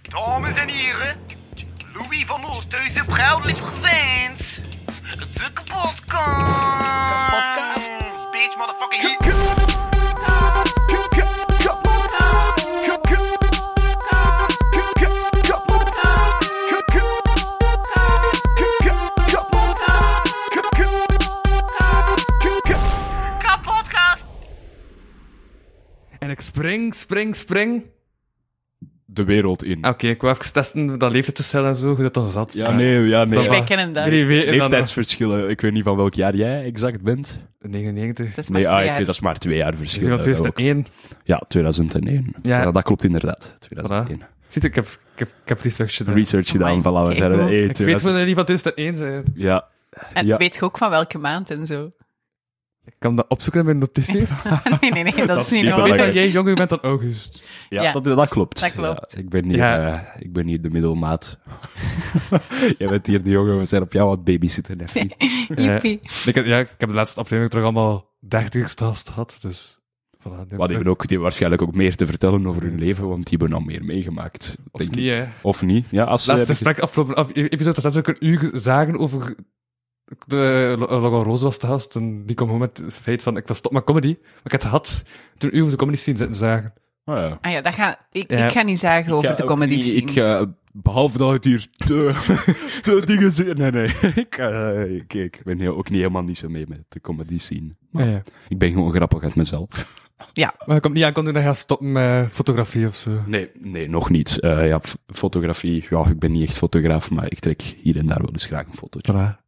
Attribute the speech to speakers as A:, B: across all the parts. A: Dames en heren, Louis van Oosthuizen, proudly presents de kapotkast.
B: Kapotkast.
A: Bitch, motherfucking hit. Kapotkast.
C: En ik spring, spring, spring.
D: de wereld in.
C: Ah, Oké, ik wil even testen dat leeftijdsverschil en zo, hoe dat dan zat. Ah,
D: Ja, nee, ja, nee.
C: Nee,
E: Nee, wij
C: maar-
E: kennen dat.
C: Drie weken dan-
D: Leeftijdsverschillen. Ik weet niet van welk jaar jij exact bent.
C: 99.
E: Dat is maar
D: Nee,
E: twee
D: ah, ik
E: jaar.
D: weet, dat is maar twee jaar
C: Ik
D: verschil.
C: ben van
D: eh,
C: 2001.
D: ook. Ja, 2001.
C: Ja.
D: Ja. dat klopt inderdaad. 2001.
C: Ziet, ik heb, ik heb, ik heb research gedaan.
D: Research gedaan
E: Amai,
D: van, laten we
E: kijk
D: zeggen,
E: hoe.
D: eh,
C: ik weet
D: 2000
C: van die van 2001 zijn.
D: Ja.
E: En
D: ja.
E: weet je ook van welke maand en zo?
C: Ik kan dat opzoeken in mijn notities. ik
E: nee, nee, nee, dat, is
D: niet
E: niet nodig.
C: weet dat
D: belangrijk.
C: jij jonger bent dan August.
D: Ja,
E: Ja.
D: Dat, dat klopt.
E: Dat klopt.
D: Ja, ik, ben hier,
C: Ja.
D: eh, ik ben hier de middelmaat. Jij bent hier de jongen, we zijn op jou aan het babysitten, Effie.
E: Joepie.
C: Ik, heb- ja, ik heb de laatste aflevering terug allemaal 30 gehad, had, dus... Voilà, nu heb ik
D: Wat
C: terug-
D: hebben ook die waarschijnlijk ook meer te vertellen over hun leven, want die hebben al meer meegemaakt.
C: Of
D: denk ik.
C: niet, hè.
D: Of niet. Ja, als ze
C: Laatste
D: ergens-
C: gesprek, afgelopen af, e- episode, dat ik een uur zagen over... De, eh, Logan Roos was te gast en die kwam gewoon met het feit van ik was stop met comedy, maar ik had het gehad toen een uur over de comedy scene zitten zagen.
D: Oh, ja.
E: Ah ja, dat ga, ik,
C: Ja.
E: ik ga niet zagen over
D: Ja,
E: de
D: ook
E: comedy
D: niet.
E: scene.
D: Ik, eh, behalve dat het hier te, te dingen zijn. Nee, nee. Ik, eh, ik, ik ben heel, ook niet helemaal niet zo mee met de comedy scene. Maar
C: Ah, ja.
D: Ik ben gewoon grappig uit mezelf.
C: Maar je komt niet aan kon dat je gaat stoppen met fotografie of zo.
D: Nee, nee nog niet. Eh, ja, f- fotografie. Ja, ik ben niet echt fotograaf, maar ik trek hier en daar wel eens graag een fotootje.
C: Voilà.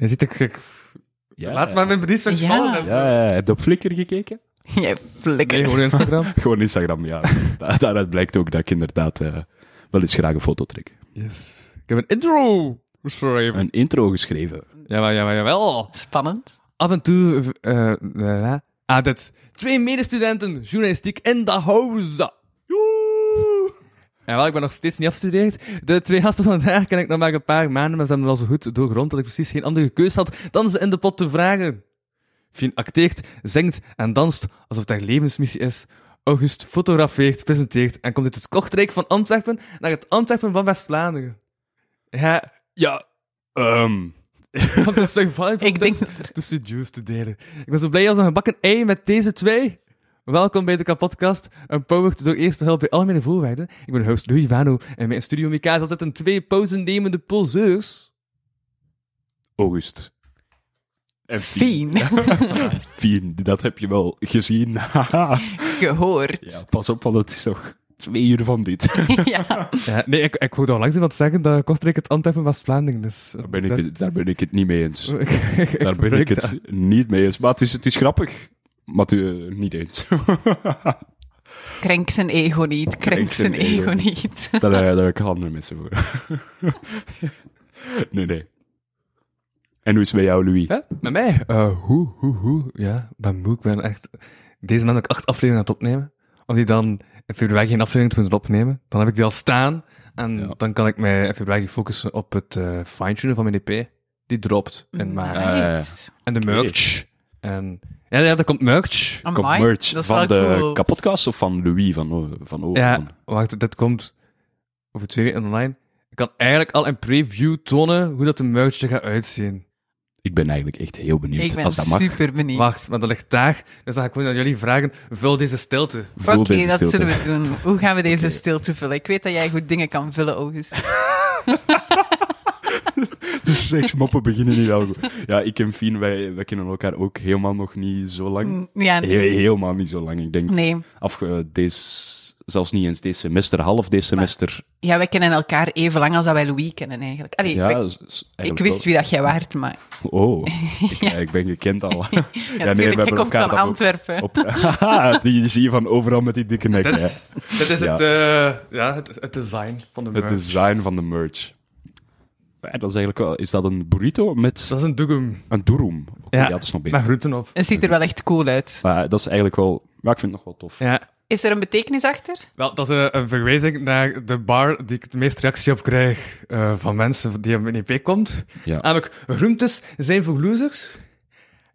C: Je ziet, ik, ik-
D: Ja,
C: laat maar mijn research
E: Ja.
C: vallen en zo.
D: Ja, ja, ja. heb je op Flickr gekeken?
E: Jij flikker.
C: Nee, gewoon Instagram.
D: Gewoon Instagram, ja. Da- Daaruit blijkt ook dat ik inderdaad eh, wel eens graag een foto trek.
C: Yes. Ik heb een intro geschreven.
D: Een intro geschreven.
C: Jawel, jawel, jawel.
E: Spannend.
C: Af en toe... eh, eh, eh, ah, dit. Twee medestudenten journalistiek in de house. En wel, ik ben nog steeds niet afgestudeerd. De twee gasten van vandaag ken ik nog maar een paar maanden, maar ze hebben wel zo goed doorgrond dat ik precies geen andere keus had dan ze in de pot te vragen. Fien acteert, zingt en danst alsof het haar levensmissie is. August fotografeert, presenteert en komt uit het Kortrijk van Antwerpen naar het Antwerpen van West-Vlaanderen. Ja,
D: Ja, ehm,
C: want dat is toch vibe
E: Ik denk-
C: tussen juice te delen. Ik ben zo blij als een gebakken ei met deze twee. Welkom bij de kapotcast, een powered door eerste hulp bij algemene voorwaarden. Ik ben host Louis Vano en mijn studio Mika zat zitten twee pauzennemende poseurs.
D: August. En
E: Fien.
D: Fien, dat heb je wel gezien. Haha. ja,
E: Gehoord.
D: pas op, want het is nog twee uur van dit.
E: Ja.
C: Ja, nee, ik, ik hoorde al langs iemand zeggen dat Kortrijk het Antwerpen West-Vlaanderen is.
D: Daar ben ik, het- daar ben ik het niet mee eens.
C: ik
D: Daar ben
C: gebruik
D: ik het
C: dat.
D: niet mee eens. Maar het is, het is grappig. Maar het, eh, niet eens.
E: Krenk zijn ego niet. Krenk zijn ego niet.
D: daar, eh, daar kan er mensen voor. nee, nee. En hoe is het bij jou, Louis?
C: Hè? Met mij? Eh, hoe, hoe, hoe. Ja, ik ben moe. Ik ben echt... Deze maand ook acht afleveringen aan het opnemen. Om die dan in februari geen aflevering te moeten opnemen. Dan heb ik die al staan. En
D: Ja.
C: dan kan ik mij in februari focussen op het eh, fine-tunen van mijn EP. Die dropt in maart.
D: Ah, ja, ja.
C: En de merch. En... Ja, ja, er komt merch.
D: Komt
E: Amai,
D: merch
E: dat is
D: van
E: wel
D: de
E: cool.
D: kapotkast of van Louis van, O- van Oven?
C: Ja, wacht, dit komt over twee weken online. Ik kan eigenlijk al een preview tonen hoe dat de merch er gaat uitzien.
D: Ik ben eigenlijk echt heel benieuwd.
E: Ik ben
D: als dat mag,
E: super benieuwd.
C: Wacht, maar dat ligt daar. Dus dan ga ik gewoon aan jullie vragen, vul deze stilte.
D: voel
E: Oké,
D: deze
E: dat
D: stilte.
E: zullen we doen. Hoe gaan we deze stilte vullen? Ik weet dat jij goed dingen kan vullen, August.
D: De seksmoppen beginnen hier al goed. Ja, ik en Fien, wij, wij kennen elkaar ook helemaal nog niet zo lang.
E: Mm, Ja,
D: He-
E: nee.
D: helemaal niet zo lang. Ik denk,
E: Nee.
D: af, eh, deze- zelfs niet eens dit semester, half dit semester.
E: Ja, wij kennen elkaar even lang als dat wij Louis kennen, eigenlijk. Allee, wij-
D: ja, s- s-
E: ik
D: eigenlijk
E: wist
D: wel.
E: wie dat jij waard, maar...
D: Oh, ik, eh, ik ben gekend al. ja,
E: Ja, natuurlijk, jij komt van
D: dan ook
E: Antwerpen.
D: Op, Haha, die zie je van overal met die dikke nek.
C: Dat-
D: hè.
C: Dit is
D: Ja.
C: het, eh, ja, het, het design van de
D: Het
C: merch.
D: design van de merch. Ja, dat is eigenlijk wel... Is dat een burrito met
C: Dat is een doegum.
D: een durum? Oké,
C: Ja.
D: ja. dat is nog beter.
C: Met groenten op.
E: Het ziet er wel echt cool uit.
D: Maar eh, dat is eigenlijk wel... Maar ik vind het nog wel tof.
C: Ja.
E: Is er een betekenis achter?
C: Wel, dat is eh, een verwijzing naar de bar die ik het meest reactie op krijg eh, van mensen die op mijn IP komt.
D: Ja.
C: Namelijk, groentes zijn voor losers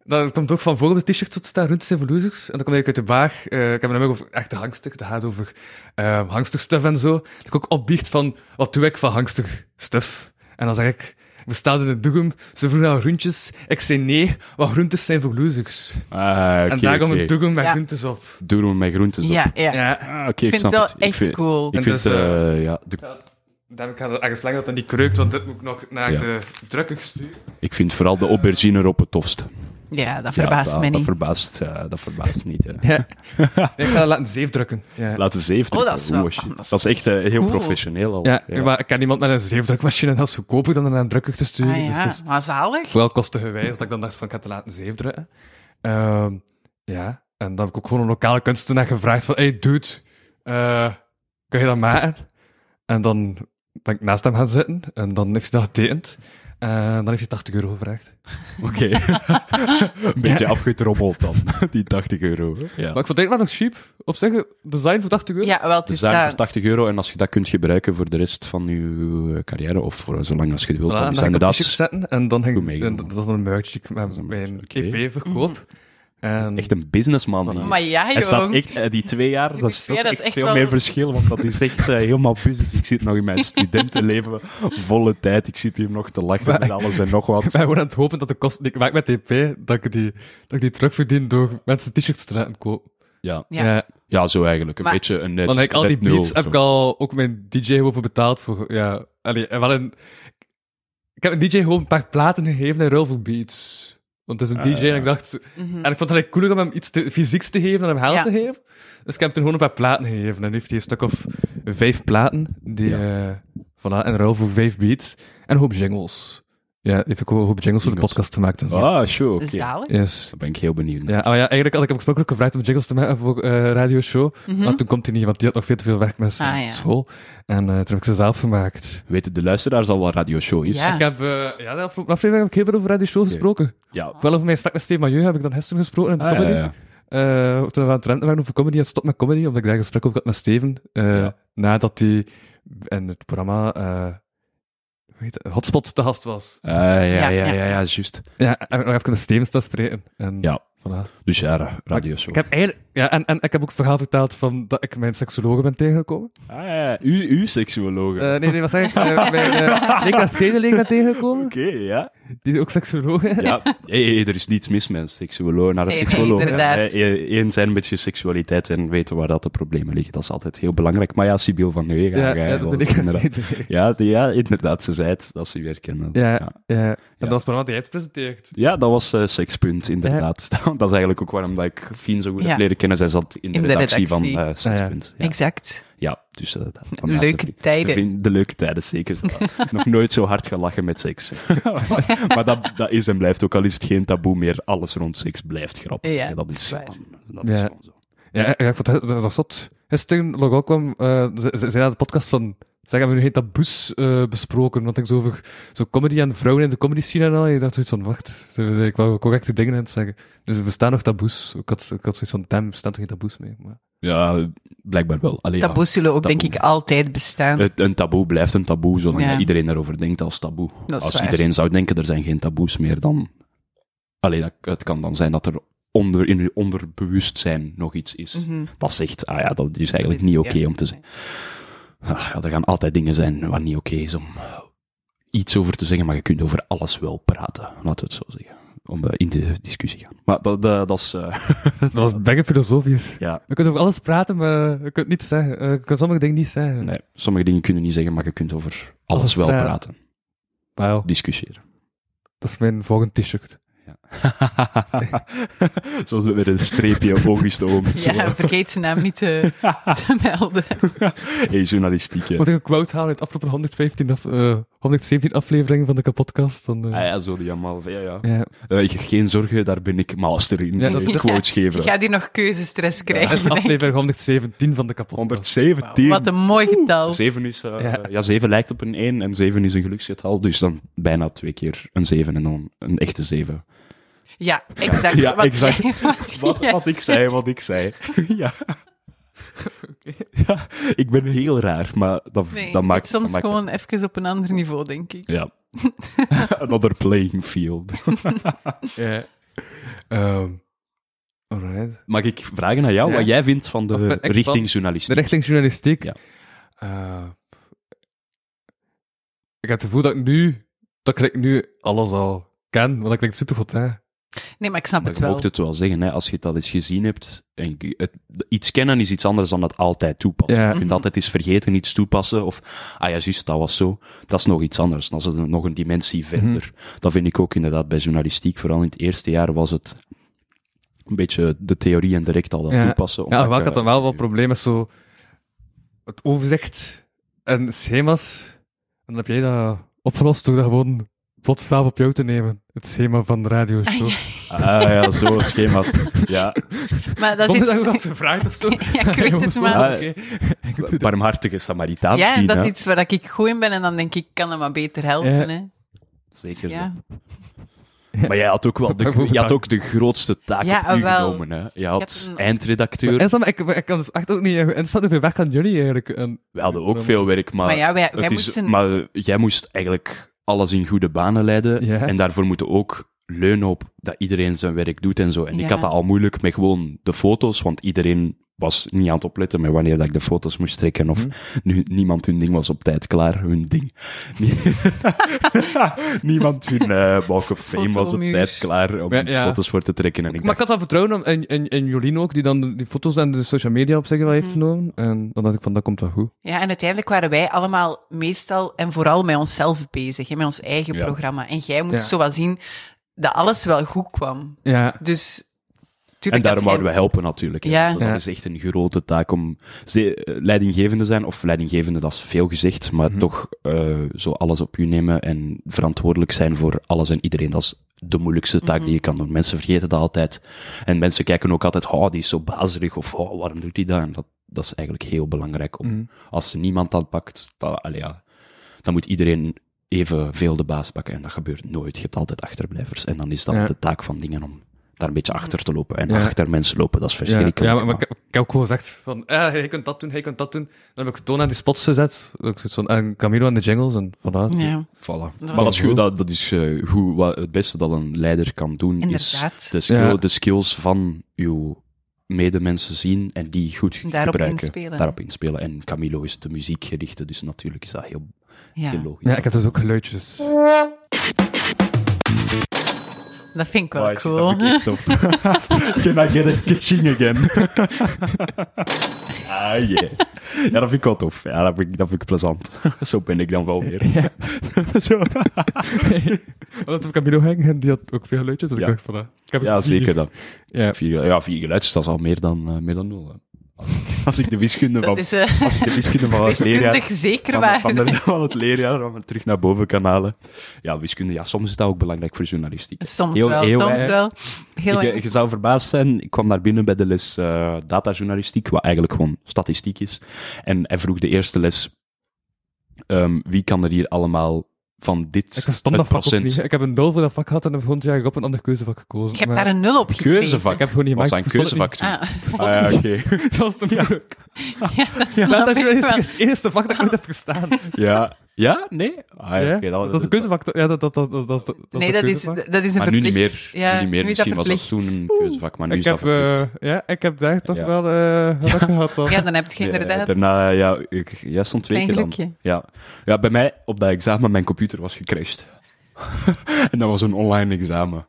C: Dat komt ook van voor op de t-shirt tot staan, Runtjes en Losers. En dan kom ik uit de baag. eh, ik heb een nummer over echte hangster. Het gaat over eh hangsterstuff en zo. Dat ik ook opbiecht van, wat doe ik van hangsterstuff? En dan zeg ik, we staan in het doegum, ze vroegen naar rundjes. Ik zei nee, want groentes zijn voor losers.
D: Ah, oké,
C: en daar kwam
D: oké.
C: het doegum met
E: Ja.
C: groentes op.
D: Doen we met groentes op.
E: Ja, ja.
C: Ja.
D: Ah, oké,
E: Ik
D: ik
E: vind het
D: snap
E: wel
D: het. Ik
E: echt
D: vind-
E: cool.
D: Ik
C: En
D: vind,
C: dus, eh,
D: eh, ja, de-
C: Daarom ga ik ergens langer dat dan die kreukt, want dit moet ik nog naar
D: Ja.
C: de drukker sturen.
D: ik vind vooral de aubergine erop het tofst.
E: Ja, dat verbaast
D: ja, dat,
E: mij
D: dat
E: niet.
D: verbaast, eh, dat verbaast niet. hè.
C: Ja. ik ga dat laten zeef drukken. Ja.
D: Laten zeef
E: Oh, dat is wel-
D: drukken. Oeh,
E: dat is-
D: dat is echt eh, heel
E: Cool.
D: professioneel al.
C: Ja, maar ik ken iemand met een zeefdrukmachine en dat is goedkoper dan een aandrukker te sturen.
E: Ah
C: Dus het
E: ja,
C: is
E: maar zalig.
C: vooral kostengewijs dat ik dan dacht van, ik ga het laten zeefdrukken. Ehm, ja, en dan heb ik ook gewoon een lokale kunstenaar gevraagd van, hey dude, eh, kun je dat maken? En dan ben ik naast hem gaan zitten en dan heeft hij dat getekend. En dan heeft hij 80 euro gevraagd.
D: Oké. Een beetje afgetrommeld dan, die 80 euro. Ja.
C: Maar ik vond het eigenlijk wel nog cheap. Op zich, design voor 80 euro.
E: Ja, wel, het
D: Dus
E: is
D: daar voor
E: daar.
D: 80 euro en als je dat kunt gebruiken voor de rest van je eh, carrière of voor zolang als je het wilt,
C: Voilà,
D: dan
C: en
D: is
C: dan
D: dat
C: ging ik op t-shirt
D: inderdaad
C: zetten en dan ging
D: Goed
C: ik,
D: meegenomen.
C: en dat was een merch ik met
D: een
C: mijn
D: merch, oké.
C: EP-verkoop.
E: Mhm.
C: En
D: echt een businessman. die-
E: Maar ja,
D: Hij staat
E: jong.
D: echt, eh, die twee jaar, dat is
E: zweer,
D: toch
E: dat
D: echt,
E: is echt
D: veel
E: wel-
D: meer verschil, want dat is echt eh, helemaal business. Ik zit nog in mijn studentenleven, volle tijd, ik zit hier nog te lachen met alles en nog
C: ik
D: wat.
C: ben gewoon aan het hopen dat de kosten die ik maak met de EP, dat ik die, dat ik die terugverdien door mensen t-shirts te laten kopen.
D: Ja,
E: Ja.
D: ja zo eigenlijk, een
E: Maar-
D: beetje een net.
C: Dan heb ik al die
D: net nul,
C: beats, heb
D: zo.
C: ik al ook mijn DJ over betaald voor, ja. Allee, en wel een, ik heb een DJ gewoon een paar platen gegeven in ruil voor beats. Want het is
D: Ah,
C: een DJ en ik dacht, en ik vond het eigenlijk cooler om hem iets te, fysieks te geven dan hem geld
E: Mhm. Ja.
C: te geven. Dus ik heb hem toen gewoon een paar platen gegeven. En dan heeft hij een stuk of vijf platen, die, eh, voilà, in ruil voor vijf beats. En een hoop jingles. Ja, die heeft ook een hoop jingles voor de
D: Jingles.
C: podcast gemaakt en zo.
D: Ah, sure, oké.
E: Zalig.
C: Yes.
D: Daar ben ik heel benieuwd naar.
C: Ja, maar ja, eigenlijk had ik hem oorspronkelijk gevraagd om jingles te maken voor eh Radio Show. Maar toen komt hij niet, want die had nog veel te veel weg met zijn
E: Mhm. Ah, ja.
C: school. En eh, toen heb ik ze zelf gemaakt.
D: Weten de luisteraars al wat Radio Show is?
E: Ja.
C: Ik heb, eh, ja, de afgelopen aflevering heb ik heel veel over Radio Show gesproken.
E: Oh.
D: ja.
C: Wel over mijn gesprek met Steve Majeu heb ik dan gisteren gesproken in de
D: Ah, ja,
C: comedy.
D: ja.
C: Eh, toen we aan het renten waren over comedy en stop met comedy, omdat ik daar een gesprek over had met Steven. eh,
D: Ja.
C: Nadat hij in het programma eh, hoe heet het, Hotspot te gast was.
D: Ah, ja, ja,
E: Ja,
D: ja,
E: ja.
D: ja, juist.
C: Ja, heb ik nog even met Steven staan spreken. En,
D: Ja.
C: Voilà.
D: Dus ja, ra- radio show.
C: Ik heb eigenlijk, ja, en, en ik heb ook het verhaal verteld van dat ik mijn seksoloog ben tegengekomen.
D: Ah, ja, ja. U, uw seksuoloog.
C: Eh, nee, nee, wat zeg ik? Eh, mijn uh, Niklas Zedeleek ben tegengekomen,
D: Oké, ja.
C: die is ook seksoloog is.
D: ja. Hey, hey, er is niets mis met een seksuoloog naar een
E: Nee, nee,
D: seksuoloog.
E: inderdaad.
D: Eh, eh, Eén zijn met je seksualiteit en weten waar dat de problemen liggen. Dat is altijd heel belangrijk. Maar ja, Sibyl van Neuega.
C: Ja, ja, dat is Niklas
D: inderdaad.
C: Zedeleek.
D: Ja, die- ja, inderdaad. Ze zei het, dat ze weer kennen.
C: Ja,
D: ja.
C: ja. En dat was maar wat hij het presenteert.
D: Ja, dat was eh, Sekspunt, inderdaad. Dat is eigenlijk ook waarom dat ik Fien zo goed heb
E: Ja.
D: leren kennen. Zij zat in de,
E: In de
D: redactie,
E: redactie.
D: van eh, Sekspunt. ja.
E: Exact.
D: Ja, dus eh, dat- vandaar
E: Leuke
D: de vri-
E: tijden.
D: De, vri- de leuke tijden, zeker. Nog nooit zo hard gelachen met seks. maar dat, dat is en blijft ook, al is het geen taboe meer, alles rond seks blijft grappig.
E: Ja,
D: dat is,
E: dat is
D: gewoon- dat
C: Ja.
D: is gewoon zo.
C: Ja, ja ik vond het, dat was zot. Gisteren, Logo kwam, eh, ze ze- ze zei aan de podcast van, zeg, hebben we nu geen taboes eh, besproken? Want ik zo over zo comedy en vrouwen in de comedy scene en al. En ik dacht zoiets van, wacht, ze zijn eigenlijk wel correcte dingen aan het zeggen. Dus er bestaan nog taboes. Ik had, ik had zoiets van, damn, er bestaan toch geen taboes meer? Maar...
D: Ja, blijkbaar wel. Allee, ja, Dus
E: Taboes zullen ook,
D: Taboe.
E: denk ik, altijd bestaan.
D: het- een taboe blijft een taboe, zolang
E: Ja.
D: dat iedereen erover denkt als taboe.
E: Dat is
D: als
E: waar.
D: iedereen zou denken, er zijn geen taboes meer, dan... Allee, dat, het kan dan zijn dat er onder, in je onderbewustzijn nog iets is. Dat zegt, ah ja, dat is eigenlijk
E: Mhm. is-
D: niet oké
E: Dus ja.
D: om te zeggen. Ah, ja, er gaan altijd dingen zijn waar niet oké is om eh, iets over te zeggen, maar je kunt over alles wel praten, laten we het zo zeggen. Om eh, in de discussie gaan. Maar dat, dat, dat is... eh,
C: Dat was bijna filosofisch.
D: ja,
C: Je kunt over alles praten, maar je kunt niets zeggen. Eh, je kunt sommige dingen niet zeggen.
D: nee, sommige dingen kunnen niet zeggen, maar je kunt over alles,
C: Alles
D: wel
C: praten.
D: praten.
C: Wauw,
D: Discussiëren.
C: dat is mijn volgende t-shirt.
D: Zoals we weer een streepje oogjes te oom. Zo.
E: Ja, vergeet zijn naam niet te, te melden.
D: Hey, journalistiek. hè.
C: Moet ik een quote halen uit de afgelopen 115 af, eh, 117 afleveringen van de kapotcast? Dan, eh,
D: Ah ja, zo die allemaal. Ja, ja.
C: ja.
D: Eh, geen zorgen, daar ben ik master in.
C: Ja, dat-
D: Eh, quotes
E: Je
D: geven.
E: gaat hier nog keuzestress
C: Dat is
E: krijgen. denk ik.
C: aflevering 117 van de kapotcast.
D: 117.
E: Wat een mooi getal.
D: 7 is, eh,
C: Ja.
D: ja. 7 lijkt op een 1 en 7 is een geluksgetal. Dus dan bijna twee keer een 7 en dan een echte 7.
E: Ja, exact.
D: Ja,
E: Wat
D: exact.
E: jij- wat jij-
D: zei, wat ik zei. ja. ja. Ik ben heel raar, maar dat,
E: Nee,
D: dat
E: ik
D: maakt
E: zit soms
D: dat maakt-
E: gewoon even op een ander niveau, denk ik.
D: Ja. Another playing field.
C: Ja. Ehm alright.
D: Mag ik vragen aan jou
C: Ja.
D: wat jij vindt van
C: Wat
D: de
C: vind ik
D: richting
C: De
D: journalistiek?
C: richting journalistiek.
D: Ja.
C: Eh, ik heb het gevoel dat ik nu, dat ik nu alles al ken, want dat klinkt super goed, hè?
E: Nee, maar ik snap
D: Maar
E: het
D: je
E: wel.
D: mocht het wel zeggen, hè, als je het al eens gezien hebt. En je- het, iets kennen is iets anders dan dat altijd toepassen.
C: Ja.
D: Je kunt
E: Mhm.
D: altijd eens vergeten iets toepassen. Of, ah ja, juist, dat was zo. Dat is nog iets anders. Dat is een- nog een
E: Mhm.
D: dimensie verder. Dat vind ik ook inderdaad bij journalistiek. Vooral in het eerste jaar was het een beetje de theorie en direct al dat
C: Ja.
D: toepassen.
C: Ja,
D: omdat
C: wel, ik
D: je-
C: had dan wel wat problemen met zo het overzicht en schema's. En dan heb jij dat opgelost door dat gewoon plots zelf op jou te nemen. Het schema van de radio. of Zo.
D: Ah ja, zo, schema. Ja,
E: Maar dat is
C: Zonder
E: iets-
C: dat je dat gevraagd of zo.
E: Ja, ik weet
C: Jongens,
E: het,
C: zo,
E: maar-
C: oké. Ik doe dat.
D: barmhartige Samaritaan.
E: Ja, en
D: Pien,
E: dat is
D: hè.
E: iets waar dat ik goed in ben en dan denk ik, ik kan hem maar beter helpen.
C: Ja.
E: Hè. Dus
D: Zeker. zo.
E: Ja.
D: Maar jij had ook wel de,
C: Daarvoor
D: je had
C: bedankt.
D: ook de grootste taak
E: Ja,
D: op u
E: wel.
D: genomen. Hè. Je
E: Ik
D: had
E: heb een-
D: eindredacteur.
C: Maar is dat- maar ik, maar ik kan dus echt ook niet. eh, En staat hoeveel weg aan jullie eigenlijk? En,
D: We hadden ook veel werk, maar,
E: Maar ja, wij,
D: het
E: wij
D: is-
E: moesten...
D: maar jij moest eigenlijk alles in goede banen leiden.
C: Ja.
D: En daarvoor moeten ook leunen op dat iedereen zijn werk doet en zo. En
E: Ja.
D: ik had dat al moeilijk met gewoon de foto's, want iedereen was niet aan het opletten met wanneer dat ik de foto's moest trekken.
C: Hm.
D: Of nu, niemand hun ding was op tijd klaar, hun ding. Nie- niemand hun eh walk of fame was op
E: Fotomuur.
D: tijd klaar om
C: Ja, ja.
D: foto's voor te trekken. En ik
C: Maar ik had wel vertrouwen in, in, in Jolien ook, die dan de- die foto's en de social media op zich wel
E: Mhm.
C: heeft genomen. En dan dacht ik van, dat komt wel goed.
E: Ja, en uiteindelijk waren wij allemaal meestal en vooral met onszelf bezig, hè, met ons eigen
D: Ja.
E: programma. En jij moest
C: Ja.
E: zo wat zien dat alles wel goed kwam.
C: Ja,
E: Dus...
D: En
E: tuurlijk had
D: daarom
E: jij-
D: wouden we helpen natuurlijk. hè.
E: Ja.
D: Dat
C: Ja.
D: is echt een grote taak om ze- eh, leidinggevende te zijn, of leidinggevende, dat is veel gezegd, maar
C: Mhm.
D: toch eh, zo alles op u nemen en verantwoordelijk zijn voor alles en iedereen. Dat is de moeilijkste taak
E: Mhm.
D: die je kan doen. Mensen vergeten dat altijd. En mensen kijken ook altijd, oh, die is zo bazerig, of oh, waarom doet hij dat? En dat, dat is eigenlijk heel belangrijk. Om,
C: Mhm.
D: Als niemand dat pakt, dan, allee, ja, dan moet iedereen evenveel de baas pakken. En dat gebeurt nooit. Je hebt altijd achterblijvers. En dan is dat
C: Ja.
D: de taak van dingen om daar een beetje achter te lopen. En
C: Ja.
D: achter mensen lopen, dat is
C: ja,
D: verschrikkelijk.
C: ja, maar, maar ik, heb- ik heb ook gewoon gezegd van, eh, hij kunt dat doen, hij kunt dat doen. Dan heb ik toon aan die spots gezet. Ik zit zo'n en Camilo aan de jingles en voilà.
E: Ja.
D: Voilà.
E: was
D: maar dat is,
C: goed.
D: goed, dat, dat is eh, goed. Wat, het beste dat een leider kan doen is
E: Inderdaad.
D: de, skill-
C: Ja.
D: de skills van uw medemensen zien en die goed
E: Daarop
D: gebruiken.
E: inspelen.
D: Daarop inspelen. En Camilo is de muziekgerichte, dus natuurlijk is dat heel, heel
E: Ja,
D: logisch.
C: Ja, ik heb dus ook geluidjes.
E: dat vind ik wel
D: Wauw, shit, dat
E: cool.
D: vind ik echt top. Can I get a kitching again? ah, yeah. Ja, dat vind ik wel tof. Ja, dat vind ik, dat vind ik plezant. Zo ben ik dan wel weer. Zo.
C: Omdat we Camilo hangen en die had ook veel geluidjes. Dus
D: Ja.
C: ik dacht van, eh, ik heb
D: ja,
C: het
D: zeker dan.
C: Ja.
D: Vier, ja, vier geluidjes, dat is al meer dan, eh, meer dan nul. hè. Als ik- Als ik de wiskunde van,
E: Dat is eh,
D: als ik de wiskunde van het leerjaar...
E: wiskundig zeker
D: Van, de-
E: waar.
D: van, de- van het leerjaar, om het terug naar boven kan halen. Ja, wiskunde, ja, soms is dat ook belangrijk voor journalistiek.
E: Soms
D: Heel-
E: wel,
D: heel
E: soms
D: weinig.
E: wel. Heel
D: Ik, eh,
E: weinig.
D: je zou verbaasd zijn, ik kwam daar binnen bij de les eh, datajournalistiek, wat eigenlijk gewoon statistiek is. En hij vroeg de eerste les, ehm, wie kan er hier allemaal van dit
C: Ik verstond dat
D: het
C: vak ook
D: procent...
C: niet. Ik heb een doel voor dat vak gehad en heb volgend jaar op een ander keuzevak gekozen.
E: Ik heb
C: maar
E: daar een nul op gekregen.
D: Keuzevak.
C: Ik heb het gewoon niet
D: Wat
C: gemaakt.
D: zijn
C: ik verstond het
D: keuzevak toen?
E: Ah,
D: Ah, ja, oké.
C: niet. Dat was te moeilijk.
E: ja, dat
C: Ja,
E: snap
C: dat
E: ik
C: journalistiek
E: wel.
C: is het eerste vak dat ik ooit heb gestaan.
D: ja. ja, nee? Ah, ja,
C: Ja?
D: oké, dat,
C: dat is een keuzevak. toch? Ja, dat, dat, dat, dat, dat, dat
E: Nee,
C: een
E: dat is,
C: keuzevak.
E: dat is een
D: Maar nu niet meer.
E: verplicht. Ja,
D: nu niet meer.
E: nu is dat
D: Misschien was dat toen
E: verplicht.
D: een keuzevak, maar nu
C: Ik
D: is dat
C: heb, eh,
D: verplicht.
C: ja, ik heb daar toch
D: Ja.
C: wel eh wat gehad. dan.
E: Ja, dan heb
D: eh,
E: je inderdaad...
D: Ja, daarna, ja, ik, jij stond twee
E: Klein
D: keer dan.
E: gelukje.
D: Ja. ja, bij mij op dat examen, mijn computer was gecrashed. en dat was een online examen.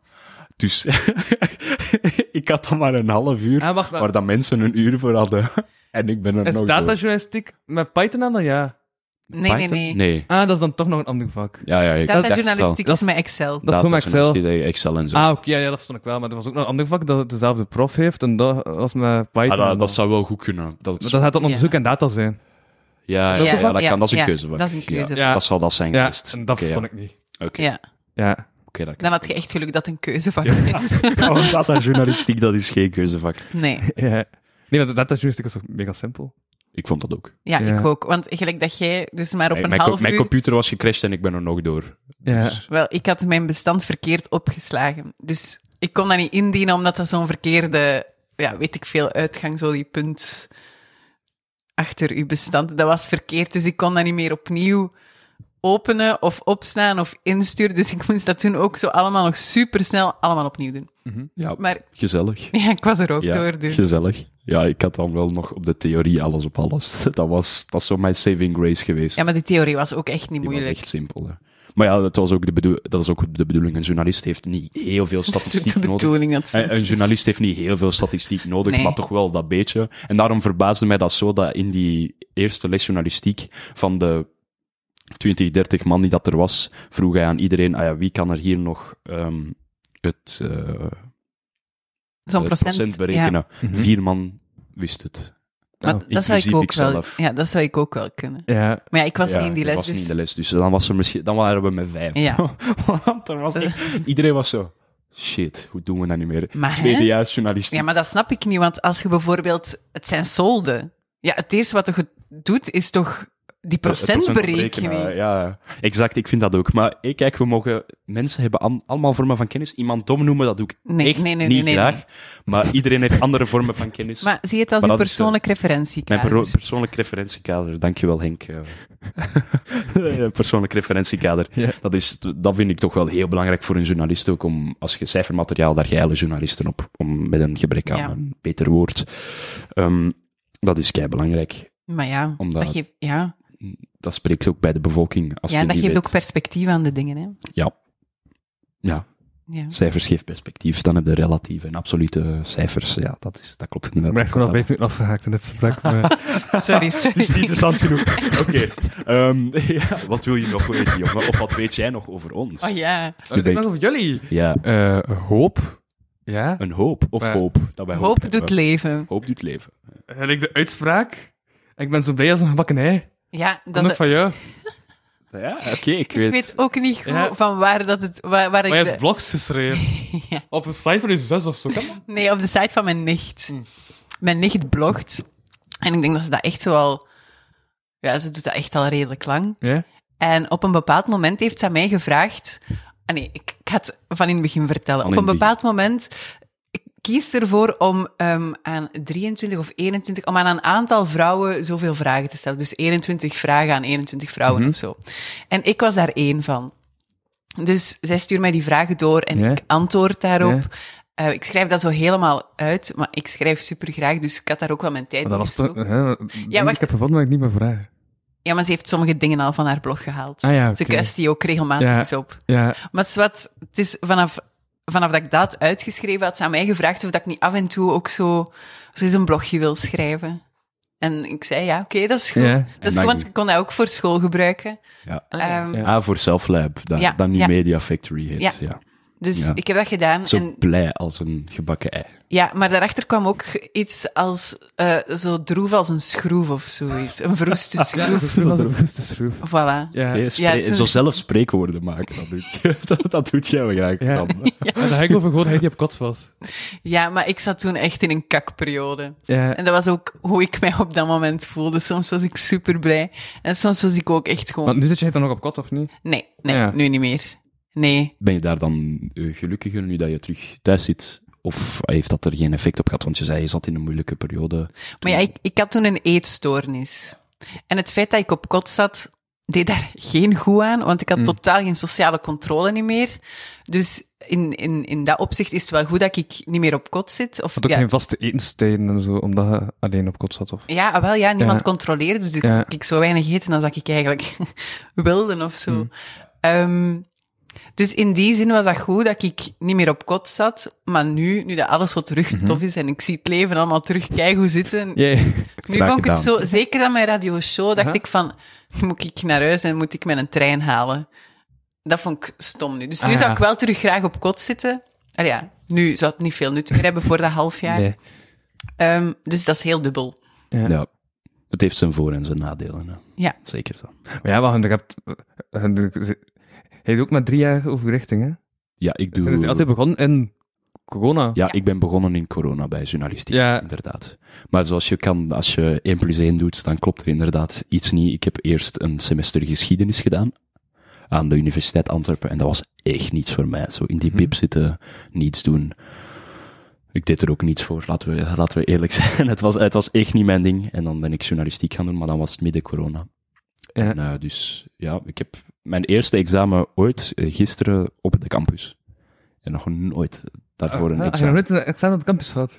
D: Dus ik had dan maar een half uur,
C: Ah, wacht,
D: waar dat mensen een uur voor hadden. en ik ben er
C: En
D: nog
C: staat
D: door.
C: dat journalistiek met Python aan dan? Ja.
E: Nee, nee,
D: Python?
E: nee.
D: Nee.
C: Ah, dat is dan toch nog een ander vak.
D: Ja, ja, ik dacht
E: Data
D: het al.
E: journalistiek
C: Dat
E: is
C: is-
E: met Excel.
C: Dat is gewoon met Excel.
D: journalistiek, Excel en zo.
C: Ah, oké, ja, ja, dat verstond ik wel. Maar er was ook nog een ander vak dat het dezelfde prof heeft. En dat was met Python.
D: Ah, dat,
C: en
D: dat
C: dan.
D: zou wel goed kunnen. Dat,
C: Maar dat gaat dan onderzoek en data zijn.
D: ja, ja, ja, dat kan. Dat is een
E: ja,
D: keuzevak.
E: Dat is een keuze.
C: Ja.
D: Dat zal dat zijn
C: Ja,
D: geweest.
C: en dat
D: Oké, ja.
C: verstond ik niet.
D: Oké,
E: Ja.
C: Ja.
D: oké, dat kan.
E: Dan had je echt geluk dat het een keuzevak is.
D: Oh, data journalistiek, dat is geen keuzevak.
E: Nee,
C: ja. Nee, want data journalistiek is toch mega simpel?
D: Ik vond dat ook.
E: ja,
C: Ja.
E: ik ook. Want gelijk dat jij dus maar op
D: Mijn-
E: een
D: mijn, co-
E: half
D: mijn
E: uur...
D: computer was gecrashed en ik ben er nog door.
C: Ja.
E: Wel, ik had mijn bestand verkeerd opgeslagen. Dus ik kon dat niet indienen, omdat dat zo'n verkeerde... Ja, weet ik veel, uitgang, zo die punt achter uw bestand. Dat was verkeerd, dus ik kon dat niet meer opnieuw openen of opslaan of insturen. Dus ik moest dat toen ook zo allemaal nog supersnel allemaal opnieuw doen.
D: Ja,
E: Maar
D: gezellig.
E: ja, ik was er ook
D: Ja,
E: door, dus...
D: gezellig. Ja, ik had dan wel nog op de theorie alles op alles. Dat was, dat is zo mijn saving grace geweest.
E: Ja, maar die theorie was ook echt niet
D: Die was
E: moeilijk.
D: echt simpel. hè. Maar ja, dat, was ook de bedoel- dat is ook de bedoeling. Een journalist heeft niet heel veel
E: Dat is ook
D: statistiek
E: de
D: nodig.
E: bedoeling. Dat ze-
D: Een, een journalist heeft niet heel veel statistiek nodig,
E: Nee.
D: maar toch wel dat beetje. En daarom verbaasde mij dat zo dat in die eerste les journalistiek van de 20, 30 man die dat er was, vroeg hij aan iedereen, ah ja, wie kan er hier nog ehm, het, eh,
E: Zo'n
D: het
E: procent. Ja.
D: eh, berekenen?
C: Mhm.
D: Vier man wist het.
E: Maar
D: Ja.
E: dat, zou ik
D: Inclusief
E: ook wel,
D: ikzelf.
E: ja, dat zou ik ook wel kunnen.
C: Ja,
E: Maar ja, ik was
D: Ja,
E: niet in die
D: dat
E: les,
D: was
E: dus...
D: niet in de les, dus dan, was er misschien, dan waren we met vijf.
E: Ja.
D: Want er was niet- iedereen was zo, shit, hoe doen we dat nu meer?
E: Maar, hè?
D: Tweedejaars journalistiek.
E: Ja, maar dat snap ik niet, want als je bijvoorbeeld... Het zijn solden. Ja, het eerste wat je doet, is toch die procentberekening.
D: berekenen, Ja, exact. Ik vind dat ook. Maar ik kijk, we mogen mensen hebben an- allemaal vormen van kennis. Iemand dom noemen, dat doe ik
E: Nee,
D: echt
E: nee, nee,
D: niet
E: nee, nee,
D: graag. Maar iedereen heeft andere vormen van kennis.
E: Maar zie je het als
D: Maar
E: een
D: dat is, eh,
E: persoonlijk
D: Mijn
E: referentiekader?
D: persoonlijke persoonlijk referentiekader, dankjewel Henk. eh. persoonlijk referentiekader,
C: Ja.
D: dat, is, dat vind ik toch wel heel belangrijk voor een journalist ook. Om, als je cijfermateriaal, daar geilen journalisten op, om met een gebrek aan
E: Ja.
D: een beter woord. Ehm, dat is kei belangrijk.
E: Maar ja,
D: Omdat-
E: dat geeft, ja.
D: Dat spreekt ook bij de bevolking. Als
E: Ja,
D: je
E: en dat
D: niet
E: geeft
D: weet.
E: ook perspectief aan de dingen, hè.
D: Ja. Ja,
E: Ja.
D: cijfers geeft perspectief. Dan heb je relatieve en absolute cijfers. Ja, dat, is, dat klopt inderdaad.
C: ik ben gewoon al
D: Dat-
C: vijf minuten afgehaakt in dit gesprek. maar-
E: Sorry, sorry.
D: Het is niet interessant genoeg. Oké. ehm, ja, wat wil je nog weten, jongen? Of wat weet jij nog over ons?
E: Oh ja,
C: Wat denk ik nog over jullie?
D: Ja,
C: Eh, hoop. Ja.
D: een hoop. Of
C: Maar-
D: hoop. Dat wij hoop,
E: hoop
D: hebben.
E: doet leven.
D: Hoop doet leven.
C: En ik de uitspraak. Ik ben zo blij als een gebakken ei.
E: Ja,
C: Komt
E: dat,
C: ook van jou.
D: Ja, oké, ik
E: ik
D: weet...
E: weet ook niet goed
C: Ja.
E: van waar dat het... Waar, waar ik
C: Maar je
E: de-
C: hebt blogs geschreven.
E: Ja.
C: Op een site van je zus of zo. Kan dat?
E: Nee, op de site van mijn nicht.
D: Hm.
E: Mijn nicht blogt. En ik denk dat ze dat echt zo al... Ja, ze doet dat echt al redelijk lang.
C: Ja.
E: En op een bepaald moment heeft ze aan mij gevraagd... Ah nee, ik, ik ga het van in het begin vertellen.
D: Van
E: Op
D: in
E: een
D: het
E: bepaald moment... Ik kies ervoor om ehm, aan 23 of 21... Om aan een aantal vrouwen zoveel vragen te stellen. Dus 21 vragen aan 21 vrouwen
C: Mhm.
E: of zo. En ik was daar één van. Dus zij stuurt mij die vragen door en
C: Ja.
E: ik antwoord daarop. Eh, ik schrijf dat zo helemaal uit, maar ik schrijf super graag, dus ik had daar ook wel mijn tijd
C: Maar dat
E: in
C: was toch...
E: gestoken.
C: hè, denk
E: wacht.
C: Ik heb gevonden, maar ik niet meer vragen.
E: Ja, maar ze heeft sommige dingen al van haar blog gehaald.
C: Ah ja,
E: Ze
C: oké.
E: kuist die ook regelmatig
C: Ja.
E: eens op.
C: Ja.
E: Maar zwart, het is vanaf, vanaf dat ik dat uitgeschreven had, ze aan mij gevraagd of dat ik niet af en toe ook zo, zo eens een blogje wil schrijven. En ik zei, ja, oké, dat is goed.
C: Ja.
E: Dat is
D: dan-
E: goed, want ik kon dat ook voor school gebruiken.
D: Ja.
E: Ehm,
C: ja.
D: Ah, voor Selflab. Dat,
E: Ja,
D: dat nu
E: ja.
D: Media Factory heet.
E: Ja.
D: Ja.
E: Dus
D: Ja.
E: ik heb dat gedaan.
D: Zo
E: en
D: blij als een gebakken ei.
E: Ja, maar daarachter kwam ook iets als eh, zo droef als een schroef of zoiets. Een verroeste
C: Ja,
E: schroef.
C: dat was een bewuste schroef. Ja.
E: Voilà.
D: Nee, spree-
E: toen-
D: Zo zelf spreekwoorden maken, dat doet, dat, dat doet jij wel graag.
C: Ja.
D: Bram.
C: En dan heb ik over gehoord dat hij die op kot was.
E: Ja, maar ik zat toen echt in een kakperiode.
C: Ja.
E: En dat was ook hoe ik mij op dat moment voelde. Soms was ik super blij. En soms was ik ook echt gewoon.
C: Want nu zit jij dan nog op kot, of niet?
E: Nee, nee,
C: Ja.
E: nu niet meer. Nee.
D: Ben je daar dan eh, gelukkiger nu dat je terug thuis zit? Of ah, heeft dat er geen effect op gehad? Want je zei, je zat in een moeilijke periode.
E: Maar ja, ik, ik had toen een eetstoornis. En het feit dat ik op kot zat, deed daar geen goed aan, want ik had
C: Hm.
E: totaal geen sociale controle niet meer. Dus in, in, in dat opzicht is het wel goed dat ik niet meer op kot zit. Of,
C: Had ook
E: ja,
C: geen vaste etenstijden en zo, omdat je alleen op kot zat, of...
E: Ja, ah, wel, ja, niemand
C: Ja.
E: controleerde, dus ik,
C: Ja.
E: ik zo weinig eten als dat ik eigenlijk wilde of zo.
C: Hm.
E: Ehm, dus in die zin was dat goed dat ik niet meer op kot zat, maar nu, nu dat alles zo terug
C: Mhm.
E: tof is en ik zie het leven allemaal terug hoe zitten, nu
D: Graag
E: vond ik
D: gedaan.
E: het zo, zeker aan mijn radioshow, dacht
C: Aha.
E: ik van, moet ik naar huis en moet ik mijn trein halen? Dat vond ik stom nu. Dus nu
C: Ah,
E: zou
C: ja.
E: ik wel terug graag op kot zitten. Allee, ja, nu zou het niet veel nut meer hebben voor dat half jaar.
C: Nee.
E: Ehm, dus dat is heel dubbel.
C: Ja.
D: Ja. Het heeft zijn voor- en zijn nadelen. Hè.
E: Ja.
D: Zeker zo.
C: Maar ja, want ik heb... Hij doet ook maar drie jaar overrichting, hè?
D: Ja, ik
C: Zijn ze
D: doe...
C: altijd begonnen in corona.
D: Ja, ik ben begonnen in corona bij journalistiek,
C: Ja.
D: inderdaad. Maar zoals je kan, als je 1 plus 1 doet, dan klopt er inderdaad iets niet. Ik heb eerst een semester geschiedenis gedaan aan de Universiteit Antwerpen en dat was echt niets voor mij. Zo in die
C: Mhm.
D: bib zitten, niets doen. Ik deed er ook niets voor, laten we, laten we eerlijk zijn. Het was, het was echt niet mijn ding. En dan ben ik journalistiek gaan doen, maar dan was het midden corona.
C: Ja.
D: En, eh, dus ja, ik heb mijn eerste examen ooit eh, gisteren op de campus. En nog nooit daarvoor een
C: Ah, Heb je nog
D: examen.
C: nooit een examen op het campus gehad?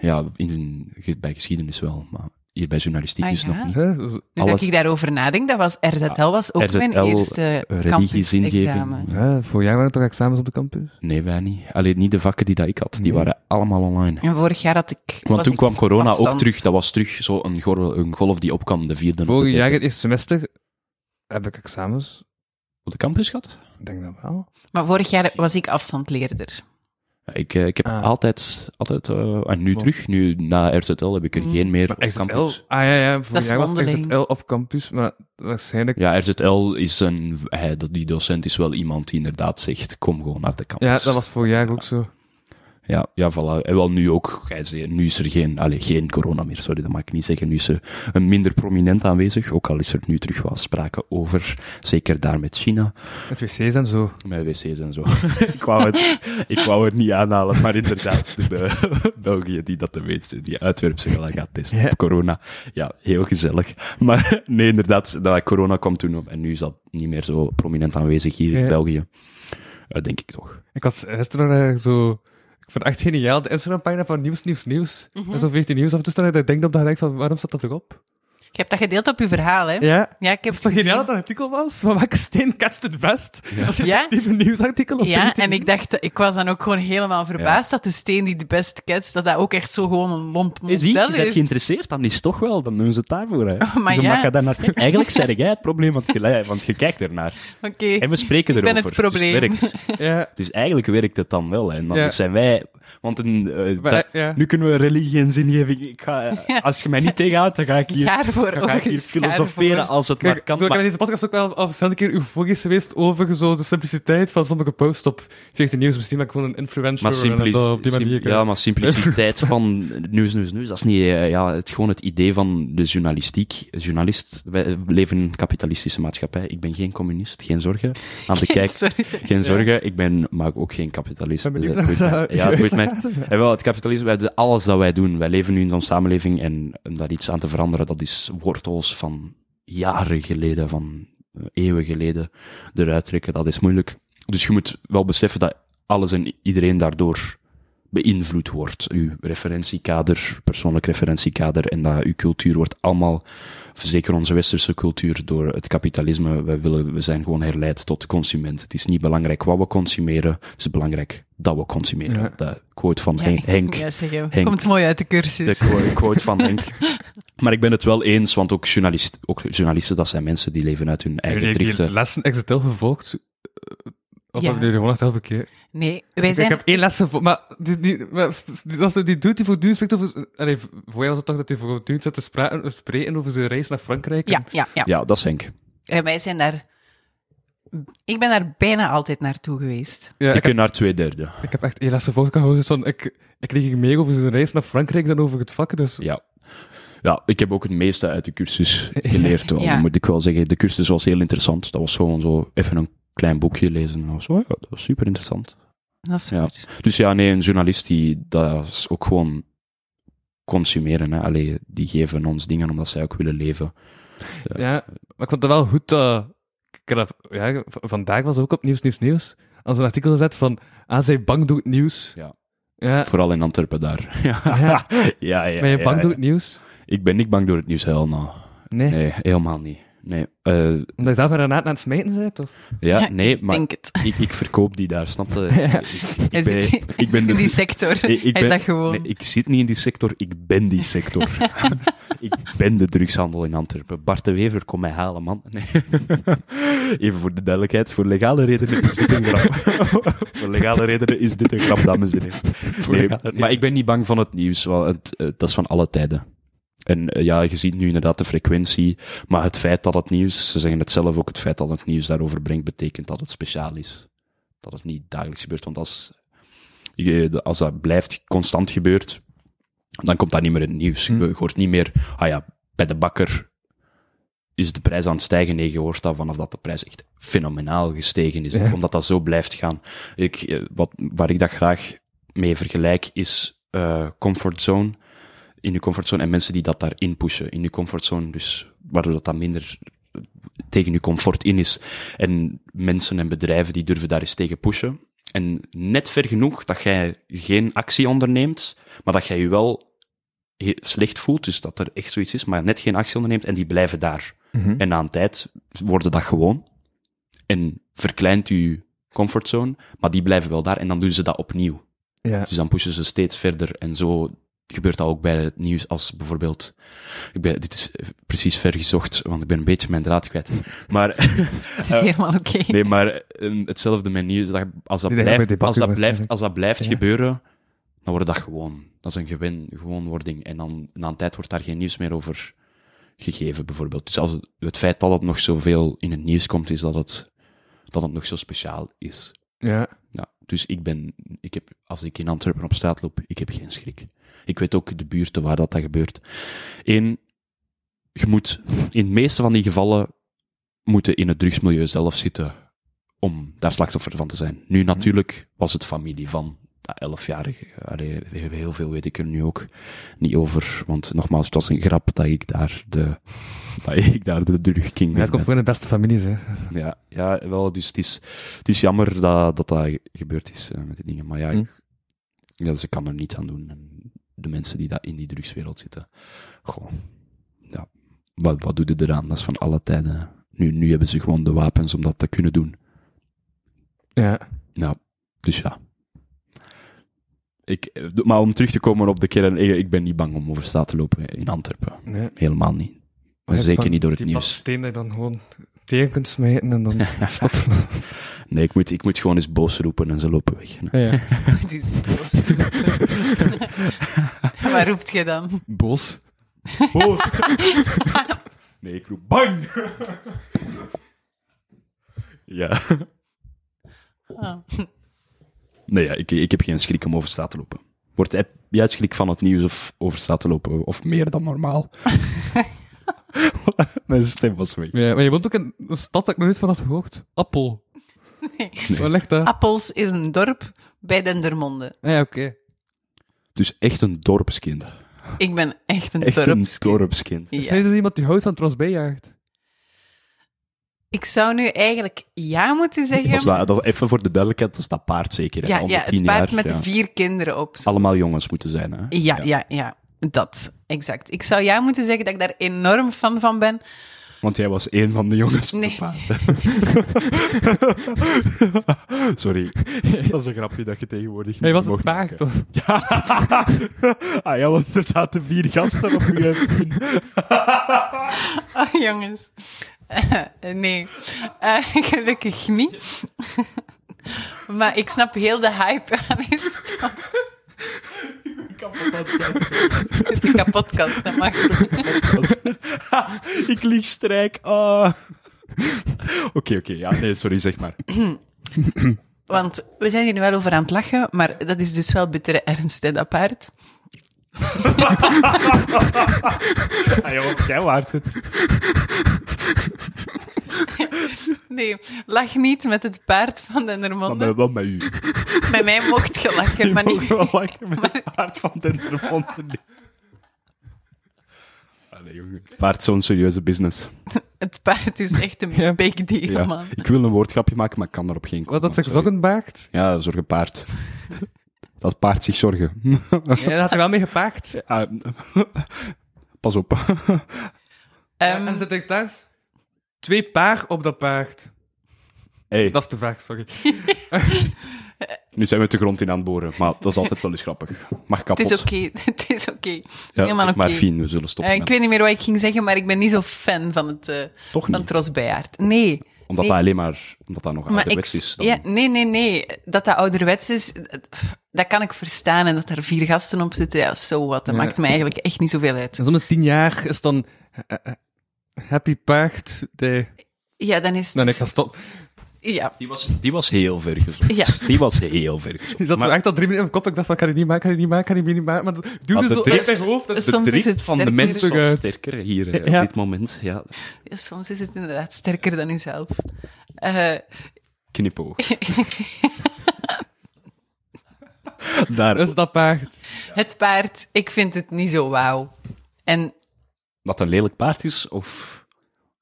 D: Ja, in, ge- bij geschiedenis wel, maar hier bij journalistiek
E: Ah,
D: dus
E: ja.
D: nog niet.
C: Hè? Zo-
E: Nu
D: Alles-
E: dat ik daarover nadenk, dat was RZL was ook mijn
D: RZL,
E: eerste
D: Eh, Religie,
E: campus-examen.
D: zingeving. Ja.
C: Hè, vorig jaar waren er toch examens op de campus?
D: Nee, wij niet. Alleen niet de vakken die dat ik had, die
C: Nee.
D: waren allemaal online.
E: En vorig jaar had ik...
D: Want
E: was
D: toen
E: ik
D: kwam corona ook
E: afstand.
D: terug. Dat was terug zo'n gor- een golf die opkwam, de vierde. op de
C: Vorig jaar,
D: derde.
C: het eerste semester, heb ik examens.
D: Op de campus gehad?
C: Ik denk dat wel.
E: Maar vorig jaar was ik afstandleerder.
D: Ja, Ik, eh, ik heb
C: Ah.
D: altijd, altijd eh, en nu
C: Wow.
D: terug, nu na RZL heb ik er
E: Mm.
D: geen meer op
C: XZL?
D: campus.
C: Ah ja, ja. Vorig
E: Dat is
C: jaar was
E: mondeling.
C: XZL op campus, maar waarschijnlijk...
D: Ja, RZL is een, hij, dat- die docent is wel iemand die inderdaad zegt, kom gewoon naar de campus.
C: Ja, dat was vorig jaar ook zo.
D: Ja, ja, voilà. En wel nu ook, gij zei, nu is er geen, allez, geen corona meer, sorry, dat mag ik niet zeggen. Nu is er een minder prominent aanwezig, ook al is er nu terug wel sprake over, zeker daar met China,
C: Met wc's en zo.
D: met wc's en zo. ik, wou het, ik wou het niet aanhalen, maar inderdaad, de Be- België die dat de meeste, die uitwerpselen gaat testen
C: Ja.
D: op corona. Ja, heel gezellig. Maar nee, inderdaad, dat corona kwam toen op en nu is dat niet meer zo prominent aanwezig hier in
C: Ja.
D: België. Eh, denk ik toch.
C: Ik had gisteren nog, eh, zo... Ik vond het echt geniaal, de Instagram-pagina van Nieuws, Nieuws, Nieuws.
E: Mhm.
C: En zo 14 nieuws af en toe staan. En ik denk op dat gelijk van, waarom staat dat erop?
E: Ik heb dat gedeeld op uw verhaal, hè?
C: Ja.
E: Ja, ik heb
C: Is het toch
E: het
C: geniaal
E: gezien.
C: dat dat artikel was? Van welke steen catcht het best? Als je
E: Ja.
C: effectief een nieuwsartikel op
E: Ja,
C: LinkedIn-
E: en ik dacht, ik was dan ook gewoon helemaal verbaasd dat de steen die de beste kent, dat dat ook echt zo gewoon een lomp
D: Je ziet,
E: model
D: je bent
E: is.
D: geïnteresseerd, dan is het toch wel, dan doen ze het daarvoor. Hè.
E: Oh, maar
D: dus dan
E: ja.
D: mag je daar naar kijken. Eigenlijk zeg jij het probleem, want je, li- want je kijkt ernaar.
E: Oké,
D: En we spreken
E: Ik ben
D: erover.
E: het probleem.
D: Dus, het werkt.
C: Ja.
D: dus eigenlijk werkt het dan wel. Hè. En dan
C: Ja.
D: zijn wij... Want een, eh,
C: Wij-
D: dat-
C: ja.
D: nu kunnen we religie en zingeving... Ik ga, eh, Als je mij niet tegenhoudt, dan ga ik hier,
E: ga ervoor,
D: dan ga ik hier
E: August, ga
D: filosoferen
E: ervoor.
D: als het
C: Kijk,
D: maar kan.
C: ik ben
D: Maar
C: in deze podcast ook wel al verschillende keer euforisch geweest over zo de simpliciteit van sommige posts op 14 nieuws. Misschien ben ik gewoon een influencer
D: Maar
C: en
D: simpli
C: dat op die
D: sim-
C: manier. eh,
D: ja, maar simpliciteit van nieuws, nieuws, nieuws. Dat is niet, eh, ja, het, gewoon het idee van de journalistiek. Journalist, wij leven in een kapitalistische maatschappij. Ik ben geen communist, geen zorgen. Aan de kijk,
E: Sorry.
D: geen zorgen. Ik ben, maar ook geen kapitalist.
C: ben benieuwd
D: Dat
C: naar
D: boeit
C: wat
D: mij.
C: dat-
D: Ja, dat boeit mij. En wel, het kapitalisme, wij doen alles dat wij doen. Wij leven nu in zo'n samenleving en om daar iets aan te veranderen, dat is wortels van jaren geleden, van eh, eeuwen geleden eruit trekken. Dat is moeilijk. Dus je moet wel beseffen dat alles en iedereen daardoor beïnvloed wordt. Uw referentiekader, persoonlijk referentiekader en dat uw cultuur wordt allemaal, zeker onze westerse cultuur, door het kapitalisme. We, willen, we zijn gewoon herleid tot consument. Het is niet belangrijk wat we consumeren, het is belangrijk dat we consumeren.
C: Ja.
D: Dat quote van
E: Ja,
D: Hen-
E: ik-
D: Henk.
E: Ja, zeg, hem.
D: Henk.
E: Komt mooi uit de cursus.
D: De quote, quote van Henk. Maar ik ben het wel eens, want ook, journalist, ook journalisten, dat zijn mensen die leven uit hun eigen
C: Heb je
D: driften.
C: die lessen XTL gevolgd? Eh, Of
E: Ja.
C: hebben jullie gewoon echt elke keer?
E: Nee, wij
C: Ik
E: zijn...
C: heb één les gevolgd, maar die, die, maar die, dat is- die dude die voortdurend spreekt over... Allee, voor jou was het toch dat hij voortdurend zat te spra- spreken over zijn reis naar Frankrijk?
E: Ja, ja, ja.
D: Ja, dat is Henk.
E: En wij zijn daar... Ik ben daar bijna altijd naartoe geweest.
C: Ja,
D: ik
C: ik, heb,
D: ben naar twee derde.
C: ik heb echt één les gevolgd. Ik had gewoon zoiets van, ik, ik kreeg hier meer over zijn reis naar Frankrijk dan over het vak, dus...
D: Ja. Ja, ik heb ook het meeste uit de cursus geleerd. wel.
E: Ja.
D: Dan moet ik wel zeggen, de cursus was heel interessant. Dat was gewoon zo even een klein boekje lezen. en zo. Ja, dat was super interessant.
E: Dat is
D: Ja.
E: waar.
D: Dus ja, nee, een journalist die dat is ook gewoon consumeren. Hè. Allee, die geven ons dingen omdat zij ook willen leven.
C: Ja, maar ik vond het wel goed dat... ik dat- ja, v- vandaag was ook op Nieuws, Nieuws, Nieuws. Als een artikel gezet van... Ah, zij bang doet nieuws.
D: Ja.
C: Ja,
D: Vooral in Antwerpen daar. Ja, ja,
C: Ja.
D: ja. ja,
C: ben je bang
D: ja.
C: doet nieuws?
D: Ik ben niet bang door het nieuws, hel nou.
C: Nee.
D: Nee, helemaal niet. Nee, eh,
C: Omdat je zelf een renaat aan het smijten bent, of?
D: ja,
E: Ja,
D: nee maar
E: Denk het.
D: ik, ik verkoop die daar, snap je? Ik, ik
E: Hij
D: ben,
E: zit,
D: ik
E: hij
D: ben
E: zit in
D: de-
E: die sector.
D: Nee, ik
E: hij
D: ben-
E: zegt gewoon...
D: Nee, ik zit niet in die sector, ik ben die sector. ik ben de drugshandel in Antwerpen. Bart de Wever, kom mij halen, man. Nee. Even voor de duidelijkheid, voor legale redenen is dit een grap. voor legale redenen is dit een grap, dames en heren. Nee,
C: legale
D: maar ik ben niet bang van het nieuws, want het, eh, dat is van alle tijden. En eh, ja, je ziet nu inderdaad de frequentie, maar het feit dat het nieuws, ze zeggen het zelf ook, het feit dat het nieuws daarover brengt, betekent dat het speciaal is. Dat het niet dagelijks gebeurt, want als je- de- als dat blijft constant gebeurt, dan komt dat niet meer in het nieuws. Je hoort niet meer, ah ja, bij de bakker is de prijs aan het stijgen. Nee, je hoort dat vanaf dat de prijs echt fenomenaal gestegen is.
C: Ja.
D: Omdat dat zo blijft gaan. Ik, eh, wat, waar ik dat graag mee vergelijk is eh, comfortzone. In je comfortzone en mensen die dat daarin pushen. In je comfortzone, dus waardoor dat dan minder eh, tegen je comfort in is. En mensen en bedrijven die durven daar eens tegen pushen. En net ver genoeg dat jij geen actie onderneemt, maar dat jij je wel he- slecht voelt, dus dat er echt zoiets is, maar net geen actie onderneemt en die blijven daar. En na een tijd worden dat gewoon en verkleint je comfortzone, maar die blijven wel daar en dan doen ze dat opnieuw.
C: Ja.
D: Dus dan pushen ze steeds verder. En zo gebeurt dat ook bij het nieuws als bijvoorbeeld... Ik ben, dit is eh, precies vergezocht, want ik ben een beetje mijn draad kwijt. Maar,
E: Het is helemaal oké.
D: eh, nee, maar eh, hetzelfde met nieuws. Dat, als, dat
C: Die denken bij
D: blijft,
C: debatten
D: als, dat blijft,
C: waarschijnlijk.
D: als dat blijft
C: Ja.
D: gebeuren, dan wordt dat gewoon. Dat is een gewin, gewoonwording. En dan, na een tijd wordt daar geen nieuws meer over gegeven, bijvoorbeeld. Dus als het, het feit dat het nog zoveel in het nieuws komt, is dat het, dat het nog zo speciaal is.
C: Ja.
D: Ja, dus ik ben, ik heb, als ik in Antwerpen op straat loop, ik heb geen schrik. Ik weet ook de buurten waar dat, dat gebeurt. Eén, je moet in de meeste van die gevallen moeten in het drugsmilieu zelf zitten om daar slachtoffer van te zijn. Nu
C: Mhm.
D: natuurlijk was het familie van dat elfjarige. Allee, heel veel weet ik er nu ook niet over, want nogmaals, het was een grap dat ik daar de, dat ik daar de drugking
C: Ja, het
D: ben.
C: komt voor in de beste families, hè.
D: Ja, ja wel, dus het is, het is jammer dat, dat dat gebeurd is eh, met die dingen. Maar ja,
C: Hm.
D: ik- ja, ze kan er niets aan doen. En de mensen die dat in die drugswereld zitten, goh, ja, wat, wat doe je eraan? Dat is van alle tijden. Nu, nu hebben ze gewoon de wapens om dat te kunnen doen.
C: Ja.
D: Ja, dus ja. Ik, eh, maar om terug te komen op de kern, ik, ik ben niet bang om over straat te lopen in Antwerpen.
C: Nee.
D: Helemaal niet. Maar zeker niet door het
C: die
D: nieuws.
C: steen dat je dan gewoon tegen kunt smijten en dan stoppen.
D: Nee, ik moet, ik moet gewoon eens boos roepen en ze lopen weg. Nee.
C: ja.
E: Het is boos. Wat roept je dan?
C: Bos.
D: Nee, ik roep bang! ja.
E: Ah.
D: Nee, ja, ik, ik heb geen schrik om over straat te lopen. Wordt heb jij schrik van het nieuws of over straat te lopen? Of meer dan normaal? Mijn stem was weg.
C: Ja, maar je woont ook in een stad dat ik nog nooit van had gehoord. Appel.
E: Nee.
C: Waar ligt dat?
E: Appels is een dorp bij Dendermonde.
C: Ah, ja, oké.
D: Dus echt een dorpskind.
E: Ik ben echt een
D: Echt een
E: dorpskind.
D: dorpskind.
E: Ja.
C: Is hij dus iemand die houdt van Trosbee jaagt?
E: Ik zou nu eigenlijk ja moeten zeggen.
D: Dat is, dat, dat is even voor de duidelijkheid, dat is dat paard zeker. hè,
E: ja,
D: onder
E: ja, het
D: 10
E: paard
D: jaar,
E: met
D: ja.
E: de vier kinderen op. Zo.
D: Allemaal jongens moeten zijn, hè?
E: Ja, ja, ja, Dat, exact. Ik zou ja moeten zeggen dat ik daar enorm fan van ben.
D: Want jij was één van de jongens met
E: Nee.
D: de paard. Sorry. Dat is een grapje dat je tegenwoordig
C: Hij
D: niet
C: was het
D: mocht
C: paard,
D: maken.
C: toch?
D: ah ja, want er zaten vier gasten op je
E: Ah, jongens. nee, Eh, gelukkig niet. maar ik snap heel de hype aan is. Het is een kapotkast, dat mag.
D: Ik lieg strijk. ah. Oké, oké. ja, nee, sorry, zeg maar.
E: Want we zijn hier nu wel over aan het lachen, maar dat is dus wel bittere ernst, hè, dat paard.
D: Ah, joh, jij waart het.
E: Nee, lach niet met het paard van
D: Wat
E: Dendermonde.
D: met, wat met u?
E: Bij mij mocht je lachen, maar
D: Ik
E: niet...
D: wil lachen met het paard van Dendermonde. Allee, Ah, jongen. Paard is zo'n serieuze business.
E: Het paard is echt een
C: Ja.
E: big deal,
D: Ja.
E: man.
D: Ik wil een woordgrapje maken, maar ik kan erop geen
C: Wat dat zich
D: sorry.
C: zorgen baakt?
D: Ja, zorgen paard. Dat paard zich zorgen.
C: Ja, daar had hij wel mee gepaakt.
D: Ah, Pas op.
E: Ehm,
C: en zit ik thuis? Twee paar op dat paard.
D: Hey,
C: Dat is de vraag, sorry.
D: nu zijn we de grond in aan het boren, maar dat is altijd wel eens grappig. Mag kapot.
E: het is oké, het is oké. Het is
D: Ja,
E: helemaal
D: zeg
E: oké.
D: maar Fien, we zullen
E: Eh,
D: stoppen.
E: ik weet niet meer wat ik ging zeggen, maar ik ben niet zo fan van het eh
D: Toch
E: van
D: niet?
E: Tros Bijaard. Nee.
D: Omdat
E: nee.
D: dat alleen maar, omdat dat nog
E: Maar
D: ouderwets
E: ik-
D: is. dan-
E: ja, nee, nee, nee. Dat dat ouderwets is, dat, dat kan ik verstaan. En dat daar vier gasten op zitten, ja, zo wat. Dat
C: Ja.
E: maakt me eigenlijk echt niet zoveel uit.
C: En Zo'n tien jaar is dan... eh, eh, happy paard day.
E: Ja, dan is het...
C: Nee, nee, ik
E: dus-
C: ga stop.
E: ja.
D: Die, was, die was heel ver gezocht.
E: Ja.
D: Die was heel ver gezocht.
C: Die zat
D: Maar-
C: er echt al drie minuten in mijn kop. Ik dacht van, kan ik niet maken, kan ik niet maken, kan ik niet maken. Maar doe
D: Maar
C: dus
D: de
C: wel
D: drift-
C: uit mijn hoofd. Dat-
E: Dus- Soms is
D: drift
E: het
D: van de
E: sterker.
D: mensen
C: Toch
D: is
C: uit.
D: sterker hier eh, op
C: Ja.
D: dit moment. Ja,
E: Ja, soms is het inderdaad sterker dan uzelf. Eh,
D: knipoog. Daar,
C: Dus dat paard.
E: het paard, ik vind het niet zo wauw. En
D: Dat een lelijk paard is, of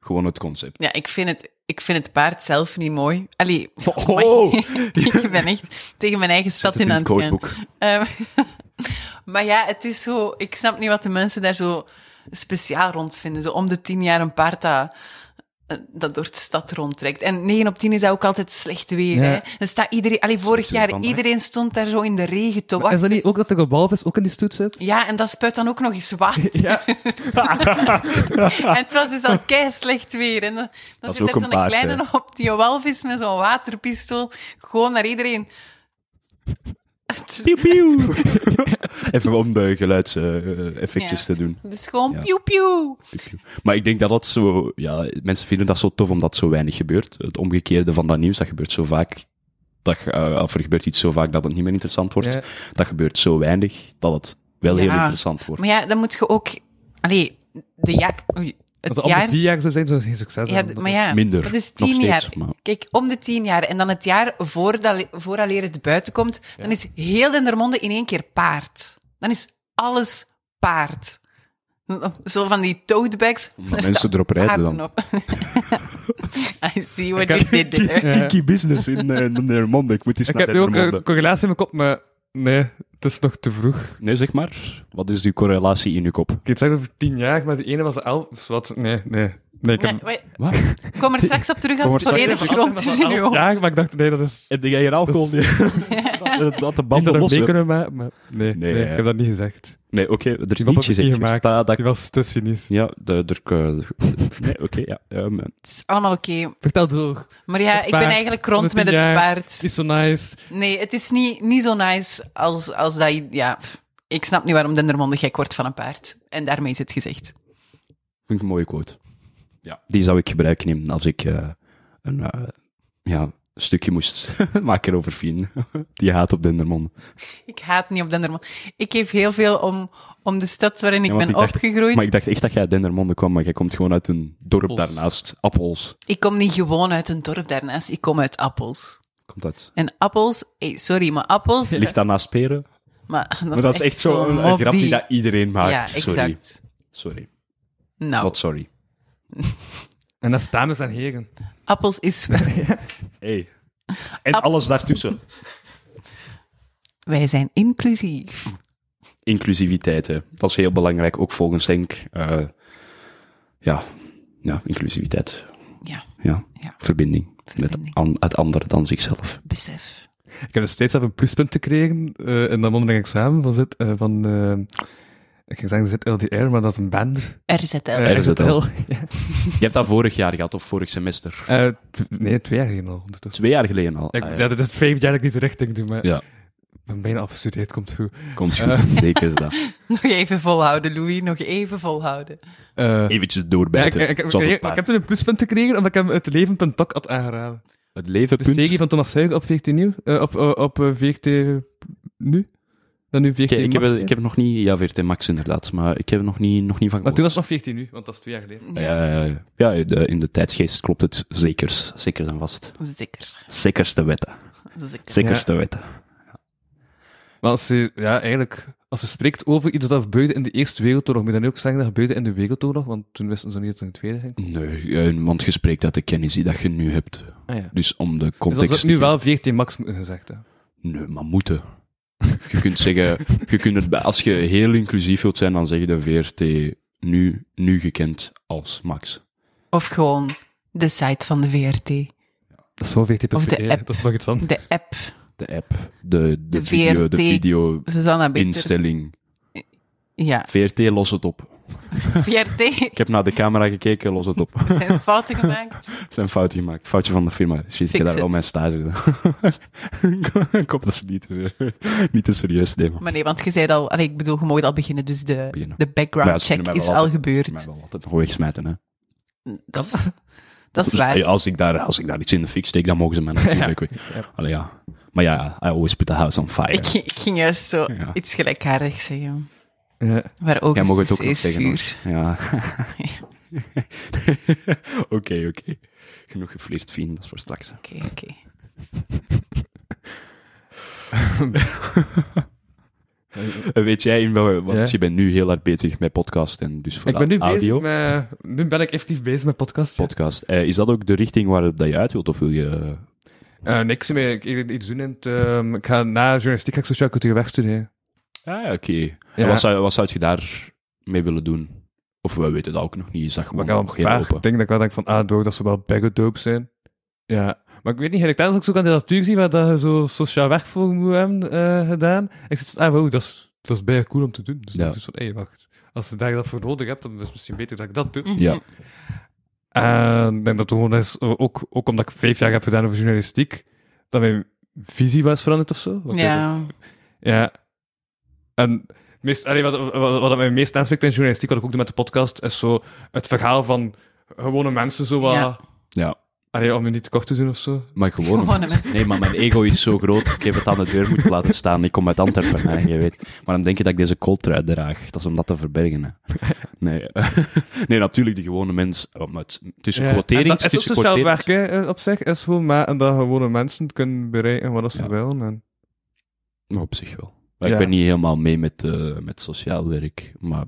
D: gewoon het concept?
E: ja, ik vind het... ik vind het paard zelf niet mooi. Allee,
D: Oh.
E: amai. ik ben echt tegen mijn eigen stad in
D: in
E: aan
D: het
E: het gaan.
D: codeboek.
E: Ehm, maar ja, het is zo... Ik snap niet wat de mensen daar zo speciaal rond vinden. Zo om de tien jaar een paard dat, eh, dat door de stad rondtrekt. En 9 op 10 is dat ook altijd slecht weer.
C: Ja.
E: Hè? Dan staat iedereen... Allee, vorig
D: Natuurlijk
E: jaar,
D: andere.
E: iedereen stond daar zo in de regen te
C: Is
E: wachten.
C: dat niet ook dat er een walvis ook in die stoet zit?
E: Ja, en dat spuit dan ook nog eens water.
C: Ja.
E: En het was dus al kei slecht weer. En dan, dan
D: is
E: zit
D: ook
E: er
D: een
E: zo'n
D: paard,
E: kleine
D: hè.
E: op die walvis met zo'n waterpistool. Gewoon naar iedereen. Het is-
D: Even om de geluidseffectjes
E: Ja.
D: te doen.
E: Dus gewoon
D: Ja.
E: piu piu.
D: Maar ik denk dat dat zo... Ja, mensen vinden dat zo tof omdat het zo weinig gebeurt. Het omgekeerde van dat nieuws, dat gebeurt zo vaak... Dat, ge- eh, of er gebeurt iets zo vaak dat het niet meer interessant wordt.
C: Ja.
D: Dat gebeurt zo weinig dat het wel heel
E: Ja.
D: interessant wordt.
E: Maar ja, dan moet je ook... Allee, de jaar... oei,
C: Als
E: Het
C: het jaar...
E: jaar...
C: vier jaar zou zijn, zou het geen succes
E: Ja,
C: hebben.
E: d- maar ja,
D: Minder,
E: dat is
D: nog
E: tien jaar.
D: steeds, maar-
E: Kijk, om de tien jaar en dan het jaar voordat, vooraleer het buiten komt, dan is heel Dendermonde in één keer paard. Dan is alles paard. Zo van die totebags. daar
D: mensen
E: staan
D: erop rijden
E: paarden
D: dan.
E: op. I see what you did there.
D: Kinky business in Nermonde. Ik moet eens
C: Ik heb nu ook een correlatie in mijn kop, maar nee, het is nog te vroeg. Ik
D: Nee, zeg maar. Wat is uw correlatie in uw kop?
C: kan het zeggen over tien jaar, maar de ene was elf, dus wat? Nee, nee. Nee, ik
E: Nee,
C: heb...
E: wait,
D: Wat?
E: kom er straks op terug als
D: Kom
E: het
D: er straks
E: volledig
D: op
E: grond is in uw hoofd.
C: Ja, maar ik dacht, nee, dat is...
D: Heb jij hier alcohol?
C: Dat
D: dat, dat de
C: Niet dat
D: banden
C: we
D: los
C: mee
D: hè?
C: kunnen maken, maar... Nee, nee,
D: Nee,
C: ik
D: ja.
C: heb dat niet gezegd.
D: Nee, oké, er is
C: Ik heb het
D: niets
C: niet
D: gezegd.
C: gemaakt.
D: Dat, dat-
C: Die was te cynisch.
D: ja, de, de, nee, oké, ja. ehm,
E: Het is allemaal oké.
C: Vertel door.
E: Maar ja,
C: Het
E: ik ben
C: paard,
E: eigenlijk
C: om
E: rond
C: de
E: met het
C: tien jaar.
E: paard.
C: Het is zo nice.
E: Nee, het is niet, niet zo nice als, als dat... je- Ja, ik snap niet waarom Dendermonde gek wordt van een paard. En daarmee is het gezegd.
D: vind ik een mooie quote. Ja. Die zou ik gebruiken in, als ik eh, een eh, ja, stukje moest maken over Fien. Die haat op Dendermond.
E: Ik haat niet op Dendermonde. Ik geef heel veel om, om de stad waarin ik
D: Ja, want
E: ben
D: ik dacht-
E: opgegroeid.
D: Maar
E: ik...
D: ik dacht echt dat jij uit Dendermonde kwam, maar jij komt gewoon uit een dorp
C: Appels.
D: daarnaast. Appels.
E: kom niet gewoon uit een dorp daarnaast. Ik kom uit Appels.
D: Komt dat?
E: En appels... eh, sorry, maar appels...
D: Ligt daar naast Peren?
E: Maar dat,
D: Maar dat is echt zo'n
E: zo'n
D: een
E: mop
D: grap die
E: die-
D: dat iedereen maakt.
E: Ja,
D: Sorry.
E: exact.
D: Sorry.
E: Nou,
D: Not sorry.
C: En dat is dames en heren.
E: appels is...
D: Hey. En
E: App-
D: alles daartussen.
E: Wij zijn inclusief.
D: inclusiviteit. hè. Dat is heel belangrijk, ook volgens Henk. Eh, ja. ja, inclusiviteit.
E: Ja,
D: Ja.
E: Ja.
D: Verbinding,
E: Verbinding.
D: met an- het ander dan zichzelf.
E: besef.
C: Ik heb dus steeds even een pluspunt gekregen eh in dat mondeling examen van, zit, eh, van eh, ik ging zeggen ZLDR, maar dat is een band.
E: RZL.
C: Eh,
D: RZL.
C: Ja.
D: Je hebt dat vorig jaar gehad, of vorig semester?
C: Eh, tw- nee, twee jaar geleden al. ondertussen.
D: Twee jaar geleden al.
C: Ik,
D: Ah,
C: ja, dat is het vijfde jaar dat ik deze richting doe, maar
D: ja.
C: ik ben bijna afgestudeerd, komt goed.
D: komt
C: Eh.
D: goed. Zeker is dat.
E: Nog even volhouden, Louis. Nog even volhouden.
C: Eh,
D: Eventjes
C: ja, ik,
D: doorbijten.
C: ik, ik,
D: zoals
C: ik-
D: het,
C: ik
D: paard.
C: heb toen een pluspunt gekregen omdat ik hem het leven.doc had aangeraden.
D: het
C: De
D: leven.
C: stegie van Thomas Zuiger op VRT Nieuw, eh, op, op, op eh, VRT nu? Dan nu VRT
D: Oké, ik, heb,
C: Max,
D: ik heb nog niet... Ja, VRT Max inderdaad, maar ik heb er nog niet, nog niet van
C: Maar
D: gehoord.
C: toen was het nog VRT nu, want dat is twee jaar geleden.
D: Eh, ja, de- in de tijdsgeest klopt het zekers. Zeker dan vast.
E: Zeker.
D: Zekers te wetten.
E: Zeker.
D: Zekers
C: Ja.
D: te wetten.
C: Maar als ze, ja, eigenlijk, als ze spreekt over iets dat gebeurde in de Eerste Wereldoorlog, moet je dan ook zeggen dat gebeurde in de Wereldoorlog, want toen wisten ze niet dat het in de Tweede ging.
D: Nee, eh, want je spreekt uit de kennis die dat je nu hebt.
C: Ah ja.
D: Dus om de
C: Dus
D: context...
C: dat is
D: te
C: nu
D: ge-
C: wel 14 max moeten gezegd hè.
D: Nee, maar moeten. Je kunt zeggen... Je kunt het, bij- als je heel inclusief wilt zijn, dan zeg je de VRT nu, nu gekend als Max.
E: Of gewoon de site van de VRT.
C: Dat is wel 14
E: Of de
C: eh,
E: app.
C: dat is nog iets anders.
E: De app.
D: De app. De, de,
E: De
D: video, de
E: VRT.
D: video
E: Susanna Bitter.
D: instelling.
E: Ja.
D: VRT, los het op.
E: VRT.
D: Ik heb naar de camera gekeken, los het op.
E: Zijn fouten gemaakt.
D: Zijn foutje gemaakt. Foutje van de firma. Shit, ik
E: Fix
D: heb daar wel
E: it.
D: mijn stage gedaan. ik hoop dat ze niet te, ser- niet te serieus nemen.
E: Maar nee, want je zei al... Allee, ik bedoel, je mag al beginnen, dus de,
D: Beginnen.
E: de
D: Ja,
E: background
D: ze
E: check
D: kunnen mij
E: is
D: wel
E: al
D: altijd-
E: gebeurd.
D: Maar wel altijd nog wegsmijten, hè.
E: Dat is, dat is
D: Dus,
E: waar.
D: eh, als, ik daar, als ik daar iets in de fik steek, dan mogen ze mij natuurlijk weer. Allee, ja. Maar ja, I always put the house on fire.
E: Ik, ik ging juist zo
D: Ja.
E: iets gelijkaardigs zeggen.
C: Ja.
E: Waar ook
D: Jij mag het ook nog
E: is
D: zeggen. hoor.
E: vuur.
D: Ja. Oké, oké. Genoeg geflirt, Fien. Dat is voor straks. hè.
E: Oké, oké.
D: En Eh, Weet jij, in welke- want
C: Ja.
D: je bent nu heel hard bezig met podcast en dus voor
C: ik ben nu
D: audio.
C: bezig met... Nu ben ik effectief bezig met podcast. ja.
D: Podcast. Eh, is dat ook de richting waarop dat je uit wilt? Of wil je... eh,
C: Eh, niks meer. Ik, ik- iets doen in het... ehm, ik ga na journalistiek ga ik sociaal cultuur wegstuderen.
D: Ah, ja, oké. En
C: Ja.
D: Wat, zou, wat zou je daar mee willen doen? Of we weten dat ook nog niet. Is dat
C: Maar
D: gewoon
C: ik heb al
D: nog
C: een
D: heel
C: paar
D: Oh, open?
C: dingen dat ik wel denk van, ah, door dat ze wel baggedoop zijn. Ja. Maar ik weet niet, heb ik tijdens ook zo'n kandidatuur zien waar dat je zo sociaal weg voor moet hebben eh, gedaan. En ik zit van, ah, wow, dat is, dat is bijna cool om te doen. Dus
D: Ja.
C: ik dacht van, hé, wacht. Als je daar dat voor nodig hebt, dan is het misschien beter dat ik dat doe.
D: Ja.
C: En ik denk dat gewoon is, eh, ook, ook omdat ik vijf jaar heb gedaan over journalistiek, dat mijn visie was veranderd of zo. Wat weet ik.
E: Ja.
C: Ja. En het meest, allee, wat, wat, wat mij het meest aanspreekt in journalistiek, wat ik ook doe met de podcast, is zo het verhaal van gewone mensen zo wat...
E: Ja.
D: Ja.
C: Allee, om het niet te kort te doen of zo.
D: Maar gewoon... om-
E: Gewoon een-
D: Nee, maar mijn ego is zo groot. Ik heb het aan de deur moeten laten staan. Ik kom uit Antwerpen, hè, je weet. Maar dan denk je dat ik deze kooltrui draag. Dat is om dat te verbergen. Hè. Nee. nee, natuurlijk de gewone mens. eh, maar het- Tussen
C: Ja. En
D: quotering,
C: dat is ook
D: tussen
C: sociaal
D: quotering.
C: werk hè, eh, op zich, is gewoon maar en dat gewone mensen kunnen bereiken wat ze
D: Ja.
C: willen. En...
D: Maar op zich wel. Maar Ik
C: Ja.
D: ben niet helemaal mee met, eh, met sociaal werk, maar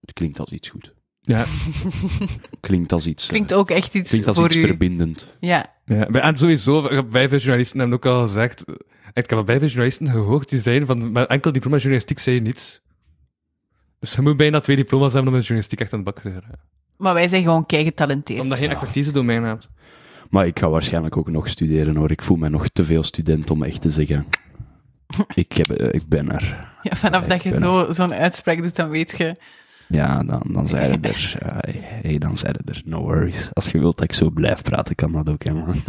D: het klinkt als iets goed.
C: Ja.
D: Klinkt als iets, eh,
E: Klinkt ook echt iets
D: klinkt als
E: voor
D: iets
E: u.
D: verbindend.
E: Ja.
C: Ja, maar- en sowieso, ik heb bij veel journalisten hebben ook al gezegd... Ik heb al bij veel journalisten gehoord die zeiden van... Met enkel diploma journalistiek zei je niets. Dus je moet bijna twee diploma's hebben om met journalistiek echt aan de bak te gaan.
E: Maar wij zijn gewoon kei getalenteerd.
C: Omdat je geen expertise domein hebt.
D: Maar ik ga waarschijnlijk ook nog studeren hoor. Ik voel me nog te veel student om echt te zeggen. Ik, heb, eh, ik ben er.
E: Ja, vanaf
D: Ja,
E: dat
D: ik
E: je
D: ben
E: zo, zo'n uitspraak doet, dan weet je...
D: Ja, dan, dan zijn het er. Ja, hey, dan zijn het er. No worries. Als je wilt dat ik zo blijf praten, kan dat ook, hè, man.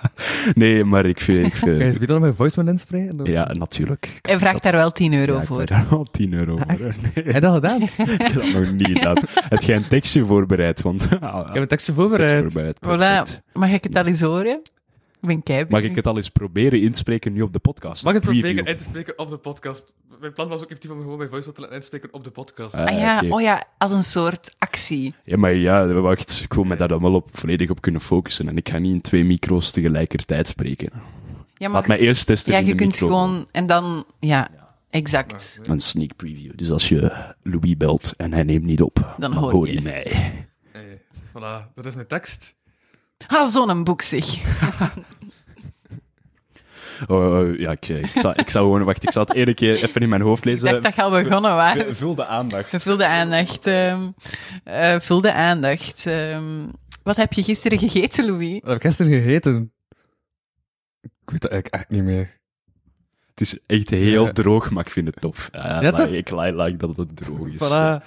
D: nee, maar ik vind... Ik
C: Kan je
D: vind
C: het dan mijn voicemail inspreken? Dan-
D: ja, natuurlijk.
E: Hij vraagt daar wel 10 euro
D: Ja, ik
E: voor. Ah,
D: vraag daar al 10 euro voor. hè. Nee.
C: Heb je dat gedaan? ik
D: Ik heb dat nog niet gedaan. Heb jij een tekstje voorbereid? Want, ah,
C: heb een tekstje eh,
D: tekst
C: voorbereid.
D: voorbereid.
E: Voilà.
D: perfect.
E: Mag ik het al eens horen? Ik ben kei
D: Mag ik het al eens proberen inspreken nu op de podcast?
C: Mag ik het
D: Preview.
C: proberen in te spreken op de podcast? Mijn plan was ook effectief om gewoon mijn voicemail te laten inspreken op de podcast.
D: Ah,
E: Ah ja,
D: oké.
E: oh ja, als een soort actie.
D: Ja, maar ja, wacht. Ik wil me daar dan wel op, volledig op kunnen focussen. En ik ga niet in twee micro's tegelijkertijd spreken.
E: Ja,
D: Laat mij eerst testen
E: ja
D: in
E: je
D: de
E: kunt
D: micro.
E: gewoon... En dan... Ja, exact.
D: Een sneak preview. Dus als je Louis belt en hij neemt niet op, dan,
E: hoor
D: hoor
E: je.
D: je mij.
C: Hey, Eh, voilà, dat is mijn tekst.
E: Ah, zo'n boek, zeg.
D: Oh, oh, ja, ik, ik, zou, ik zou gewoon... Wacht, ik zal het ene keer even in mijn hoofd
E: Ik dacht
D: lezen.
E: dat je al begonnen was.
D: Vul de aandacht.
E: Vul de aandacht. ehm, eh, vul de aandacht. ehm. wat heb je gisteren gegeten, Louis?
C: Dat heb ik gisteren gegeten. Ik weet dat eigenlijk echt niet meer.
D: Het is echt heel
C: Ja.
D: droog, maar ik vind het tof. Ah,
C: Ja,
D: maar
C: toch?
D: Ik like, like dat het droog is.
C: Voilà.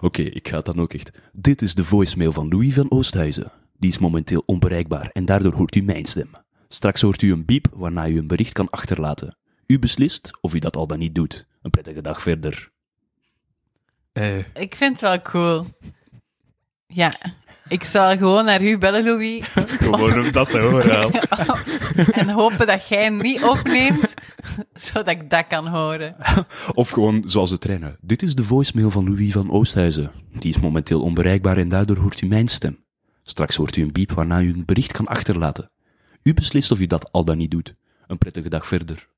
D: Oké, ik ga het dan ook echt. Dit is de voicemail van Louis van Oosthuizen. Die is momenteel onbereikbaar en daardoor hoort u mijn stem. Straks hoort u een piep waarna u een bericht kan achterlaten. U beslist of u dat al dan niet doet. Een prettige dag verder.
C: Hey.
E: Ik vind het wel cool. Ja, ik zal gewoon naar u bellen, Louis.
D: Gewoon om dat te horen.
E: en hopen dat jij niet opneemt, zodat ik dat kan horen.
D: Of gewoon zoals de treinen. Dit is de voicemail van Louis van Oosthuizen. Die is momenteel onbereikbaar en daardoor hoort u mijn stem. Straks hoort u een piep waarna u een bericht kan achterlaten. U beslist of u dat al dan niet doet. Een prettige dag verder.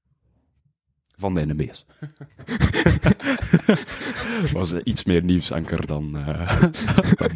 D: Van de NMB's. was eh, iets meer nieuwsanker dan, eh, dan-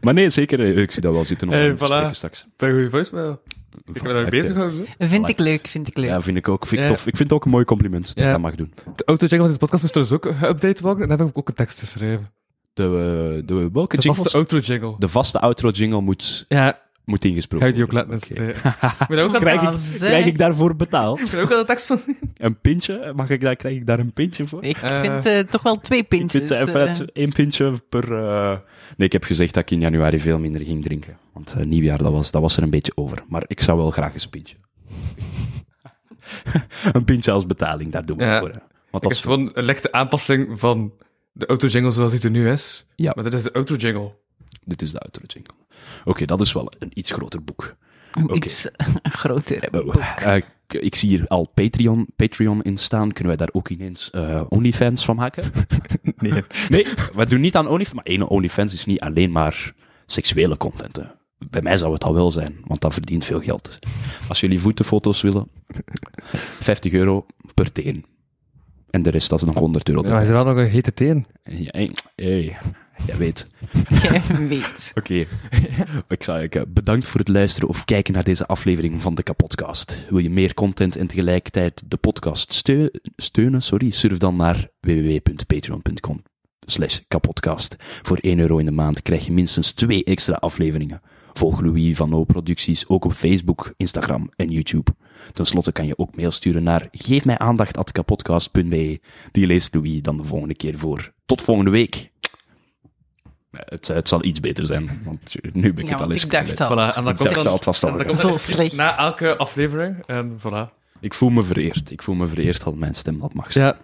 D: Maar nee, zeker. eh, Ik zie dat wel zitten om
C: Hey,
D: aan te
C: voilà.
D: spreken straks.
C: Ben je goede voicemail? Ik ben daarmee
D: Oké.
C: bezig gehouden. zo.
E: Vind ik leuk, vind ik leuk.
D: Ja, vind ik ook. Vind ik,
C: Ja.
D: tof. ik vind het ook een mooi compliment dat
C: Ja.
D: ik dat mag doen.
C: De auto-jingle van deze podcast moest trouwens ook geüpdate worden. En daar heb ik ook een tekst geschreven.
D: De, eh, de, welke
C: De vaste
D: jingles?
C: auto-jingle.
D: De vaste outro jingle moet,
C: Ja,
D: moet ingesproken
C: ga je die ook laten
D: worden. Oké.
C: inspreken. Maar daar ook aan-
D: Krijg,
E: Ah,
D: ik,
E: zeg.
D: krijg ik daarvoor betaald?
C: Kan je ook wel de tekst van zien?
D: Een pintje? Mag ik daar, krijg ik daar een pintje voor?
E: Ik
C: Eh,
E: vind eh, toch wel twee
D: Ik
E: pintjes.
D: vind eh, even
E: eh.
D: het- één pintje per... eh, Nee, ik heb gezegd dat ik in januari veel minder ging drinken. Want eh, nieuwjaar, dat was, dat was er een beetje over. Maar ik zou wel graag eens een pintje. een pintje als betaling, daar doen we
C: Ja.
D: het voor. hè. Want dat
C: Het
D: is
C: is gewoon een lichte aanpassing van de auto-jingle zoals die er nu is.
D: Ja.
C: Maar dat is de auto-jingle.
D: Dit is de outro jingle. Oké, dat is wel een iets groter boek.
E: Een
D: oké.
E: Iets eh, groter.
D: Oh, eh, ik- ik zie hier al Patreon, Patreon in staan. Kunnen wij daar ook ineens eh, OnlyFans van maken?
C: Nee.
D: Nee, we doen niet aan OnlyFans. Maar ene OnlyFans is niet alleen maar seksuele content. hè. Bij mij zou het al wel zijn, want dat verdient veel geld. Als jullie voetenfoto's willen, 50 euro per teen. En de rest, dat is nog 100 euro.
C: Ja, hij is wel nog een hete teen.
D: Ja, hey, hey, jij weet.
E: Jij weet.
D: Oké. ik zou ik, eh, bedankt voor het luisteren of kijken naar deze aflevering van de Kapodcast. Wil je meer content en tegelijkertijd de podcast steu- steunen? Sorry, surf dan naar www.patreon.com slash kapodcast. Voor 1 euro in de maand krijg je minstens twee extra afleveringen. Volg Louis van O Producties ook op Facebook, Instagram en YouTube. Ten slotte kan je ook mail sturen naar geefmijaandacht.kapodcast.be. Die leest Louis dan de volgende keer voor. Tot volgende week! Het, het zal iets beter zijn, want nu ben ik
E: Ja,
D: het al
E: want
D: eens
E: ik dacht
D: kwijt.
E: al.
C: Voilà, en dan
D: Ik
C: komt
D: dacht
C: dan-
D: al, het was al
C: en dan
D: wel.
C: komt dan-
E: Zo slecht.
C: Na elke aflevering, en voilà.
D: Ik voel me vereerd. Ik voel me vereerd dat mijn stem dat mag zijn.
C: Ja.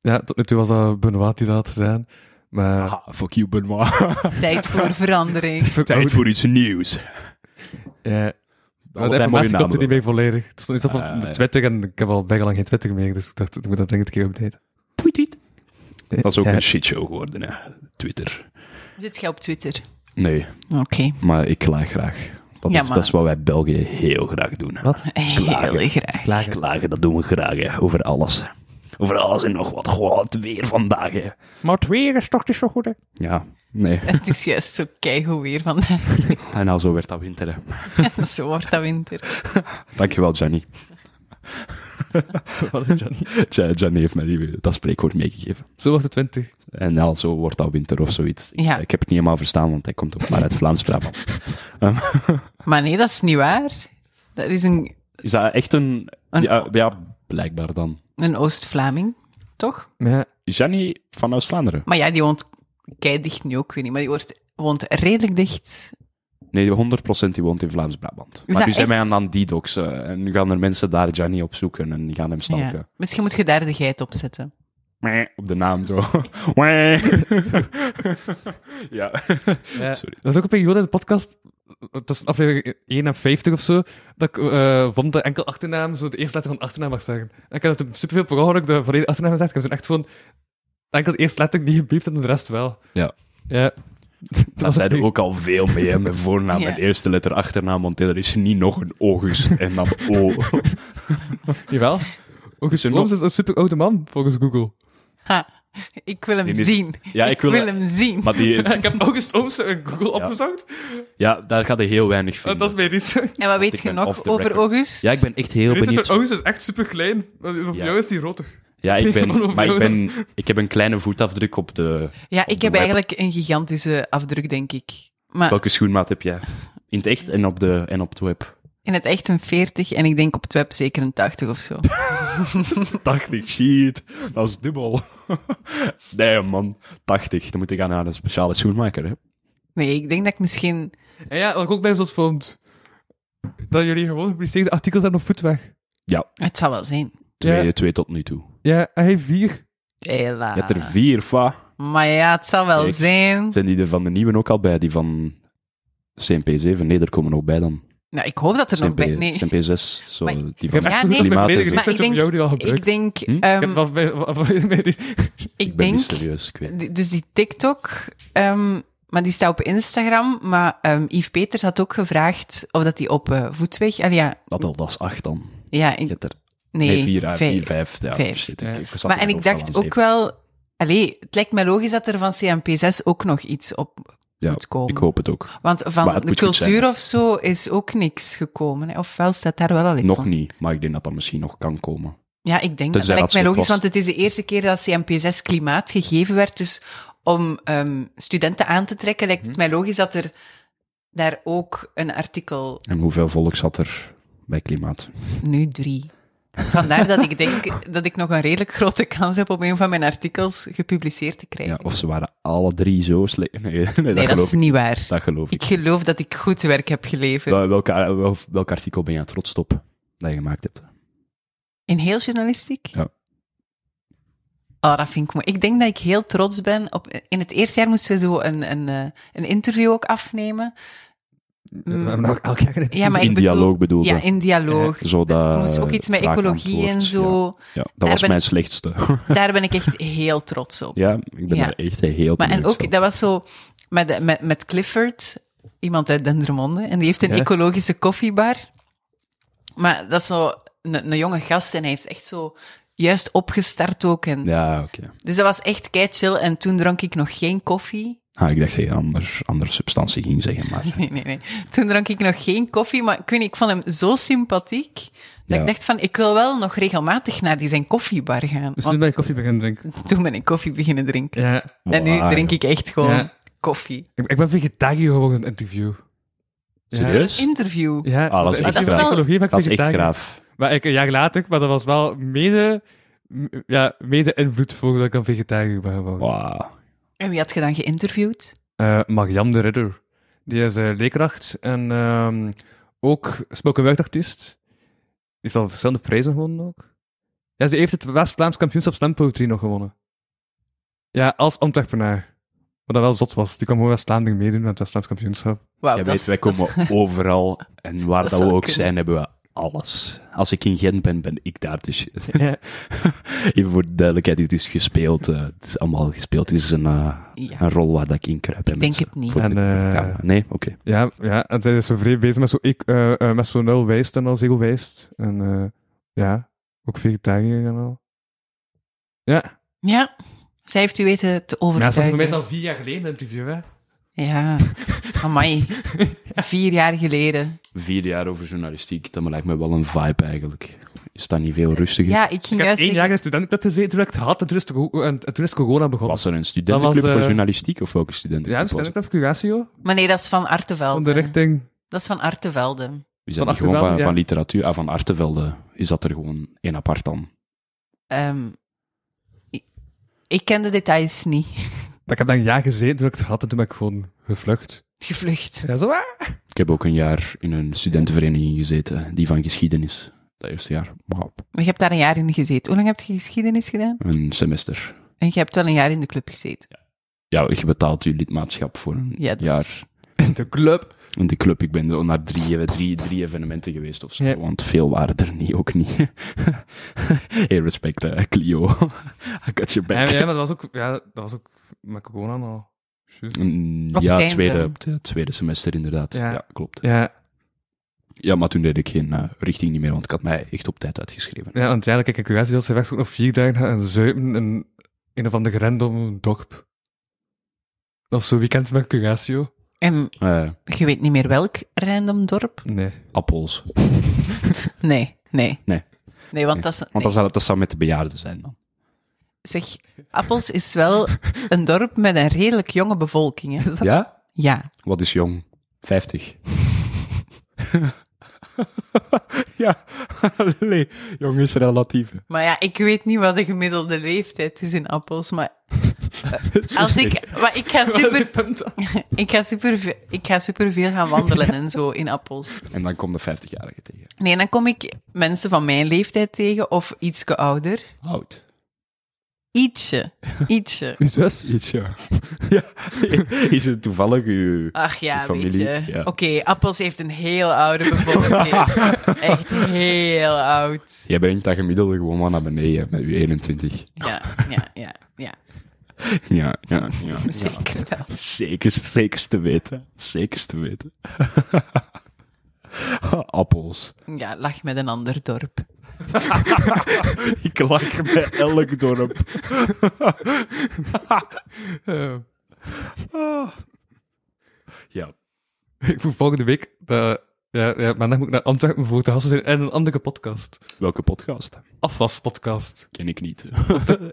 C: ja, tot nu toe was dat Benoit die dat had gedaan. Maar
D: Ah, fuck you, Benoit.
E: Tijd voor
C: het is
E: verandering.
C: voor
D: Tijd voor iets nieuws.
C: Ja. Maar de
D: Allebei
C: informatie
D: mooie
C: komt er
D: namen
C: niet meer volledig. Het stond iets op
D: Ah,
C: op de
D: ja.
C: Twitter en ik heb al bijna lang geen Twitter meer, dus ik dacht, ik moet dat dringend een keer updaten.
D: Dat is ook
C: Ja.
D: een shitshow geworden, hè. Twitter.
E: Zit jij op Twitter?
D: Nee,
E: Oké.
D: maar ik klaag graag. Dat,
E: Ja,
D: is,
E: maar-
D: dat is wat wij Belgen heel graag doen. hè.
C: Wat?
E: Heel graag.
C: Klagen.
D: Klagen, dat doen we graag, hè. Over alles. Over alles en nog wat. Goh, het weer vandaag, hè.
B: Maar het weer is toch niet zo goed, hè?
D: Ja, nee.
E: Het is juist zo keigoed weer vandaag.
D: En nou, zo werd dat winter, hè.
E: Zo wordt dat winter.
D: Dankjewel, Gianni.
C: Wat is Johnny?
D: Gia- Gianni heeft mij die, dat spreekwoord meegegeven.
C: Zo wordt het 20.
D: En nou, zo wordt dat winter of zoiets.
E: Ja.
D: Ik heb het niet helemaal verstaan, want hij komt ook maar uit Vlaams-Brabant.
E: Maar nee, dat is niet waar. Dat is een,
D: Is dat echt een...
E: Een-
D: Ja, ja, blijkbaar dan.
E: een Oost-Vlaming, toch?
C: Ja.
D: Gianni van Oost-Vlaanderen?
E: Maar ja, die woont keidicht nu ook, weet niet. Maar die wordt, woont redelijk dicht.
D: Nee, 100% die woont in Vlaams-Brabant. Maar
E: dat
D: nu zijn wij
E: echt?
D: aan, aan die doxen. En nu gaan er mensen daar Gianni op zoeken en die gaan hem stalken.
E: Ja. Misschien moet je daar de geit op zetten.
D: Meh, Op de naam zo. Meh. ja. Sorry.
C: Er was ook een periode in de podcast, tussen aflevering 51 of zo, dat ik eh, vond dat enkel achternaam zo de eerste letter van de achternaam mag zeggen. En ik had het superveel per ongeluk de volledige achternaam gezegd. Ik heb zo'n echt gewoon enkel de eerste letter niet gebiept en de rest wel.
D: Ja.
C: Ja.
D: Daar zijn er ook al veel mee, hè, met voornaam
E: Ja.
D: en eerste letter achternaam, want er is niet nog een ogus en dan O.
C: Jawel. Ook eens
D: er
C: Holmes is een super oude man, volgens Google.
E: Ha, ik wil hem
D: Die niet-
E: zien.
D: Ja, ik wil-
E: hem zien.
D: Maar die,
C: Ik heb August Holmes in Google
D: Ja.
C: opgezocht.
D: ja, daar gaat hij heel weinig
C: En
D: vinden.
C: dat is mijn research.
E: en wat weet
D: ik
E: je
D: ben off
E: nog
D: the
E: over
D: record.
E: August?
D: Ja, ik ben echt heel
C: De research van
D: benieuwd.
C: August is echt super klein. Voor
D: Ja.
C: jou is die roter.
D: Ja, ik ben,
C: Van
D: maar ik, ben,
C: Overhoeven.
D: ik heb een kleine voetafdruk op de...
E: Ja,
D: op
E: ik
D: de
E: heb
D: web.
E: eigenlijk een gigantische afdruk, denk ik. Maar
D: Welke schoenmaat heb jij? In het echt en op de, en op het web?
E: in het echt een 40 en ik denk op het web zeker een 80 of zo.
D: 80, shit. Dat is dubbel. nee, man. 80. Dan moet ik gaan naar een speciale schoenmaker, hè.
E: Nee, ik denk dat ik misschien...
C: En ja, wat ik ook bij zot vond, dat jullie gewoon gepubliceerde artikels hebben op voetweg.
E: Het zal wel zijn.
D: Twee,
C: Ja.
D: twee tot nu toe.
C: Ja, en hij vier.
E: Hela.
D: Je hebt er
E: Ah.
D: vier, fa.
E: Maar ja, het zal wel
D: Kijk.
E: zijn.
D: Zijn die er van de nieuwe ook al bij? Die van CMP7? Nee, daar komen ook bij dan.
E: Nou, ik hoop dat er nog
D: CMP,
E: bij... Nee,
D: CMP6. Zo,
E: Maar-
D: die
C: Ik heb
D: van...
E: Ja,
C: echt
E: nee,
C: nee,
D: maar
C: volledige
D: ik
C: research op
E: denk-
C: jou die al
E: ik
C: gebruikt.
E: denk...
D: Hm? Ik
C: Ik
E: ehm, Mm.
C: heb wel bij- wa- wa- bij- bij-
D: ben
E: ik denk...
D: niet serieus, ik weet het.
E: D- Dus die TikTok, ehm, maar die staat op Instagram. Maar ehm, Yves Peters had ook gevraagd of dat die op eh, voetweg. Allee, ja,
D: Dat al, dat is acht dan.
E: ja,
D: Je
E: ik,
D: hebt er...
E: nee,
D: Nee, vier, ah,
E: vijf.
D: vier vijf. Ja,
E: Vijf.
D: shit,
C: Ja.
D: ik, ik zat
E: Maar
D: in
E: en
D: mijn
E: ik
D: hoofd al
E: dacht
D: aan
E: ook wel. Allee, het lijkt mij logisch dat er van CMP6 ook nog iets op
D: zeven.
E: moet
D: Ja,
E: komen.
D: ik hoop het ook.
E: Want
D: Maar
E: van
D: het
E: de
D: moet goed zijn.
E: cultuur of zo is ook niks gekomen. Hè. Ofwel staat daar wel al iets
D: Nog
E: van.
D: niet, maar ik denk dat dat misschien nog kan komen.
E: Ja, ik denk dat.
D: Tenzij dat
E: Dat lijkt mij
D: ze het
E: logisch,
D: was.
E: want het is de eerste keer dat CMP6 klimaat gegeven werd. Dus om ehm, studenten aan te trekken, lijkt
D: Mhm.
E: het mij logisch dat er daar ook een artikel,
D: En hoeveel volk zat er bij klimaat?
E: nu drie. Vandaar dat ik denk dat ik nog een redelijk grote kans heb om een van mijn artikels gepubliceerd te krijgen.
D: Ja, of ze waren alle drie zo slecht. Nee, nee, dat,
E: nee, dat,
D: geloof
E: is
D: ik.
E: niet waar.
D: dat geloof ik.
E: Ik geloof dat ik goed werk heb geleverd.
D: Wel- Welke, eh, wel- welk artikel ben je trots op dat je gemaakt hebt?
E: In heel journalistiek?
D: Ja.
E: Oh, dat vind ik mooi. Ik denk dat ik heel trots ben. Op, in het eerste jaar moesten we zo een, een, eh, een interview ook afnemen.
C: We hebben nog elk jaar een-
E: Ja, maar
D: in
E: ik bedoel-
D: dialoog bedoelde.
E: Ja, in dialoog.
D: zo dat,
E: Er moest ook iets met
D: vraag-
E: ecologie en
D: dus, eh, antwoord, Ja,
E: zo.
D: Ja, dat
E: Daar
D: was
E: ben
D: mijn
E: ik-
D: slechtste.
E: Daar ben ik echt heel trots op.
D: ja, ik ben
E: Ja.
D: daar echt heel
E: maar en ook,
D: teleurgesteld.
E: dat was zo met, met, met Clifford, iemand uit Dendermonde, en die heeft een
C: Ja.
E: ecologische koffiebar. Maar dat is zo een, een jonge gast en hij heeft echt zo juist opgestart ook. En,
D: Ja, oké.
E: Dus dat was echt kei chill. En toen dronk ik nog geen koffie.
D: Ah, ik dacht dat je anders, andere substantie ging zeggen, maar...
E: Nee, nee, nee. Toen dronk ik nog geen koffie, maar ik weet niet, ik vond hem zo sympathiek dat
D: Ja.
E: ik dacht van, ik wil wel nog regelmatig naar die zijn koffiebar gaan.
C: Dus
E: Want
C: toen ben ik koffie beginnen drinken.
E: toen ben ik koffie beginnen drinken.
C: Ja.
E: En nu
D: Wauw.
E: drink ik echt gewoon
C: Ja.
E: koffie.
C: Ik, ik ben vegetariër geworden in het interview.
D: Serieus?
E: Interview.
C: Ja,
D: Ah, dat is echt
C: ik- ik-
D: graaf.
C: ecologie, maar ik
D: Dat is echt
C: vegetariër.
D: graaf.
C: Maar ik, een jaar later, maar dat was wel mede, m- ja, mede invloed voor dat ik een vegetariër ben geworden.
D: Wauw.
E: En wie had je dan geïnterviewd?
C: Eh, Mariam de Ridder. Die is eh, leerkracht en ehm, ook spoken word artiest. Die heeft al verschillende prijzen gewonnen ook. Ja, ze heeft het West-Vlaams kampioenschap slam poetry nog gewonnen. Ja, als entrepreneur. Wat dat wel zot was. Die kwam gewoon West-Vlaanderen meedoen met het West-Vlaams kampioenschap.
E: Wauw,
D: Jij
E: Ah, dat
D: weet,
E: is-
D: wij
E: dat is-
D: komen overal en waar
E: Dat
D: dat,
E: zou
D: we ook
E: kunnen.
D: zijn, hebben we alles. Als ik in Gent ben, ben ik daar dus. Even voor de duidelijkheid, dit is gespeeld. eh, het is allemaal gespeeld. Het is een, eh,
E: Ja.
D: een rol waar dat ik in kruip.
E: Ik denk het niet.
D: Voor de-
C: En, eh,
D: ja, nee, oké.
C: Ja, ja, en zij is zo vreemd bezig met zo'n ik- eh, eh, met zo'n nul wijst en als ego wijst. En eh, ja, ook vegetariër en al. Ja,
E: Ja, zij heeft u weten te overtuigen. Ja,
C: al vier jaar geleden een interview, hè?
E: ja. amai. Vier jaar geleden.
D: Vier jaar over journalistiek, dat lijkt me wel een vibe eigenlijk. Is dat niet veel rustiger?
E: Ja, ik ging
C: Ik heb
E: juist...
C: één
E: zeggen-
C: jaar in de studentenclub gezeten toen ik het had en toen is, de co- en, en toen is corona begonnen.
D: Was er een studentenclub
C: Dat was, eh,
D: voor journalistiek of welke
C: ja, de
D: studentenclub was het?
C: studentenclub Curatio.
E: Maar nee, dat is van
C: Van de
E: Artevelde.
C: richting.
E: Dat is van Artevelde.
D: Is
C: van
D: dat niet gewoon van,
C: Achtervelde, ja.
D: van literatuur? Ah, van Artevelde is dat er gewoon één apart dan?
E: Ehm, ik, ik ken de details niet.
C: Ik heb daar een jaar gezeten toen ik het had en toen ben ik gewoon gevlucht.
E: Gevlucht.
C: Ja, zo ah.
D: Ik heb ook een jaar in een studentenvereniging gezeten, die van geschiedenis. Dat eerste jaar. Wauw.
E: Je hebt daar een jaar in gezeten. Hoe lang heb je geschiedenis gedaan?
D: Een semester.
E: En je hebt wel een jaar in de club gezeten.
D: Ja, je betaalt je lidmaatschap voor een
E: Ja, dat is-
D: jaar.
C: In de club.
D: In de club, ik ben er naar drie, drie, drie evenementen geweest of zo.
C: Ja.
D: Want veel waren er niet, ook niet. hey, respect, eh, Clio. I got your
C: Ja,
D: back.
C: ja, maar dat was ook, ja, dat was ook met corona al. Juist.
D: Mm,
E: Op
D: Ja,
E: het
D: het tweede,
E: einde.
D: het tweede semester inderdaad.
C: Ja.
D: Ja, klopt. Ja.
C: Ja,
D: maar toen deed ik geen eh, richting niet meer, want ik had mij echt op tijd uitgeschreven.
C: ja, want ja, kijk, ik Curatio ze weg ook nog vier dagen gaan en zuipen in een of ander random dorp. Of zo weekend met Curatio.
E: En
D: Eh,
E: je weet niet meer welk random dorp?
C: Nee.
D: appels.
E: Nee, nee.
D: Nee.
E: Nee, want
D: Nee.
E: dat is...
D: Want dat zou, dat zou met de bejaarden zijn dan.
E: nee. Zeg, Appels is wel een dorp met een redelijk jonge bevolking, hè?
D: Ja?
E: Ja.
D: Wat is jong? 50. ja, nee, jong is relatief.
E: Maar ja, ik weet niet wat de gemiddelde leeftijd is in Appels, maar... Als ik, maar ik ga super... Ik ga super, ik ga super veel gaan wandelen en zo in Appels.
D: En dan komt de 50-jarige tegen.
E: Nee, dan kom ik mensen van mijn leeftijd tegen of ietske ouder.
D: Oud.
E: Ietsje. Ietsje.
C: Uw zus?
D: Iets, ja. ja. Is het toevallig uw...
E: Ach ja,
D: De familie,
E: weet je.
D: ja.
E: Oké, Appels heeft een heel oude bevolking. Echt heel oud.
D: Jij brengt dat gemiddelde gewoon maar naar beneden met uw 21.
E: Ja, ja, ja. ja.
D: Ja, ja, ja.
E: Zeker wel.
D: Zeker, zeker te weten. Zeker te weten. Appels.
E: Ja, lach met een ander dorp.
D: Ik lach bij elk dorp.
C: Eh,
D: Ah. Ja.
C: ik voel volgende week. eh, ja, ja, maandag moet ik naar Antwerpen voor te gasten zijn en een andere podcast.
D: Welke podcast?
C: Afwaspodcast.
D: Ken ik niet.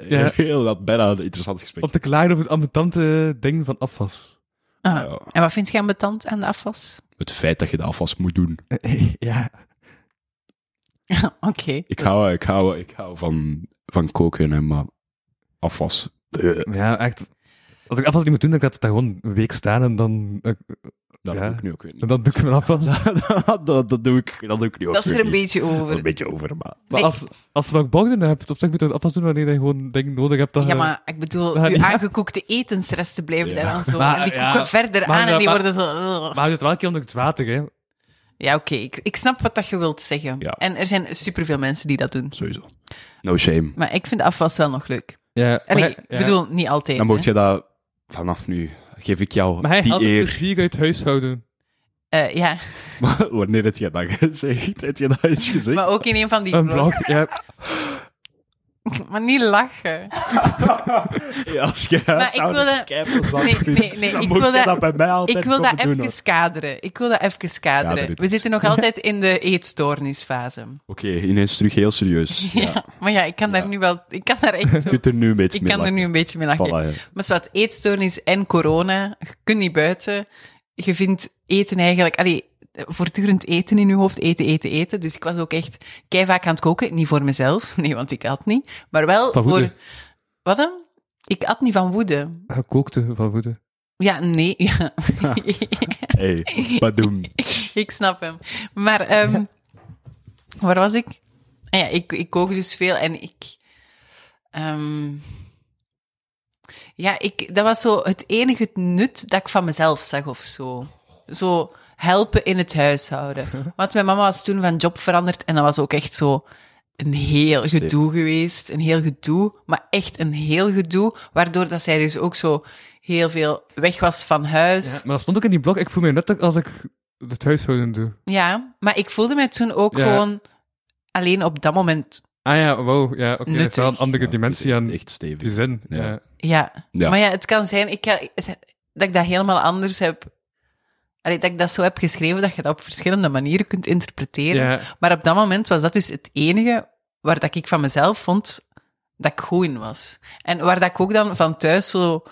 C: ja.
D: Heel dat bijna een interessant gesprek.
C: Om te klagen over het ambetante ding van afwas.
E: Ah,
D: Ja.
E: En wat vind je ambetant aan de afwas?
D: Het feit dat je de afwas moet doen.
C: ja.
E: Oké.
D: Ik hou, ik hou, ik hou van, van koken, hè, maar afwas. eh,
C: Ja, echt. Als ik afwas niet moet doen, dan gaat het daar gewoon een week staan en dan, eh,
D: Dat
C: Ja.
D: doe ik nu ook weer
C: en
D: niet.
C: dan doe ik mijn afwas.
D: dat, dat, dat doe ik, dat doe ik nu ook
E: Dat is er
D: weer
E: een
D: niet.
E: beetje over.
D: Een beetje over, maar...
C: Maar
E: Nee.
C: als, als je nog bochten hebt, op zich moet je het afwas doen wanneer je gewoon dingen nodig hebt. Dat
E: Ja,
C: je-
E: maar ik bedoel,
C: Ja,
E: uw
C: ja.
E: aangekookte etensresten blijven
D: Ja.
E: daar dan zo.
C: Maar,
E: en die
C: ja.
E: koeken verder
C: Maar,
E: aan en
C: ja,
E: die
C: maar-
E: worden zo...
C: Maar je het wel een keer onder het water, hè.
E: Ja, oké. Ik, ik snap wat dat je wilt zeggen.
D: Ja.
E: En er zijn superveel mensen die dat doen.
D: Sowieso. No shame.
E: Maar ik vind afwas wel nog leuk.
C: Ja,
E: En
C: maar
E: ik
C: hij- ja.
E: bedoel, niet altijd.
D: Dan
E: hè.
D: moet je dat vanaf nu... Geef ik jou
C: Maar hij
D: die
C: had het
D: eer.
C: plezier uit huishouden.
E: Eh, ja,
D: Wanneer heb je dat gezegd? Heb je dat eens gezegd?
E: maar ook in een van die
C: Een
E: vlogs.
C: vlog, ja.
E: Maar niet lachen.
F: Ja, als je huishouden
E: wilde-
F: keipelzand
E: Nee,
F: vindt,
E: nee, nee,
F: dan
E: ik
F: moet
E: wilde-
F: je dat bij mij altijd
E: Ik wil dat
F: komen doen,
E: even
F: hoor.
E: kaderen. Ik wil dat even kaderen.
D: Kader het
E: We
D: eens.
E: zitten nog altijd in de eetstoornisfase.
D: Oké, ineens terug heel serieus.
E: Ja. maar ja, ik kan daar nu wel... Ik kan daar echt zo...
D: Je kunt er nu een beetje
E: Ik
D: mee
E: kan er nu een beetje mee lachen.
D: Voilà, ja.
E: Maar zwart, eetstoornis en corona, je kunt niet buiten. Je vindt eten eigenlijk... Allee, voortdurend eten in je hoofd, eten, eten, eten. Dus ik was ook echt kei vaak aan het koken. Niet voor mezelf, nee, want ik had niet. Maar wel
C: Van woede.
E: voor... Wat dan? Ik at niet van woede.
C: Gekookte van woede.
E: Ja, nee. Ja.
D: Hey, badoem.
E: ik snap hem. Maar ehm, waar was ik? Ah Ja, ik, ik kook dus veel en ik... ehm, ja, ik, dat was zo het enige nut dat ik van mezelf zag of zo. Zo helpen in het huishouden. Want mijn mama was toen van job veranderd en dat was ook echt zo een heel gedoe geweest. Een heel gedoe, maar echt een heel gedoe. Waardoor dat zij dus ook zo heel veel weg was van huis.
C: maar dat stond ook in die blog. Ik voel me net als ik het huishouden doe.
E: Ja, maar ik voelde mij toen ook
C: Ja.
E: gewoon alleen op dat moment.
C: Ah ja, wow. Ja, oké. dat is wel een
E: Nuttig.
C: andere
D: Ja,
C: dimensie aan
D: Echt
C: die
D: stevig.
C: zin.
D: Ja.
C: Ja.
E: Ja.
D: Ja.
E: Maar ja, het kan zijn ik, ga- dat ik dat helemaal anders heb. Allee, dat ik dat zo heb geschreven dat je dat op verschillende manieren kunt interpreteren.
C: Ja.
E: Maar op dat moment was dat dus het enige waar dat ik van mezelf vond dat ik goed in was. En waar dat ik ook dan van thuis zo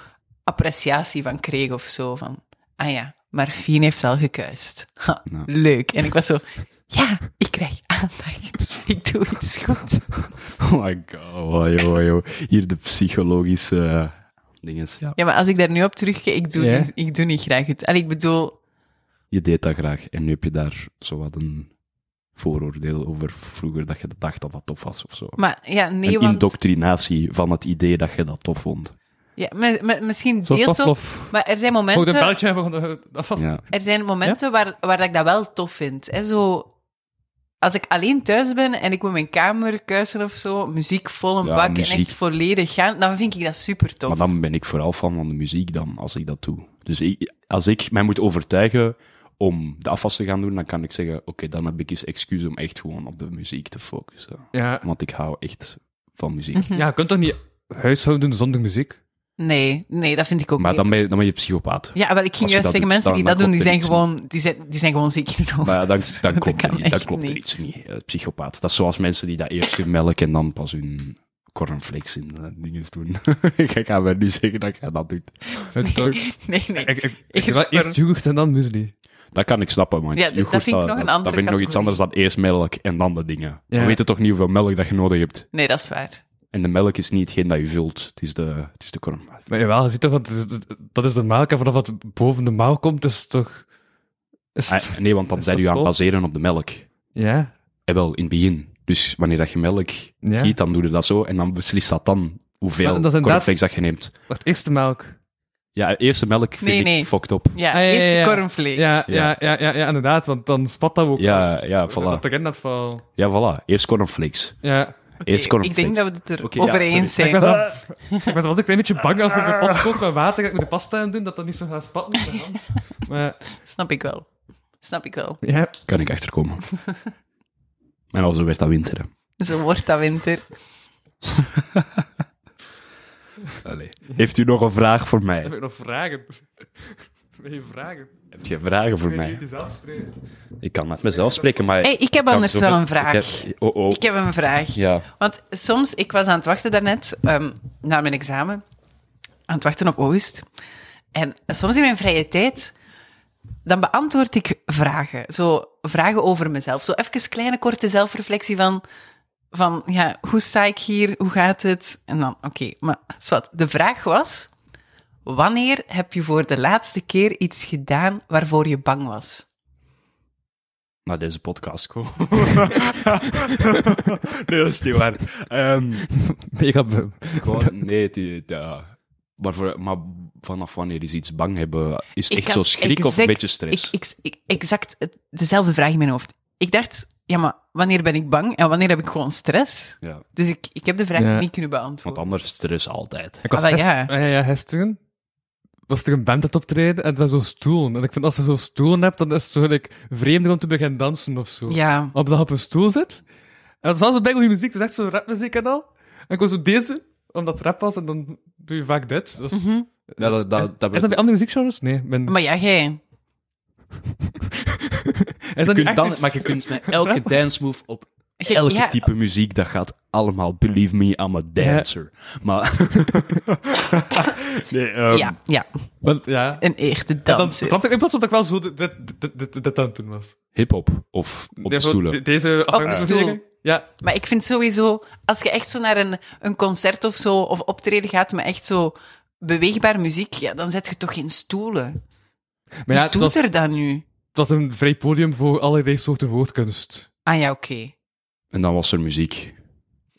E: appreciatie van kreeg of zo. Van, ah ja, maar Fien heeft wel gekuist. Ha,
D: Ja.
E: Leuk. En ik was zo, ja, ik krijg aandacht. Ik doe iets goed.
D: Oh my god, oh, joh, joh. Hier de psychologische eh, dinges. Ja.
E: Ja, maar als ik daar nu op terugkijk, ik doe,
C: Ja.
E: niet, ik doe niet graag het. Allee, ik bedoel,
D: Je deed dat graag en nu heb je daar zo wat een vooroordeel over vroeger dat je dacht dat dat tof was of zo.
E: maar ja, nee,
D: een
E: want...
D: indoctrinatie van het idee dat je dat tof vond.
E: Ja, maar- maar misschien
C: Zo
E: deels ook,
C: Pavlov.
E: maar er zijn
C: Oh, de
E: momenten...
C: beltje van de... eh, Dat was...
D: Ja.
E: Er zijn momenten waar, waar ik dat wel tof vind. Hè? Zo, als ik alleen thuis ben en ik moet mijn kamer kuisen of zo, muziek vol een
D: Ja,
E: bak en
D: muziek.
E: echt volledig gaan, dan vind ik dat super tof.
D: Maar dan ben ik vooral fan van de muziek dan, als ik dat doe. Dus ik, als ik mij moet overtuigen om de afwas te gaan doen, dan kan ik zeggen, oké, dan heb ik eens excuus om echt gewoon op de muziek te focussen.
C: Ja.
D: Want ik hou echt van muziek.
E: Mhm.
C: ja, je kunt toch niet huishouden zonder muziek?
E: Nee, nee, dat vind ik ook
D: Maar
E: niet.
D: dan ben je, dan ben je psychopaat.
E: Ja, wel, ik
D: als
E: ging
D: je dat
E: juist zeggen,
D: doet,
E: mensen die
D: dan-
E: dat
D: dan
E: doen, die zijn,
D: klopt er iets
E: gewoon, die, zijn, die zijn gewoon ziek in hun hoofd.
D: Maar ja, dan,
E: Dus
D: dan klopt,
E: kan
D: er, niet, dan
E: echt
D: klopt er
E: niet.
D: iets niet. Eh, Psychopaat. Dat is zoals mensen die dat eerst hun melk en dan pas hun cornflakes in eh, dingen doen. ik ga maar nu zeggen dat jij dat doet.
C: Nee. Toch?
E: Nee, nee.
C: Ik, ik, ik,
E: Eerst
C: wel eerst
E: maar-
C: yoghurt en dan muesli.
D: Dat kan ik snappen, man.
E: Ja, dat- dat vind ik nog een andere
D: Dat vind ik nog iets
E: categorie.
D: anders dan eerst melk en dan de dingen.
C: Ja.
D: We weten toch niet hoeveel melk dat je nodig hebt.
E: Nee, dat is waar.
D: En de melk is niet hetgeen dat je vult. Het is de, het is de corn.
C: Maar jawel, je ziet toch, want het- het- dat is de melk en vanaf wat boven de maal komt is toch... Is het-
D: Ah, nee, want dan
C: Is
D: zijn
C: dat
D: je aan het
C: vol?
D: baseren op de melk.
C: Ja.
D: En Eh, wel, in het begin. Dus wanneer dat je melk
C: Ja.
D: giet, dan doe je dat zo. En dan beslist dat dan hoeveel
C: Maar dat is inderdaad-
D: cornflakes dat je neemt.
C: Wacht, eerst de melk.
D: Ja, eerste melk vind
E: Nee,
D: ik
E: nee.
D: fucked op.
E: Ja,
C: Ah, ja, ja,
E: eerst
C: ja.
E: de cornflakes.
C: Ja,
D: Ja.
C: ja, ja, ja, ja, inderdaad, want dan spat dat ook.
D: Ja,
C: als-
D: ja, voilà.
C: Dat erin dat val.
D: Ja, voilà. Eerst cornflakes.
C: Ja.
E: Oké,
D: Eerst
E: ik
D: cornflakes.
E: denk dat we het er
D: Oké, ja,
E: over eens
C: Ik
E: zijn.
C: was, wel, ik was wel een klein beetje bang als ik een pot kook met water dat ik met de pasta aan doen, dat dat niet zo gaat spatten met de hand. Maar,
E: Snap ik wel. Snap ik wel.
C: ja.
D: Kan ik achterkomen. en al zo werd dat winter. hè.
E: Zo wordt dat winter.
D: Eh, Allee. Heeft u nog een vraag voor mij?
C: Heb ik nog vragen? Wil je vragen?
D: Heb je vragen voor
C: Wil je
D: mij?
C: het jezelf spreken?
D: Ik kan met mezelf spreken, maar...
E: Hey, ik heb
D: kan
E: anders
D: zoveel-
E: wel een vraag.
D: Ik heb- Oh, oh.
E: Ik heb een vraag.
D: Ja.
E: Want soms, ik was aan het wachten daarnet, ehm na mijn examen, aan het wachten op Oost. En soms in mijn vrije tijd, dan beantwoord ik vragen. Zo vragen over mezelf. Zo even kleine, korte zelfreflectie van, van ja, hoe sta ik hier? Hoe gaat het? En dan, oké, maar zwart. De vraag was, wanneer heb je voor de laatste keer iets gedaan waarvoor je bang was?
D: Naar deze podcast komen. nee, dat is niet waar. Ehm,
C: Ik heb...
D: gewoon, nee, het, het, ja. Maar, voor, maar vanaf wanneer is iets bang hebben? Is het echt
E: had
D: zo schrik of een
E: exact-
D: beetje stress?
E: Ik, ik, ik- exact het- dezelfde vraag in mijn hoofd. Ik dacht, ja, maar wanneer ben ik bang en wanneer heb ik gewoon stress?
D: Ja,
E: Dus ik, ik heb de vraag
C: Ja.
E: niet kunnen
D: want
E: beantwoorden.
D: anders stress altijd.
C: Ik was
E: Ah, wel,
C: gisteren,
E: ja.
C: ja, ja, gisteren was er een band aan het optreden en het was zo'n stoelen. En ik vind als je zo'n stoelen hebt, dan is het zo gelijk vreemder om te beginnen dansen of zo.
E: Ja,
C: Omdat je op een stoel zit. En het was wel zo bij goede muziek, het is echt zo rapmuziek en al. En ik was zo deze, omdat het rap was, en dan doe je vaak dit. Dat is,
D: Ja, dat,
C: is,
D: dat, dat,
C: is dat bij andere muziekgenres? Nee. Mijn,
E: Mhm. Maar ja, jij.
C: is dat niet
D: je kunt
C: echt
D: dan,
C: iets-
D: maar je kunt met elke dance move op
E: Jij-
D: elke
E: ja,
D: type muziek, dat gaat allemaal. Believe me, I'm a dancer. Maar. nee, ehm,
E: Ja, ja,
C: Want, ja.
E: een echte
C: En dan
E: danser.
C: snapte ik, ik pas dat ik wel zo dit, dit, dit, dit, dit aan het doen was.
D: Hip-hop of op
C: Ja,
D: de
C: zo
D: stoelen.
C: de- deze afhangen-
E: stoel.
C: tegen. Ja.
E: Maar ik vind sowieso, als je echt zo naar een, een concert of zo, of optreden gaat met echt zo beweegbare muziek, ja, dan zet je toch geen stoelen.
C: Maar ja,
E: Wat
C: het
E: doet
C: was,
E: er dan nu?
C: het was een vrij podium voor allerlei soorten woordkunst.
E: Ah ja, oké.
D: En dan was er muziek.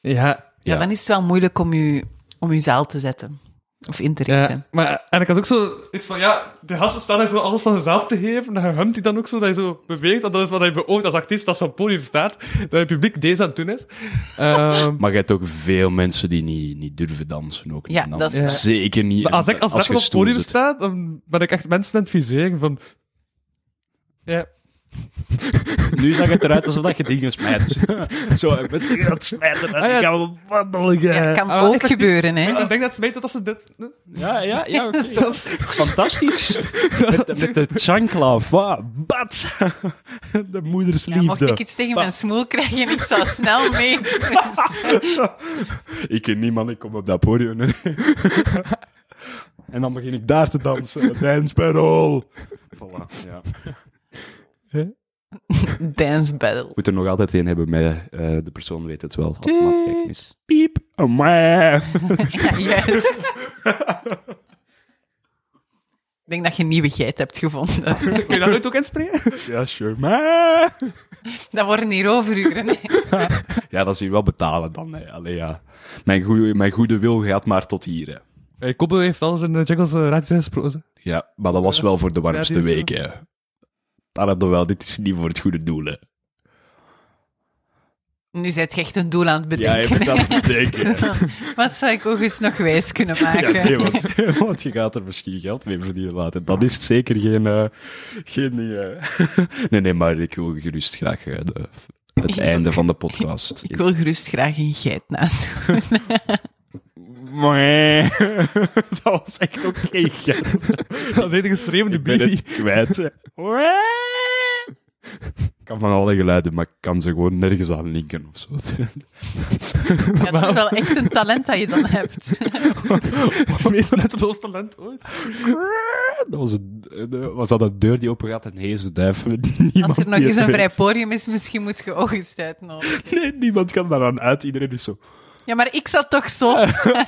C: Ja.
E: Ja,
D: Ja.
E: dan is het wel moeilijk om je, om je zaal te zetten. Of in te richten.
C: ja. Maar, en ik had ook zo iets van, ja, de gasten staan daar zo alles van zichzelf te geven. En je humt die dan ook zo, dat je zo beweegt. En dat is wat je beoogt als artiest, als je op het podium staat. Dat je publiek deze aan het doen is. Ehm,
D: Maar je hebt ook veel mensen die niet, niet durven dansen. Ook niet.
E: Ja,
D: En
E: dat is- Ja.
D: Zeker niet.
C: Maar als ik als, rapper
D: je
C: op het
D: stoel
C: podium
D: zit.
C: sta, dan ben ik echt mensen aan het viseren van... Ja.
D: Nu zag het eruit alsof dat je dingen smijt. Zo, ik ben dingen aan het smijten. En
C: Ah, ja.
D: ik ga wel wandelen.
E: Ja, kan
D: oh,
C: Ah,
E: ook
C: ik-
E: gebeuren, hè?
C: Ik denk dat ze weten dat ze dit...
D: Ja, ja, ja. oké.
E: Zo.
D: Fantastisch. met, met de chanclaf. Wow, bat. De
E: Ja, mocht
D: moedersliefde.
E: ik iets tegen mijn smoel krijgen, ik zou snel mee.
D: ik ken niemand, ik kom op dat podium. en dan begin ik daar te dansen. Dance battle. Voilà, ja.
E: Dance battle.
D: Moet er nog altijd één hebben met eh, de persoon weet het wel. Als het aan het kijken is. Piep. Oh, meh.
E: Ja, juist. Ik denk dat je een nieuwe geit hebt gevonden.
C: Kun je dat nooit ook inspringen?
D: ja, sure. Meh.
E: Dat worden hier overuren. hè.
D: Ja, dat is hier wel betalen dan. Hè. Allee, ja. mijn, goede, mijn goede wil gaat maar tot hier. Hè.
C: Hey, Kobo heeft alles in de jingles uh, radio gesproken.
D: Ja, maar dat was wel voor de warmste
C: Ja, die-
D: week, hè. Dat hadden we wel, dit is niet voor het goede doel, hè.
E: Nu zit je echt een doel aan het
D: Ja,
E: bedenken.
D: even dat bedenken. hè.
E: Wat zou ik ook eens nog wijs kunnen maken?
D: Ja, nee, want, want je gaat er misschien geld mee verdienen later. Dan is het zeker geen... eh, geen ding, hè. nee, nee, maar ik wil gerust graag eh, de- het
E: Ik
D: einde
E: ook.
D: van de podcast.
E: Ik wil gerust graag een geit na.
D: Mwah. dat was echt ook geen geld.
C: Dat is enige geschreven
D: Ik ben
C: bier.
D: het kwijt. hè. Mwah. Ik kan van alle geluiden, maar ik kan ze gewoon nergens aan linken of zo.
E: Ja, dat is wel echt een talent dat je dan hebt.
C: Het meest letterloos talent ooit.
D: Dat was, een, eh, was dat een deur die open gaat en hees duif? Niemand
E: Als er nog
D: die
E: eens
D: het
E: een vrij
D: weet.
E: podium is, misschien moet je ook eens uitnodigen.
D: Nee, niemand kan daaraan uit. Iedereen is zo...
E: Ja, maar ik zat toch zo...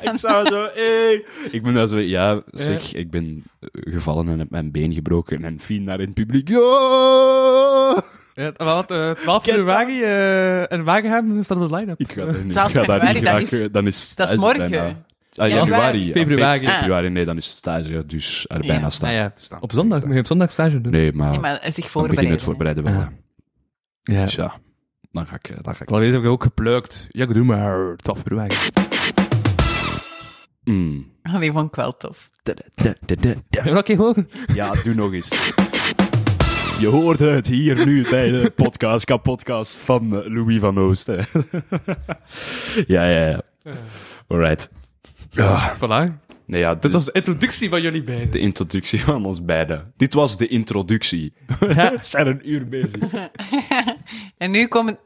D: Ik zou zo... Hey. Ik ben daar zo... Ja, zeg, ik ben eh, gevallen en heb mijn been gebroken. En viel naar in het publiek. Ja!
C: Ja, we hadden eh, 12 januari eh in Wagenheim staat op de line-up.
D: Ik ga, daar niet- ik
E: 12
D: ga daar niet
E: januari, dat
D: graag...
E: is-
D: eh, dan is
E: dat is
D: stage
E: morgen.
D: bijna. Ah,
E: Ja,
D: januari. ja,
C: Februari.
D: fe- Februari, nee, dan is het stage. Dus er bijna
E: Ja.
D: staan.
C: ja. Op zondag. Moet je op zondag stage doen?
D: Nee, maar,
E: Nee, maar zich
D: dan begin
E: voorbereiden.
D: je het voorbereiden wel. hè.
C: Ja.
D: Dus ja, dan ga ik... eh, Dan ga ik
C: Claudette heb ik ook geplukt. Ja, ik doe maar. 12 februari.
D: Mm.
E: Allee, vond ik wel tof.
C: Heb je dat een keer gehoord?
D: Ja, doe nog eens. Je hoorde het hier nu bij de podcast, kapodcast van eh, Louis van Oosten. ja, ja, ja. Alright. Ah,
C: Voilà.
D: nee, ja,
C: Dit
D: dit was
C: was de introductie van jullie beiden.
D: de introductie van ons beiden. Dit was de introductie. We zijn een uur bezig.
E: En nu komt,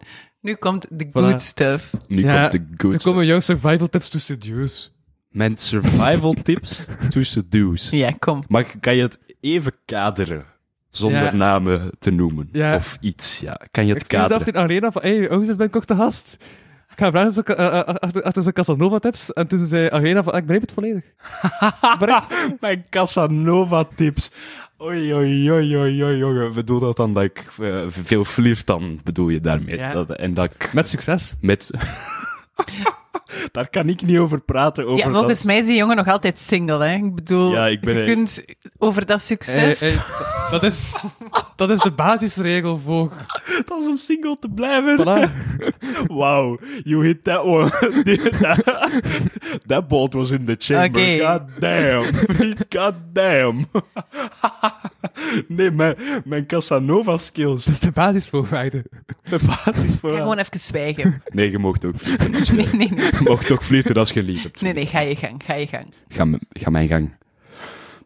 E: nu komt de good stuff.
D: Nu
C: Ja,
D: komt de
C: Er
D: good stuff.
C: komen jouw survival tips to seduce.
D: Mijn survival tips to seduce.
E: Ja, kom.
D: Maar kan je het even kaderen? Zonder
C: Ja.
D: namen te noemen.
C: Ja.
D: Of iets, ja. Kan je het
C: Ik zie mezelf
D: kaderen?
C: in de arena van, hey, Augustus, ben ik ook te gast? Ik ga vragen ze- eh, eh, achter- achter zijn Casanova-tips. En toen zei Arena van, ah, ik begrijp het volledig.
D: Mijn Casanova-tips. Oei, oei, oei, oei, oei, jongen. Bedoel dat dan dat ik eh, veel flirt dan, bedoel je daarmee?
C: Ja.
D: Dat, en dat ik
C: Met succes.
D: met... Daar kan ik niet over praten, over
E: Ja, volgens mij is die jongen nog altijd single, hè? Ik bedoel,
D: Ja, ik ben
E: je
D: een-
E: kunt over dat succes...
C: Eh, eh, dat, is, dat is de basisregel voor
F: dat is om single te blijven.
C: Voilà.
F: Wow, you hit that one. that, that bolt was in the chamber.
E: Oké.
F: God damn. God damn. nee, mijn, mijn Casanova skills.
C: Dat is de basis voor feiten.
F: De baat is voor
E: Ga
F: wel-
E: gewoon even zwijgen.
D: Nee, je mocht ook flirten. Als je,
E: Nee, nee, nee.
D: je mocht ook flirten als je lief hebt.
E: Nee, nee, ga je gang, ga je gang.
D: Ga, m- ga mijn gang.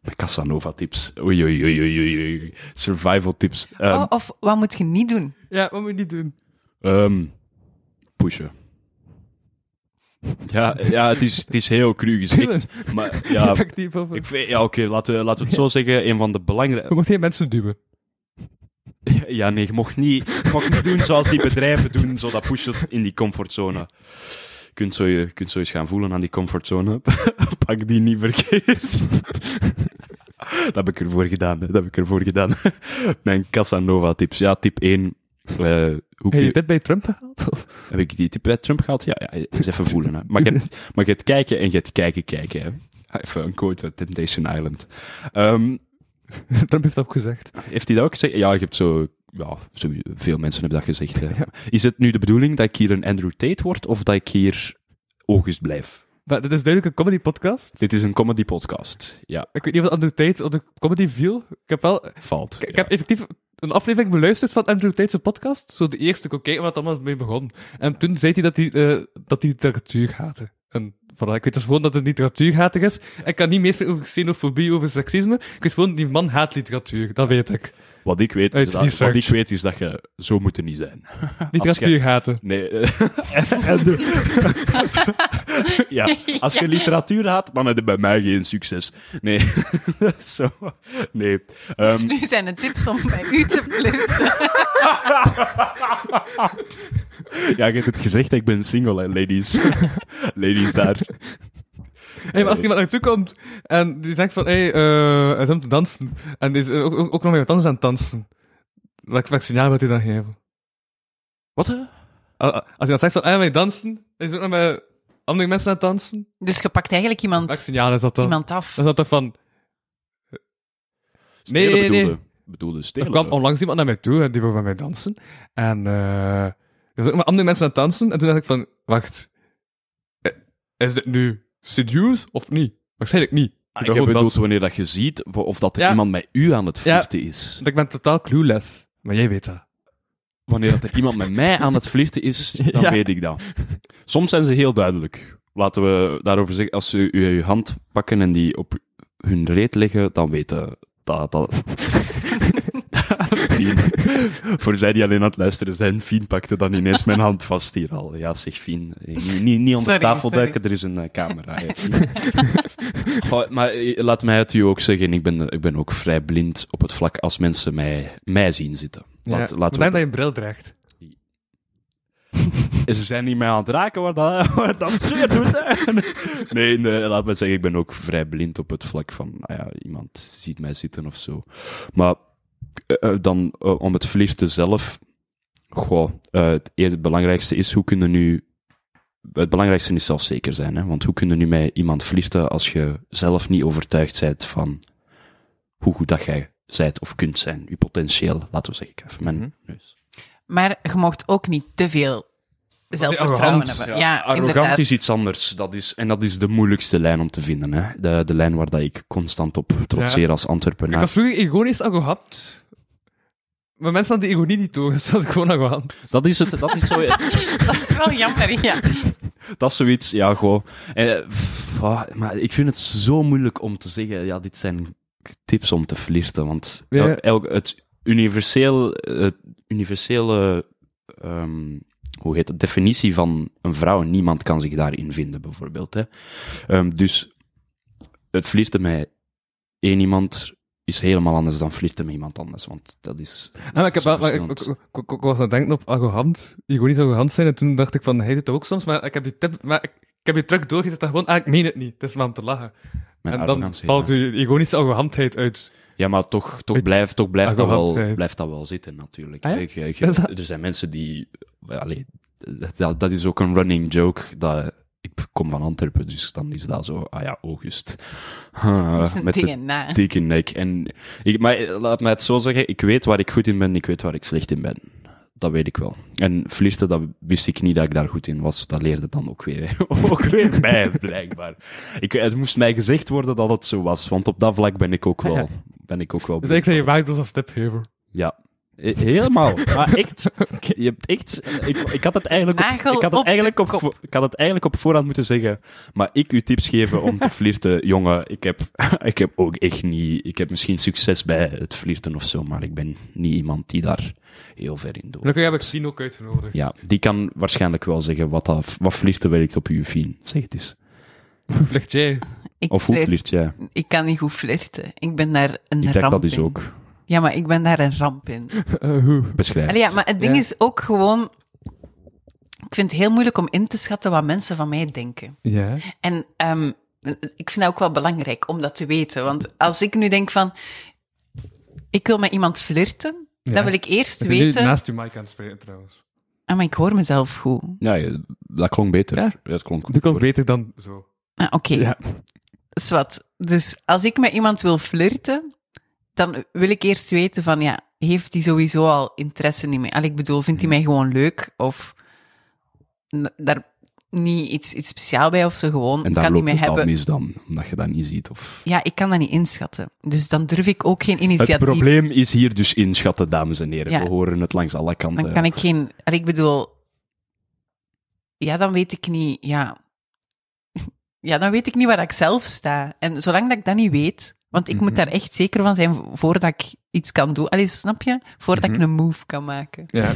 D: Mijn Casanova tips. Oei, oei, oei, oei, oei, oei. Survival tips. Ehm,
E: Oh, of wat moet je niet doen?
C: Ja, wat moet je niet doen?
D: ehm, pushen. Ja, ja het, is, het is heel cru gezegd. Maar ja,
C: Effectief over.
D: ik vind- ja oké, laten, we- laten we het zo zeggen. Een van de belangrijke...
C: Je mocht geen mensen duwen.
D: Ja, nee, je mocht niet, je mocht niet doen zoals die bedrijven doen, zo dat pushen in die comfortzone. Je kunt zo, je, kunt zo eens gaan voelen aan die comfortzone. Pak die niet verkeerd. dat heb ik ervoor gedaan, hè. dat heb ik ervoor gedaan. Mijn Casanova-tips. Ja, tip 1. hoe
C: Heb
D: kun
C: je
D: je-
C: dit bij Trump gehaald? Of?
D: Heb ik die tip bij Trump gehad? Ja, ja eens even voelen. Hè. Maar, je hebt, maar je hebt kijken en je hebt kijken kijken. Hè. Ah, Even een quote uit Temptation Island. Ehm,
C: Trump heeft dat ook gezegd.
D: heeft hij dat ook gezegd? Ja, je hebt zo... Ja, zo- veel mensen hebben dat gezegd. Hè. Is het nu de bedoeling dat ik hier een Andrew Tate word of dat ik hier August blijf?
C: Maar dit is duidelijk een comedy podcast.
D: Dit is een comedy podcast. Ja,
C: Ik weet niet of Andrew Tate onder comedy viel. Ik heb wel... Ik,
D: valt.
C: ik heb effectief een aflevering beluisterd van Andrew Tate's podcast. Zo de eerste, ik kon kijken wat allemaal mee begon. En toen zei hij dat hij, eh, dat hij literatuur haatte. En voilà, ik weet dus gewoon dat het literatuur hatig is. Ik kan niet meespreken over xenofobie, over seksisme. Ik weet gewoon, die man haat literatuur. Dat weet ik.
D: Wat, ik weet,
C: Uit
D: is dat, wat ik
C: research.
D: weet is dat je zo moet er niet zijn.
C: Literatuur haten.
D: Nee. eh, en de- ja, als je literatuur haat, dan heb je bij mij geen succes. Nee. Zo. Nee.
E: Dus
D: Ehm,
E: nu zijn de tips om bij u te flirten.
D: ja, je hebt het gezegd, ik ben single, hè, ladies. ladies daar.
C: Hey, maar als iemand naartoe komt en die zegt van, hé, hey, eh, hij is om te dansen. En die is eh, ook, ook, ook nog met anders aan het dansen. Welk, welk signaal wilt hij dan geven?
D: Wat?
C: Al- Als hij dan zegt van, hé, wij dansen. Hij is ook nog met andere mensen aan het dansen.
E: Dus je pakt eigenlijk
C: Welk
E: iemand,
C: signaal is dat dan?
E: iemand af.
C: Dan is dat toch van...
D: Stelen
C: nee,
D: bedoelde.
C: nee.
D: Bedoelde stelen.
C: Er kwam
D: hè.
C: onlangs iemand naar mij toe en die wilde met mij dansen. En eh er was ook met andere mensen aan het dansen. En toen dacht ik van, wacht. eh, Is dit nu seduce of niet? Waarschijnlijk niet.
D: Ah,
C: wil
D: ik heb
C: gewoon
D: bedoeld
C: dansen.
D: wanneer dat je ziet wo- of dat er
C: Ja.
D: iemand met u aan het flirten is.
C: Want ik ben totaal clueless. Maar jij weet dat.
D: Wanneer dat er iemand met mij aan het flirten is, dan
C: Ja.
D: weet ik dat. Soms zijn ze heel duidelijk. Laten we daarover zeggen, als ze u je hand pakken en die op hun reet leggen, dan weten dat... dat... Fien. Voor zij die alleen aan het luisteren zijn, Fien pakte dan ineens mijn hand vast hier al. Ja, zeg Fien, eh, niet, niet onder
E: Sorry,
D: tafel
E: sorry.
D: duiken, er is een eh, camera. hè, Fien. Goh, maar eh, laat mij het u ook zeggen, ik ben, eh, ik ben ook vrij blind op het vlak als mensen mij, mij zien zitten. Laat,
C: Bedankt
D: laten we
C: dat je een bril draagt.
D: en ze zijn niet meer aan het raken waar dat, waar dat zeer doet. hè. Nee, nee, laat me zeggen, ik ben ook vrij blind op het vlak van, nou ja, iemand ziet mij zitten of zo. Maar eh, eh, dan eh, om het flirten zelf. Goh, eh, het eerste het belangrijkste is, hoe kunnen nu... Het belangrijkste is zelfzeker zijn, hè? want hoe kunnen nu met iemand flirten als je zelf niet overtuigd bent van hoe goed dat jij zijt of kunt zijn, je potentieel, laten we zeggen, ik even mijn neus.
E: Maar je mocht ook niet te veel zelfvertrouwen
C: arrogant,
E: hebben. Ja,
D: Arrogant
E: inderdaad.
D: is iets anders. Dat is, en dat is de moeilijkste lijn om te vinden. Hè? De, de lijn waar dat ik constant op trotseer als
C: Ik
D: Antwerpenaar.
C: had vroeger ironisch al gehad. Maar mensen hadden die ironie niet door, dus dat was ik gewoon al gehad.
D: Dat is, het, dat, is zo,
E: Dat is wel jammer, ja.
D: dat is zoiets, ja, gewoon. Eh, pff, ah, maar ik vind het zo moeilijk om te zeggen, ja, dit zijn tips om te flirten. Want
C: Ja.
D: el- elk, het, universeel, het universele, ehm, hoe heet het, definitie van een vrouw, niemand kan zich daarin vinden, bijvoorbeeld. Hè? Ehm, dus het flirten met één iemand is helemaal anders dan flirten met iemand anders. Want dat is...
C: Ah, maar ik, heb
D: dat
C: wel,
D: is
C: maar ik, ik,
D: verschillend.
C: ik- ik- ik was aan het denken op arrogant, ironisch arrogant zijn. En toen dacht ik van, hij doet dat ook soms, maar ik heb die tip, maar ik, ik heb je truc doorgezet en gewoon, ah, ik meen het niet. Het is maar om te lachen.
D: Mijn
C: en dan
D: arrogantie,
C: valt
D: ja.
C: je ironische arrogantheid uit.
D: Ja, maar toch, toch
C: Het-
D: blijft, toch
C: Ah,
D: blijft, dat, wel,
C: Arrogantheid.
D: blijft dat wel zitten, natuurlijk.
C: Ah ja?
D: Ik- ik-
C: Is dat-
D: Er zijn mensen die... wel, allee, dat, dat is ook een running joke. Dat, ik kom van Antwerpen, dus dan is dat zo... Ah ja, August. Eh,
E: Dat is een
D: Met de
E: DNA.
D: dikke nek. En ik, maar eh, laat mij het zo zeggen, ik weet waar ik goed in ben, ik weet waar ik slecht in ben. Dat weet ik wel. En flirten, dat wist ik niet dat ik daar goed in was. Dat leerde dan ook weer. hè. ook weer bij, blijkbaar. Ik, het moest mij gezegd worden dat het zo was. Want op dat vlak ben ik ook wel... Ben ik ook wel
C: Dus ik zeg, je waakt ons als tipgever.
D: ja. He- Eh, Helemaal. Maar echt. Je hebt echt. Ik, ik had het eigenlijk op,
E: Nagel
D: ik had
E: op
D: het
E: de
D: eigenlijk op,
E: kop.
D: vo- ik had het eigenlijk op voorhand moeten zeggen. Maar ik u tips geven om te flirten, jongen. Ik heb, ik heb ook echt niet. Ik heb misschien succes bij het flirten of zo. Maar ik ben niet iemand die daar heel ver in doet.
C: Gelukkig heb ik Fien ook uitgenodigd.
D: Ja, die kan waarschijnlijk wel zeggen wat, dat, wat flirten werkt op uw fien. Zeg het eens.
C: Vliegt jij?
E: Ik,
D: Of hoe
E: flirt-
D: flirt jij?
E: ik kan niet goed flirten. Ik ben daar een
D: Ik
E: ramp
D: denk dat is
E: in.
D: ook.
E: Ja, maar ik ben daar een ramp in.
D: Eh, Beschrijf.
E: Allee, ja, maar het ding
C: Ja.
E: is ook gewoon... Ik vind het heel moeilijk om in te schatten wat mensen van mij denken.
C: Ja.
E: En ehm, ik vind dat ook wel belangrijk om dat te weten. Want als ik nu denk van... Ik wil met iemand flirten,
C: Ja.
E: dan wil ik eerst
C: Ik ben nu
E: weten...
C: naast je mic aan het spreken trouwens.
E: Ah, maar ik hoor mezelf goed.
D: Ja, ja, dat klonk beter.
C: Ja?
D: dat klonk goed.
C: Dat kan beter dan zo.
E: Ah, oké.
C: Ja.
E: Zwat. Dus als ik met iemand wil flirten, dan wil ik eerst weten van, ja, heeft die sowieso al interesse in mij? Allee, ik bedoel, vindt hij mij gewoon leuk? Of n- daar niet iets, iets speciaal bij of zo gewoon?
D: En daar
E: kan die
D: loopt
E: mij
D: het al
E: hebben?
D: mis dan, omdat je dat niet ziet. Of...
E: Ja, ik kan dat niet inschatten. Dus dan durf ik ook geen
D: Het
E: initiatief.
D: probleem is hier dus inschatten, dames en heren.
E: Ja.
D: We horen het langs alle kanten.
E: Dan kan ik geen... Allee, ik bedoel... Ja, dan weet ik niet... Ja. ja, dan weet ik niet waar ik zelf sta. En zolang dat ik dat niet weet... Want ik moet daar echt zeker van zijn vo- voordat ik iets kan doen. Allee, snap je? Voordat ik een move kan maken.
C: Ja.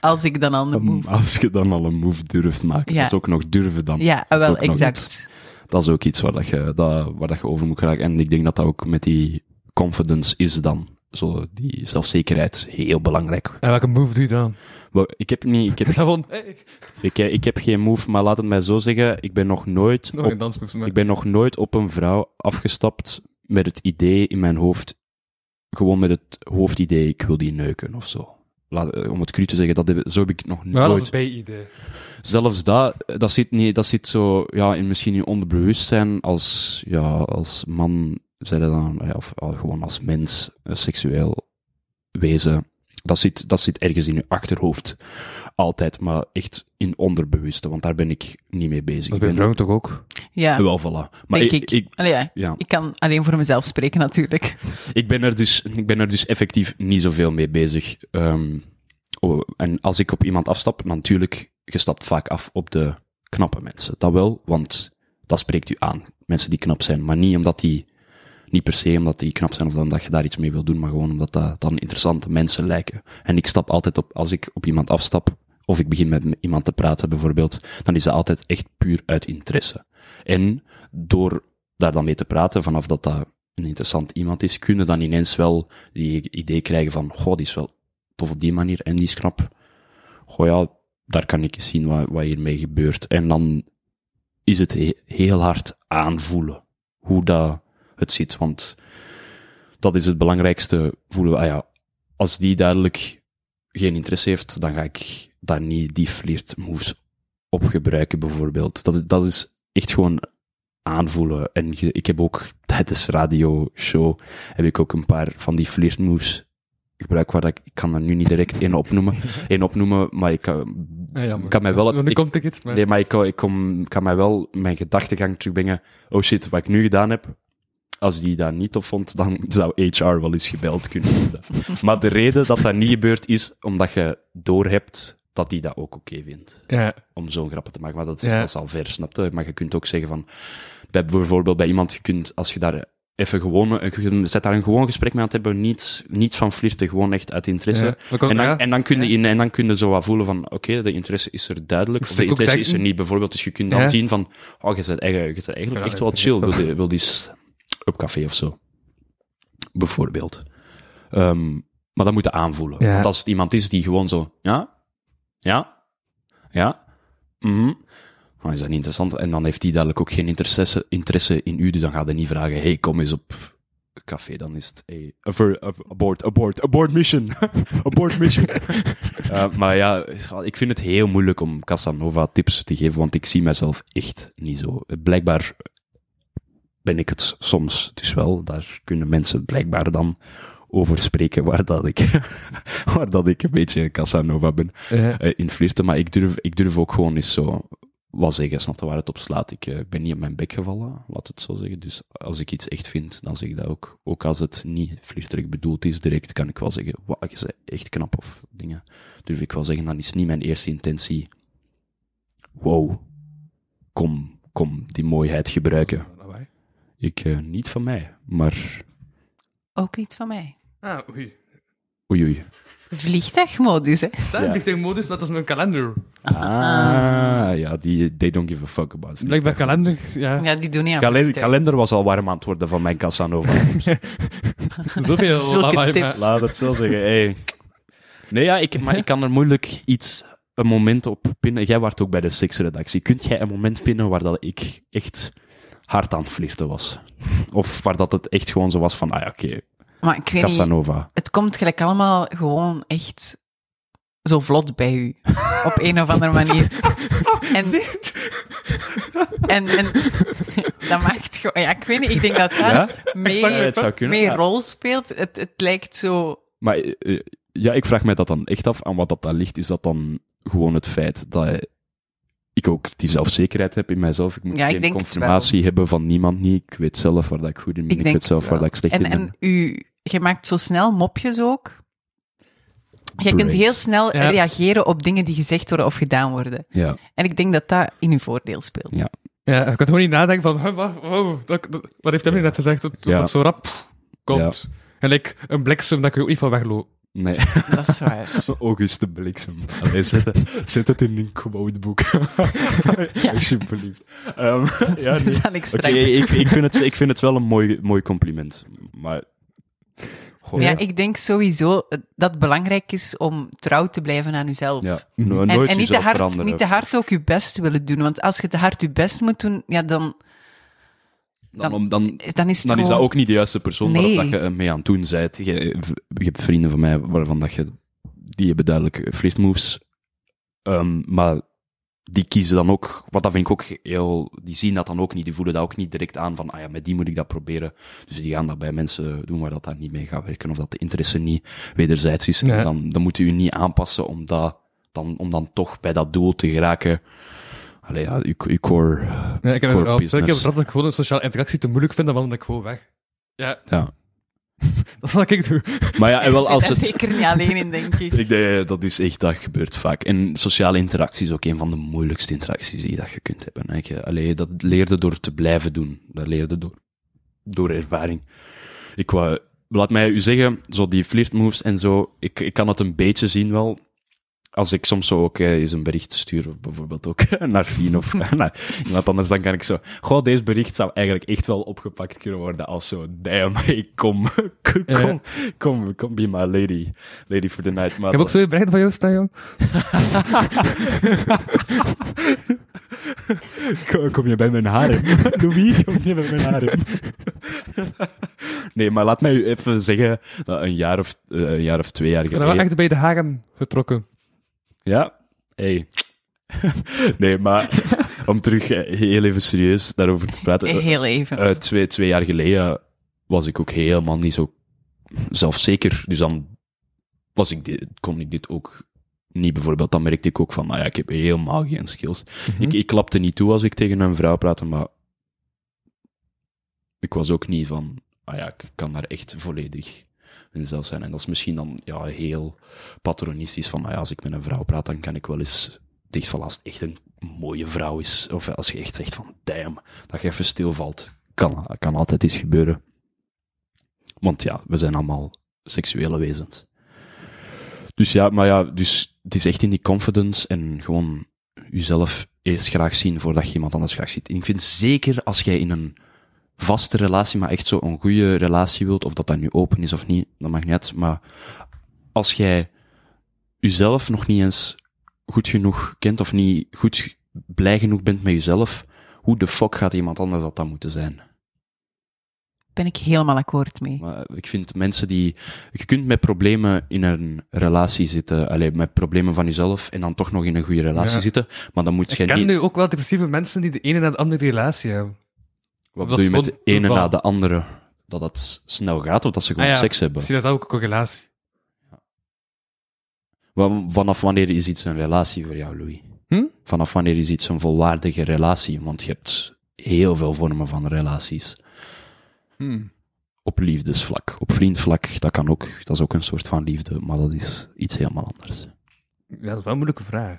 E: Als ik dan al een
D: Um,
E: move...
D: Als je dan al een move durft maken,
E: Ja.
D: dat is ook nog durven dan.
E: Ja, ah,
D: Dat is
E: wel,
D: ook nog iets.
E: exact.
D: Dat is ook iets waar, dat je, dat, waar dat je over moet geraken. En ik denk dat dat ook met die confidence is dan. Zo, die zelfzekerheid, heel belangrijk.
C: En welke move doe je dan?
D: Wel, Ik heb, niet, ik, heb,
C: Gewoon, hey,
D: ik, ik heb geen move, maar laat het mij zo zeggen. Ik ben nog nooit
C: nog
D: op
C: een dansmove
D: Ik ben nog nooit op een vrouw afgestapt met het idee in mijn hoofd, gewoon met het hoofdidee, ik wil die neuken of zo. Laat, eh, om het cru te zeggen, dat heb, zo heb ik nog
C: Nou, dat
D: nooit.
C: is B-idee.
D: Zelfs dat, eh, dat zit, niet, dat zit zo ja, in misschien je onderbewustzijn als, ja, als man, zei dat dan, eh, of al gewoon als mens, eh, seksueel wezen. Dat zit, dat zit ergens in je achterhoofd. Altijd, maar echt in onderbewuste, want daar ben ik niet mee bezig.
C: Dat is bij
D: Ik ben- Eh,
C: vrouwen toch ook?
E: Ja,
D: Ah, Wel, voilà. Maar
E: denk ik.
D: ik
E: Allee, ja.
D: ja.
E: Ik kan alleen voor mezelf spreken, natuurlijk.
D: Ik ben er dus, ik ben er dus effectief niet zoveel mee bezig. Ehm, oh, en als ik op iemand afstap, dan natuurlijk, je stapt vaak af op de knappe mensen. Dat wel, want dat spreekt u aan. Mensen die knap zijn, maar niet omdat die, niet per se omdat die knap zijn of omdat je daar iets mee wil doen, maar gewoon omdat dat dan interessante mensen lijken. En ik stap altijd op, als ik op iemand afstap, of ik begin met m- iemand te praten bijvoorbeeld, dan is dat altijd echt puur uit interesse. En door daar dan mee te praten, vanaf dat dat een interessant iemand is, kunnen dan ineens wel die idee krijgen van, goh, die is wel tof op die manier en die is knap. Goh ja, daar kan ik eens zien wat, wat hiermee gebeurt. En dan is het he- heel hard aanvoelen hoe dat het zit, want dat is het belangrijkste voelen. we, Ah ja, als die duidelijk geen interesse heeft, dan ga ik daar niet die flirt moves op gebruiken, bijvoorbeeld. Dat, is- dat is echt gewoon aanvoelen. En je- ik heb ook tijdens radio show heb ik ook een paar van die flirt moves gebruikt, waar dat ik, ik kan er nu niet direct één opnoemen, één opnoemen, maar ik kan,
C: jammer.
D: kan mij wel
C: Dan
D: het, ik-
C: komt ik iets, maar...
D: Nee, maar ik, kan- ik kom, kan mij wel mijn gedachtegang terugbrengen. Oh shit, wat ik nu gedaan heb. Als die dat niet tof vond, dan zou HR wel eens gebeld kunnen worden. maar de reden dat dat niet gebeurt is omdat je doorhebt dat die dat ook oké vindt.
C: Ja.
D: Om zo'n grappen te maken. Maar dat is,
C: Ja.
D: dat is al ver, snap je? Maar je kunt ook zeggen van... Bij, bijvoorbeeld bij iemand, je kunt, als je daar even gewoon... een- je Zet daar een gewoon gesprek mee aan het hebben. Niets, niets van flirten, gewoon echt uit interesse.
C: Ja, dat kan-
D: en, dan,
C: ja.
D: en, dan kun je, in- en dan kun je zo wat voelen van... Oké, de interesse is er duidelijk.
C: Ik
D: Of de
C: steek ook
D: interesse is er
C: denken.
D: niet, bijvoorbeeld. Dus je kunt dan
C: Ja.
D: zien van... Oh, je bent eigenlijk, je bent eigenlijk
C: Ja,
D: echt
C: dat
D: wel
C: is
D: chill. Wil,
C: perfect.
D: die- wil die eens op café of zo. Bijvoorbeeld. Ehm, maar dat moet je aanvoelen.
C: Ja.
D: Want als het iemand is die gewoon zo... Ja? Ja? Ja? Mhm. Dan is dat niet interessant. En dan heeft die duidelijk ook geen interesse, interesse in u. Dus dan gaat hij niet vragen... Hey, kom eens op café. Dan is het... Hey, aver- av- abort, abort, abort mission. abort mission. Eh, maar ja, ik vind het heel moeilijk om Casanova tips te geven, want ik zie mezelf echt niet zo. Blijkbaar ben ik het soms dus wel. Daar kunnen mensen blijkbaar dan over spreken waar dat ik, waar dat ik een beetje Casanova ben
C: Ja.
D: eh, in flirten. Maar ik durf, ik durf ook gewoon eens zo wat zeggen, snap je waar het op slaat. Ik eh, ben niet op mijn bek gevallen, laat het zo zeggen. Dus als ik iets echt vind, dan zeg ik dat ook. Ook als het niet flirterig bedoeld is, direct kan ik wel zeggen, wauw, je bent echt knap of dingen. Durf ik wel zeggen, dan is niet mijn eerste intentie, wow, kom, kom, die mooiheid gebruiken. Ik, eh, niet van mij, maar
E: Ook niet van mij.
C: Ah, oei.
D: oei oei.
E: Vliegtuigmodus, hè?
C: Daar
D: Ja.
C: ligt in modus, maar dat is mijn kalender.
D: Ah, ja, die, they don't give a fuck about
C: Blijkbaar kalender, ja.
E: Ja, die doen niet aan
D: Kalen-
E: vliegtuig.
D: kalender was al warm aan het worden van mijn Casanova.
C: Zoveel
E: Zulke
C: lawaai
E: tips.
C: maken.
D: Laat het zo zeggen. Hey. Nee, ja, ik, maar ik kan er moeilijk iets, een moment op pinnen. Jij was ook bij de seksredactie. Kunt jij een moment pinnen waar dat ik echt hard aan het flirten was? Of waar dat het echt gewoon zo was van, ah ja, oké,
E: Maar ik weet niet,
D: Casanova.
E: het komt gelijk allemaal gewoon echt zo vlot bij u. Op een of andere manier. En, en, en dat maakt gewoon... Ja, ik weet niet, ik denk dat daar
D: Ja?
E: meer,
D: het zou kunnen.
E: meer
D: Ja.
E: rol speelt. Het, het lijkt zo...
D: Maar eh, eh, ja, ik vraag mij dat dan echt af. Aan wat dat dan ligt, is dat dan gewoon het feit dat eh, ik ook die zelfzekerheid heb in mijzelf. Ik moet
E: Ja, ik
D: geen
E: denk het
D: confirmatie hebben van niemand niet. Ik weet zelf waar dat ik goed in ben. Ik,
E: denk
D: weet zelf
E: het
D: waar
E: wel.
D: dat ik slecht in
E: en,
D: ben.
E: En u, je maakt zo snel mopjes ook. Jij kunt
D: Great.
E: heel snel
C: Ja.
E: reageren op dingen die gezegd worden of gedaan worden.
D: Ja.
E: En ik denk dat dat in uw voordeel speelt.
D: Ja.
C: Ja, ik kan gewoon niet nadenken van, huh, wat, wow, dat- dat- wat heeft hem nu net gezegd, dat, dat
D: Ja.
C: dat zo rap komt. En ik, een bliksem, daar kun je ook niet van weglopen.
D: Nee.
E: Dat is waar.
D: Auguste Bliksem. Allee, zet, het- zet het in een quoteboek. Alsjeblieft. Ehm, ja, nee.
E: Dat zal ik
D: Oké,
E: straks.
D: ik, ik, vind het, ik vind het wel een mooi, mooi compliment. Maar
E: Maar Ja, ik denk sowieso dat het belangrijk is om trouw te blijven aan uzelf.
D: ja, no-
E: En,
D: nooit
E: en niet, te
D: jezelf
E: hard,
D: veranderen.
E: niet te hard ook je best willen doen. Want als je te hard je best moet doen, ja, dan,
D: Dan, om- dan,
E: dan is het
D: dan is dat
E: gewoon-
D: ook niet de juiste persoon
E: Nee.
D: waarop dat je eh, mee aan het doen bent. Je, je hebt vrienden van mij waarvan dat je... Die hebben duidelijk flirtmoves. Ehm, maar die kiezen dan ook... Wat dat vind ik ook heel... Die zien dat dan ook niet. Die voelen dat ook niet direct aan van... Ah ja, met die moet ik dat proberen. Dus die gaan dat bij mensen doen waar dat daar niet mee gaat werken. Of dat de interesse niet wederzijds is.
C: Nee.
D: En dan, dan moet u je niet aanpassen om, dat, dan, om dan toch bij dat doel te geraken. Allee, ja, je, je core... eh,
C: Nee, ik heb
D: Core
C: het wel. Ik heb
D: business.
C: het rap dat ik gewoon een sociale interactie te moeilijk vind, dan wandel ik gewoon weg. Ja.
D: Ja.
C: dat is wat ik doe.
D: Maar ja, en wel
E: Jij
D: als
E: zit
D: het...
E: daar zeker niet alleen in, denk ik.
D: Ik denk, eh, dat is echt, dat gebeurt vaak. En sociale interactie is ook een van de moeilijkste interacties die dat je kunt hebben. hè. Je- Allee, dat leerde door te blijven doen. Dat leerde door, door ervaring. Ik wou, laat mij u zeggen, zo die flirtmoves en zo, ik, ik kan het een beetje zien wel. Als ik soms zo ook eh, eens een bericht stuur, bijvoorbeeld ook naar Fien of naar iemand anders, dan kan ik zo... Goh, deze bericht zou eigenlijk echt wel opgepakt kunnen worden als zo... Damn, ik kom, kom, kom, kom, kom be my lady, lady for the night. Maar
C: Ik heb ook
D: dat-
C: zo'n bericht van jou staan, jong.
D: Kom, kom je bij mijn harem? Louis, kom je bij mijn harem? nee, maar laat mij u even zeggen dat een jaar of, eh, een jaar of twee jaar
C: Ik ben wel
D: geleden...
C: echt bij de haren getrokken.
D: Ja, hey. nee, maar om terug eh, heel even serieus daarover te praten. eh,
E: Heel even.
D: eh, twee, twee jaar geleden was ik ook helemaal niet zo zelfzeker. Dus dan was ik dit, kon ik dit ook niet bijvoorbeeld. Dan merkte ik ook van, nou ja, ik heb helemaal geen skills. ik, ik klapte niet toe als ik tegen een vrouw praatte, maar ik was ook niet van, ah ja, ik kan daar echt volledig in zelf zijn. En dat is misschien dan ja, heel patronistisch van, ah ja, als ik met een vrouw praat, dan kan ik wel eens dicht van als het echt een mooie vrouw is. Of als je echt zegt van, damn, dat je even stilvalt. Kan, kan altijd iets gebeuren. Want ja, we zijn allemaal seksuele wezens. Dus ja, maar ja, dus het is echt in die confidence en gewoon jezelf eerst graag zien voordat je iemand anders graag ziet. En ik vind zeker als jij in een vaste relatie, maar echt zo'n goede relatie wilt, of dat dat nu open is of niet, dat mag niet uit. Maar als jij jezelf nog niet eens goed genoeg kent of niet goed blij genoeg bent met jezelf, hoe de fuck gaat iemand anders dat dan moeten zijn?
E: ben ik helemaal akkoord mee.
D: Maar ik vind mensen die. Je kunt met problemen in een relatie zitten. Allee, met problemen van jezelf. En dan toch nog in een goede relatie
C: Ja.
D: zitten. Maar dan moet
C: Ik
D: je
C: ken
D: niet.
C: nu ook wel depressieve mensen die de ene na de andere relatie hebben.
D: wat
C: dat
D: doe je
C: is
D: met de
C: gewoon
D: ene
C: toeval.
D: na de andere? dat het snel gaat of dat ze gewoon
C: Ah ja,
D: seks hebben.
C: Misschien is dat ook een correlatie.
D: Wa- Vanaf wanneer is iets een relatie voor jou, Louis?
C: Hm?
D: Vanaf wanneer is iets een volwaardige relatie? Want je hebt heel veel vormen van relaties.
C: Hm.
D: Op liefdesvlak, op vriendvlak, dat kan ook. Dat is ook een soort van liefde, maar dat is iets helemaal anders.
C: Ja, dat is wel een moeilijke vraag.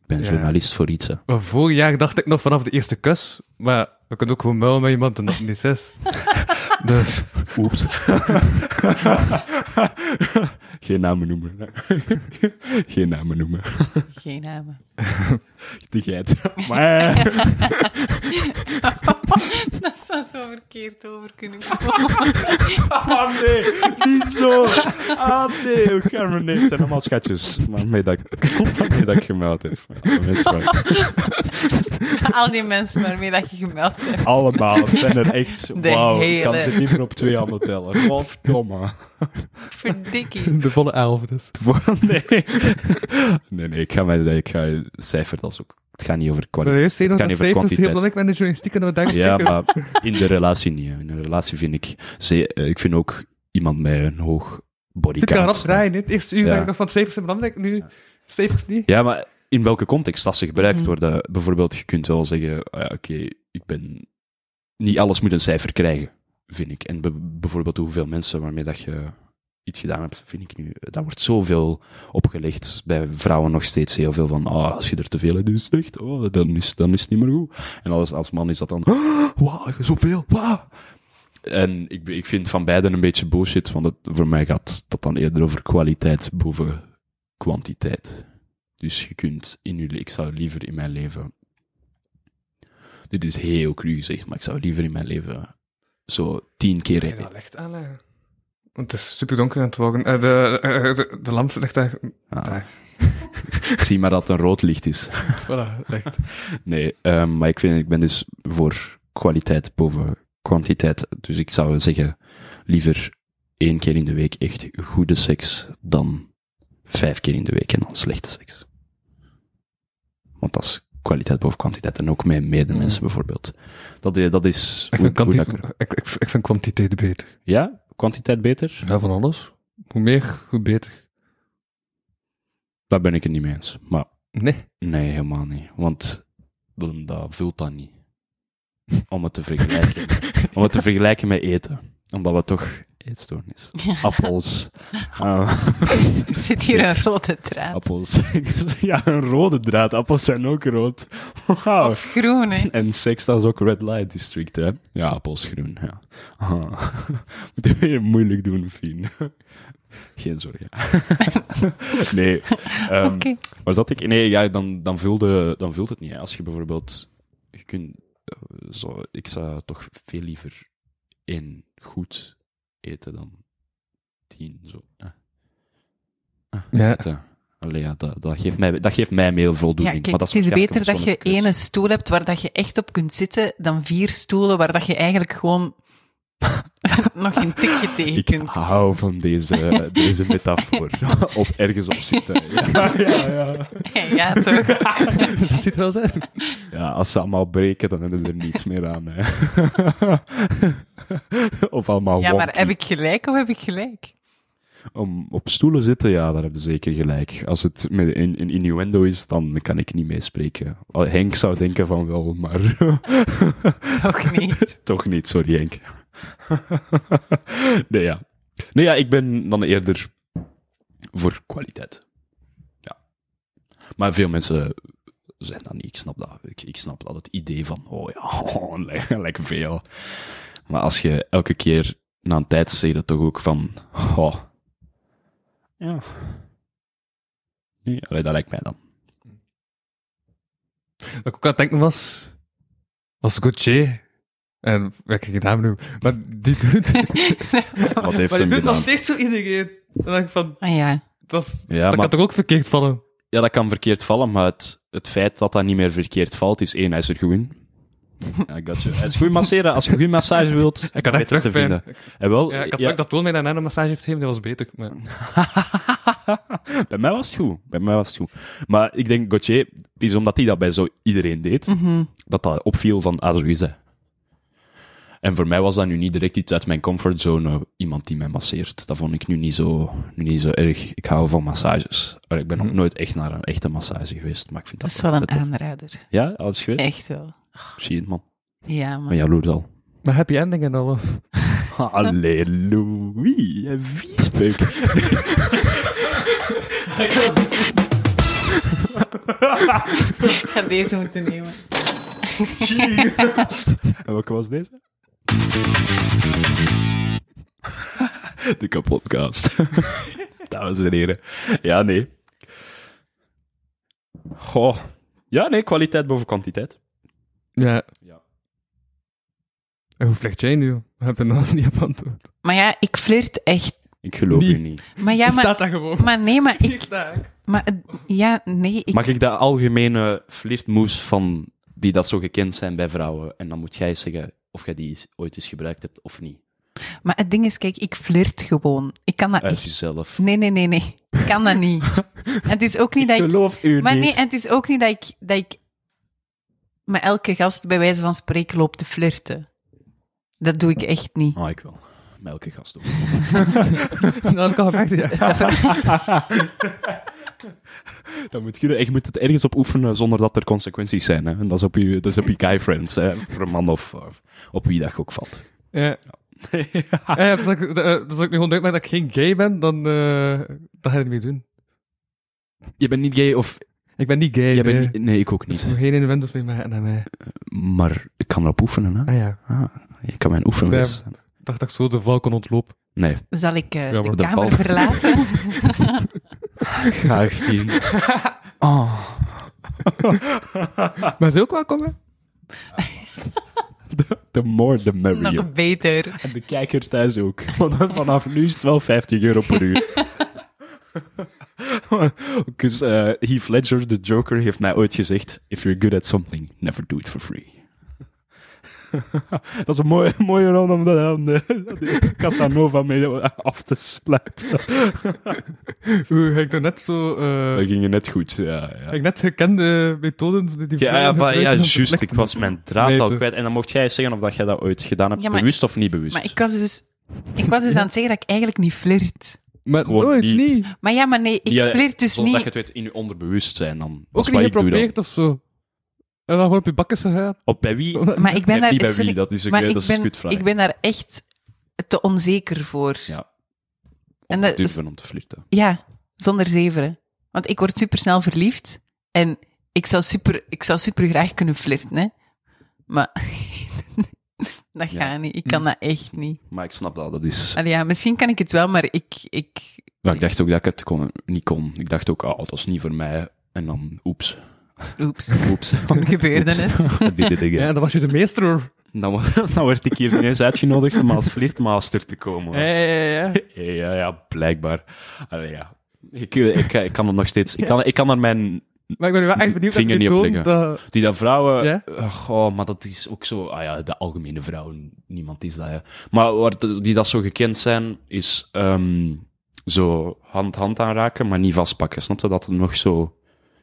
D: Ik ben
C: Ja.
D: journalist voor iets. hè.
C: Maar vorig jaar dacht ik nog vanaf de eerste kus, maar we kunnen ook gewoon muilen met iemand en dat niet is. dus,
D: Oeps. Geen namen noemen. Geen namen noemen.
E: Geen namen.
D: De geit.
F: Maar
E: dat zou zo verkeerd over kunnen komen.
F: ah nee, niet zo. Ah nee, hoe kan me niet? Het zijn allemaal schatjes.
D: Waarmee dat ik, waarmee dat ik gemeld heb. Ja, dat is waar.
E: Al die mensen waarmee dat je gemeld hebt.
F: Allemaal, het zijn er echt.
E: De
F: Wauw, ik kan
E: hele-
F: ze niet meer op twee handen tellen. Godverdomme.
E: Verdikkie.
C: de volle elf dus.
D: Nee. nee, nee, ik ga mij ik ga cijfer dat is ook. Het gaat niet over
C: Maar
D: kwaliteit.
C: eerst zeggen
D: Het
C: dat
D: kan
C: dat
D: niet over
C: zeven is heel
D: kwantiteit.
C: belangrijk met de journalistiek en dat we denken...
D: Ja, maar in de relatie niet. hè. In een relatie vind ik. ze- eh, ik vind ook iemand met een hoog
C: Dit kan rap
D: bodycount.
C: draaien, hè. Het eerste uur
D: Ja.
C: denk ik nog van zeven is belangrijk, nu zeven is niet.
D: Ja, maar in welke context dat ze gebruikt
C: Mhm.
D: worden? Bijvoorbeeld, je kunt wel zeggen: ah ja, oké, ik ben. Niet alles moet een cijfer krijgen, vind ik. En be- bijvoorbeeld, hoeveel mensen waarmee dat je iets gedaan hebt, vind ik nu. Daar wordt zoveel opgelegd bij vrouwen nog steeds heel veel van. ah als je er te veel in doet, slecht. Oh, dan is, dan is het niet meer goed. En als, als man is dat dan. "Ah, Wauw, zoveel. Wauw. En ik, ik vind van beiden een beetje bullshit, want het, voor mij gaat dat dan eerder over kwaliteit boven kwantiteit. Dus je kunt in jullie, ik zou liever in mijn leven. Dit is heel cru gezegd, maar ik zou liever in mijn leven zo tien keer.
C: Ik ga dat licht aanleggen. Want het is super donker aan het worden. Eh, de, eh, de, de lamp ligt daar.
D: Ah.
C: daar.
D: Ik zie maar dat het een rood licht is.
C: Voilà, licht.
D: Nee, ehm, maar ik, vind, ik ben dus voor kwaliteit boven kwantiteit. Dus ik zou zeggen, liever één keer in de week echt goede seks dan vijf keer in de week en dan slechte seks. Want dat is kwaliteit boven kwantiteit. En ook met medemensen bijvoorbeeld. Dat, i- dat is
C: Ik
D: hoe-
C: vind,
D: hoe
C: kwanti-
D: dat ik er-
C: ik, ik, ik vind kwantiteit beter.
D: Ja, kwantiteit beter?
C: Ja, van alles. Hoe meer, hoe beter.
D: Daar ben ik het niet mee eens. Maar
C: Nee.
D: nee, helemaal niet. Want dan- dat vult dan niet. Om het te vergelijken. Om het te vergelijken met eten. Omdat we toch eetstoornis. Appels. Ah,
E: Er zit hier een rode draad.
D: appels.
F: Ja, een rode draad. Appels zijn ook rood. Wauw.
E: Of groen, hè.
D: En seks, dat is ook red light district, hè? Ja, appels groen, ja. Ah. Moet je weer moeilijk doen, Fien. Geen zorgen. nee. ehm,
E: Oké.
D: Waar zat ik? Nee, ja, dan, dan, vulde, dan vult het niet. Hè. Als je bijvoorbeeld... Je kunt, eh, zo, ik zou toch veel liever één goed eten dan tien, zo. Ah. Ah,
C: Ja.
D: ja. Allee, ja, dat, dat, geeft mij, dat geeft mij meer
E: Ja,
D: voldoening.
E: kijk,
D: maar dat
E: het is
D: waarschijnlijk
E: beter
D: een
E: dat je
D: persoonlijke keuze.
E: ene stoel hebt waar dat je echt op kunt zitten, dan vier stoelen waar dat je eigenlijk gewoon nog een tikje tegen
D: Ik
E: kunt.
D: hou van deze, deze metafoor. op ergens op zitten. Ja.
E: Ja, toch?
C: Dat ziet wel zijn.
D: Ja, als ze allemaal breken, dan hebben ze er niets meer aan. Hè. of allemaal
E: Ja, maar
D: wonky.
E: heb ik gelijk of heb ik gelijk?
D: Om op stoelen zitten, ja, daar hebben ze zeker gelijk. Als het met een, een innuendo is, dan kan ik niet meespreken. Al Henk zou denken van wel, maar
E: Toch niet?
D: toch niet. Sorry, Henk. nee, ja. Nee, ja, ik ben dan eerder voor kwaliteit. Ja. Maar veel mensen zijn dat niet. Ik snap dat. Ik, ik snap dat het idee van, oh ja, lekker veel. Maar als je elke keer na een tijd zeg je dat toch ook van, oh. Ja. Nee, allee, dat lijkt mij dan.
C: Wat ik ook aan het denken was, was Gauthier. En wat ik gedaan noem. Maar die doet,
D: Wat heeft
C: maar die
D: hem
C: doet nog
D: gedaan?
C: steeds zo iedereen. Dan dacht ik van,
E: Ah ja.
C: dat, is,
D: Ja,
C: dat
D: maar-
C: kan toch ook verkeerd vallen?
D: Ja, dat kan verkeerd vallen, maar het, het feit dat dat niet meer verkeerd valt, is één, hij is er goed in. Ja, ik got you. Hij is goed masseren. Als je goed massage wilt,
C: Ik had echt
D: weet het te
C: terugpijn.
D: vinden. En wel,
C: Ja, ik had
D: ja,
C: ja. dat Toon mij daarna een massage heeft gegeven, dat was beter. Maar...
D: bij mij was het goed. Bij mij was het goed. Maar ik denk, Gauthier, het
E: Mhm.
D: is omdat hij dat bij zo iedereen deed, dat dat opviel van, ah, zo is hij. En voor mij was dat nu niet direct iets uit mijn comfortzone, eh, iemand die mij masseert. Dat vond ik nu niet zo, nu niet zo erg. Ik hou van massages. Allee, Ik ben
C: Mhm.
D: nog nooit echt naar een echte massage geweest, maar ik vind
E: Dat
D: dat...
E: is wel een Eh.
D: tof.
E: aanrader.
D: Ja, als geweest?
E: Echt wel.
D: Zie je het, man.
E: Ja, man.
D: Maar jaloers al.
C: Maar happy ending en al.
D: Halleluja, viespeuk.
E: Ik ga deze moeten nemen.
D: En welke was deze? De kapotkast. Dames en heren. Ja, nee. Goh. Ja, nee, kwaliteit boven kwantiteit.
C: Ja.
D: Ja.
C: En Hoe vlecht jij nu? Je hebt er nog niet op antwoord.
E: Maar ja, ik flirt echt.
D: Ik geloof
C: Nee.
D: u niet.
E: Maar ja, maar,
C: Staat daar gewoon.
E: maar nee, maar ik...
C: sta ik.
E: Maar, eh, ja, nee, ik...
D: Mag ik de algemene flirtmoves van die dat zo gekend zijn bij vrouwen? En dan moet jij zeggen of jij die ooit eens gebruikt hebt of niet.
E: maar het ding is, kijk, ik flirt gewoon. Ik kan dat
D: Uit
E: echt...
D: jezelf.
E: Nee, nee, nee, nee. Ik kan dat niet. En het is ook niet dat ik...
F: Geloof u
E: Maar
F: niet.
E: nee, en het is ook niet dat ik, dat ik met elke gast bij wijze van spreken loop te flirten. Dat doe ik echt niet.
D: Ah, ik wel. Met elke gast ook.
C: Dan heb ik al gevraagd, ja.
D: Dan moet je, je moet het ergens op oefenen zonder dat er consequenties zijn. Hè? En dat is op je, dat is op je guy friends. Hè? Voor een man of eh, op wie dat je ook valt.
C: Ja. ja. dus als ik, eh, dus als ik nu gewoon denk dat ik geen gay ben, dan eh, dat ga je niet meer doen.
D: Je bent niet gay of...
C: Ik ben niet gay.
D: Jij bent
C: nee.
D: niet, nee, ik ook
C: Dus
D: niet.
C: nog geen inventors meer maken naar mij.
D: Maar ik kan erop oefenen. Hè?
C: Ah ja,
D: Ah, ik kan mijn oefenles... zijn.
C: ik dacht dat ik zo de val kon ontlopen.
D: Nee,
E: Zal ik eh,
C: Ja,
E: de
C: maar
D: de
E: kamer
D: val-
E: verlaten?
D: graag zien. Oh.
C: Maar ze ook welkom, hè?
F: The more the merrier.
E: Nog beter.
F: En de kijker thuis ook. Want vanaf nu is het wel 50 euro per uur.
D: Dus eh, Heath Ledger, de Joker, heeft mij ooit gezegd... If you're good at something, never do it for free.
F: Dat is een mooie, mooie rol om dat aan de, aan de Casanova mee af te sluiten.
C: Oeh, heb ik toch net zo... eh,
D: Dat ging je net goed, ja. Oh, ja.
C: heb ik net gekende methoden die die
D: Ja, ja,
C: vrouwen
D: van, ja
C: gebruiken om te
D: juist. Ik
C: vlechten.
D: was mijn draad al
C: Smeten.
D: kwijt. En dan mocht jij eens zeggen of dat jij dat ooit gedaan hebt.
E: Ja, maar-
D: bewust of niet bewust.
E: Maar ik was dus, ik was dus aan het zeggen dat ik eigenlijk niet flirt.
C: Maar
D: Gewoon
C: nooit,
D: niet.
C: niet.
E: Maar ja, maar nee, ik
D: Ja,
E: flirt dus
D: Zodat je
E: niet.
D: het weet in je onderbewustzijn dan. Dat
C: Ook niet
D: is wat ik doe dan.
C: geprobeerd of zo. En dan gewoon op je bakken gegaan.
D: Op bij wie?
E: Maar ik ben
D: en
E: daar...
D: niet bij
E: sorry,
D: wie, dat is een,
E: maar
D: dat
E: ik
D: is een
E: ben,
D: kutvraag.
E: ik ben daar echt te onzeker voor.
D: Ja.
E: en
D: Om
E: dat
D: te durven om te flirten.
E: Ja, zonder zeveren. Want ik word supersnel verliefd. En ik zou super, ik zou super graag kunnen flirten, hè. Maar dat
D: Ja. Hm.
E: gaat niet. Ik kan dat echt niet.
D: Maar ik snap dat, dat is...
E: Allee, ja, misschien kan ik het wel, maar ik... ik
D: Maar ik dacht ook dat ik het kon, niet kon. Ik dacht ook, ah, dat is niet voor mij. En dan, oeps.
E: oeps,
D: Oeps.
E: toen gebeurde
D: Oeps.
E: het.
D: Die dingen.
C: Ja, dan was je de meester, hoor.
D: Dan, wa- dan werd ik hier ineens uitgenodigd om als flirtmaster te komen.
C: Ja, ja, ja, ja.
D: Hey, Ja, ja, blijkbaar. Allee, ja. Ik, ik, ik kan het nog steeds. Ik kan, ik kan er mijn.
C: Maar ik ben nu wel echt benieuwd naar
D: Vinger
C: die
D: niet
C: toon.
D: opleggen.
C: Dat...
D: Die dat vrouwen.
C: Ja?
D: Eh, goh, maar dat is ook zo. Ah ja, de algemene vrouwen. Niemand is dat. Ja. Maar waar de- die dat zo gekend zijn, is ehm, zo hand-hand aanraken, maar niet vastpakken. Snap je dat er nog zo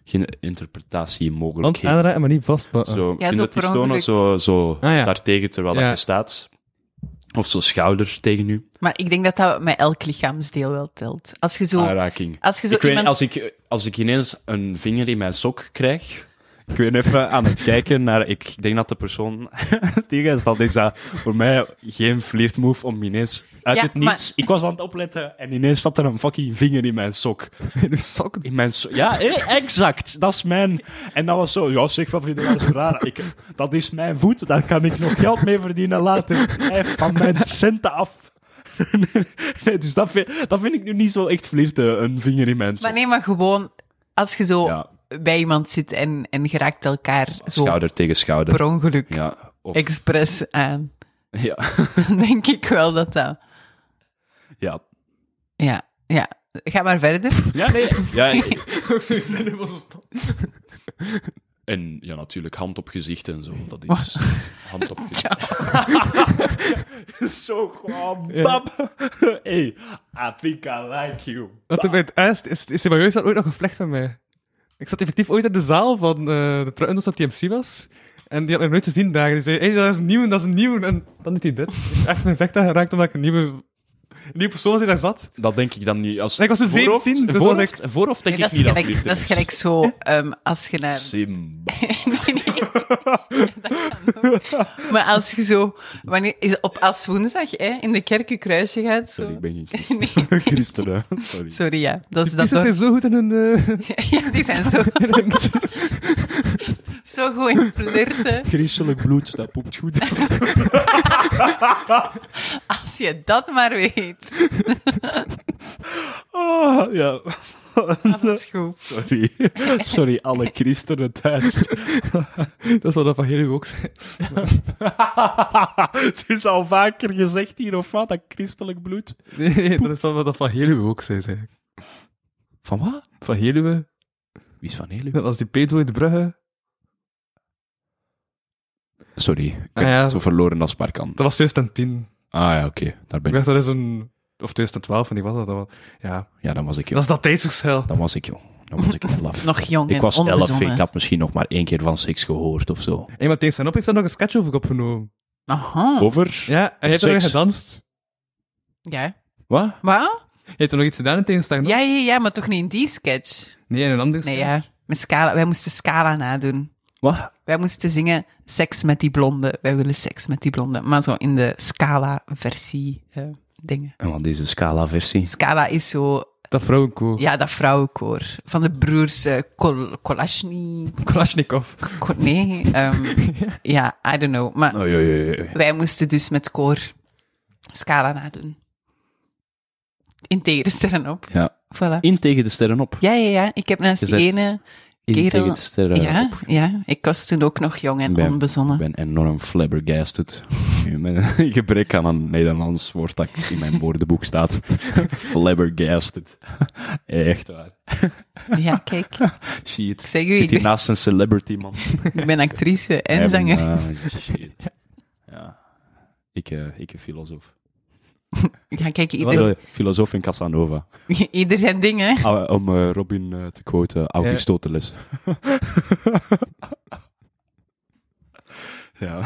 D: geen interpretatie mogelijk
C: Want
D: is?
C: aanraken, maar niet vastpakken.
D: Zo,
E: Ja,
D: in
E: zo
D: dat
E: per
D: die stonen,
E: ongeluk.
D: zo, zo
C: ja.
D: daartegen terwijl
C: Ja.
D: dat je staat. Of zo schouder tegen u.
E: Maar ik denk dat dat met elk lichaamsdeel wel telt. Als je
D: Ah,
E: zo...
D: Aanraking.
E: Als je zo
D: ik weet,
E: iemand...
D: als, ik, als ik ineens een vinger in mijn sok krijg, ik ben even aan het kijken naar... Ik denk dat de persoon tegen is, dat is dat voor mij geen flirtmove om ineens uit
E: Ja,
D: het niets...
E: maar-
D: Ik was aan het opletten en ineens zat er een fucking vinger in mijn sok.
C: In de sokken.
D: In mijn so- ja, eh, exact. Dat is mijn... En dat was zo, ja zeg, wat vind je dat zo raar? Ik, dat is mijn voet, daar kan ik nog geld mee verdienen later. Blijf van mijn centen af. Nee, dus dat vind, dat vind ik nu niet zo echt flirten, een vinger in mijn sok.
E: Maar nee, maar gewoon... Als je zo
D: Ja.
E: bij iemand zit en, en je raakt elkaar zo
D: Schouder tegen schouder.
E: per ongeluk
D: Ja. Of,
E: expres aan,
D: ja,
E: dan denk ik wel dat dat...
D: ja.
E: Ja, ja. Ga maar verder.
D: Ja, nee. Ja,
C: Ook zo zin was
D: en ja, natuurlijk hand op gezicht en zo. Dat is hand op gezicht.
F: Zo gewoon, bab. Hey, I think I like you.
C: Dat er bij het eerst is, is hij bij juist ooit nog gevlecht van mij. Ik zat effectief ooit in de zaal van eh, de Truindels dat TMC was. En En die had nog nooit gezien dagen. Die zei, hey, dat is nieuw, dat is nieuw. En dan deed hij dit. Ik heb echt mijn zegt dat geraakt omdat ik een nieuwe, een nieuwe persoon was die daar zat.
D: Dat denk ik dan niet. Als
C: Ik was toen
D: voorhoofd-
C: 17, dus
D: voorhoofd,
C: was
D: voorhoofd denk ik
E: dat, is
D: niet dat
E: gelijk,
D: liefde
E: dat is gelijk zo, ehm, als je naar...
D: Simba.
E: nee, nee. Dat kan ook. Maar als je zo... Wanneer, is op als woensdag hè, in de kerk je kruisje gaat... Zo.
D: Sorry, ik ben geen
E: Nee,
D: christen, hè. Sorry.
E: sorry, ja. Dat is
C: Die
E: dat
C: zit
E: dorp.
C: hier zo goed in hun... eh,
E: Ja, die zijn zo,
C: in hun-
E: zo goed in flirten.
D: Christelijk bloed, dat poept goed.
E: Als je dat maar weet.
F: Ah, ja.
E: Dat is goed.
D: Sorry. Sorry, alle christenen thuis.
C: dat zal dat van jullie ook zijn.
F: Het is al vaker gezegd hier, of wat, dat christelijk bloed.
C: Nee, nee, dat is wel wat dat van Heluwe ook zei, zei ik.
D: Van wat?
C: Van Heluwe,
D: Wie is van Helu?
C: net als die pedo in de brugge.
D: Sorry, ik
C: Ah,
D: heb
C: ja.
D: het zo verloren als maar kan.
C: Dat was 2010.
D: Ah ja, oké, daar
C: Ik
D: ben ik.
C: dacht, dat is een... Of 2012, en die was dat wel. Ja,
D: Ja, dan was ik
C: dat
D: jong.
C: is dat tijdsverschil.
D: Dan was ik jong. Dan was ik net laf.
E: Nog jong
D: Ik
E: en
D: was elf,
E: onbezonnen.
D: ik had misschien nog maar één keer van seks gehoord of zo.
C: En maar tegen zijn op heeft daar nog een sketch over opgenomen.
E: Aha.
D: Over?
C: Ja, en hij heeft er
D: Seks.
C: nog gedanst.
E: Ja.
D: Wat?
E: Wat?
C: Hij heeft er nog iets gedaan in tegenstelling
E: Ja, ja, ja, maar toch niet in die sketch.
C: Nee, in een andere
E: Nee,
C: sketch.
E: ja. Met Scala, wij moesten Scala nadoen.
D: Wat?
E: Wij moesten zingen Seks met die blonde. Wij willen seks met die blonde. Maar zo in de Scala-versie eh, dingen.
D: En wat deze Scala-versie?
E: Scala is zo,
C: Dat vrouwenkoor.
E: ja, dat vrouwenkoor. Van de broers eh Kol Kolashny.
C: Kalashnikov.
E: Ko- nee, ehm, ja, I don't know. Maar
D: Oei, oei, oei, oei.
E: wij moesten dus met koor Scala nadoen. In tegenstelling op.
D: Ja.
E: Voilà.
D: In tegen de sterren op.
E: Ja, ja, ja. Ik heb naast
D: Je
E: die
D: bent
E: ene...
D: In
E: Kerel-
D: tegen de sterren
E: Ja,
D: op.
E: ja, ik was toen ook nog jong en
D: Ben- Ik
E: onbezonnen.
D: ben enorm flabbergasted. Nu, Met een gebrek aan een Nederlands woord dat in mijn woordenboek staat. flabbergasted. Echt waar.
E: Ja, kijk.
D: Shit.
E: zeg u, ik
D: Zit hier
E: ben-
D: naast een celebrity, man.
E: Ik ben actrice en
D: Even,
E: zanger.
D: ah, shit. Ja. Ik, eh, ik een filosoof.
E: Ja, kijk, ieder,
D: Ieder... Filosoof in Casanova.
E: ieder zijn ding, hè.
D: Ah, om eh, Robin eh, te quoten, Aristoteles. ja.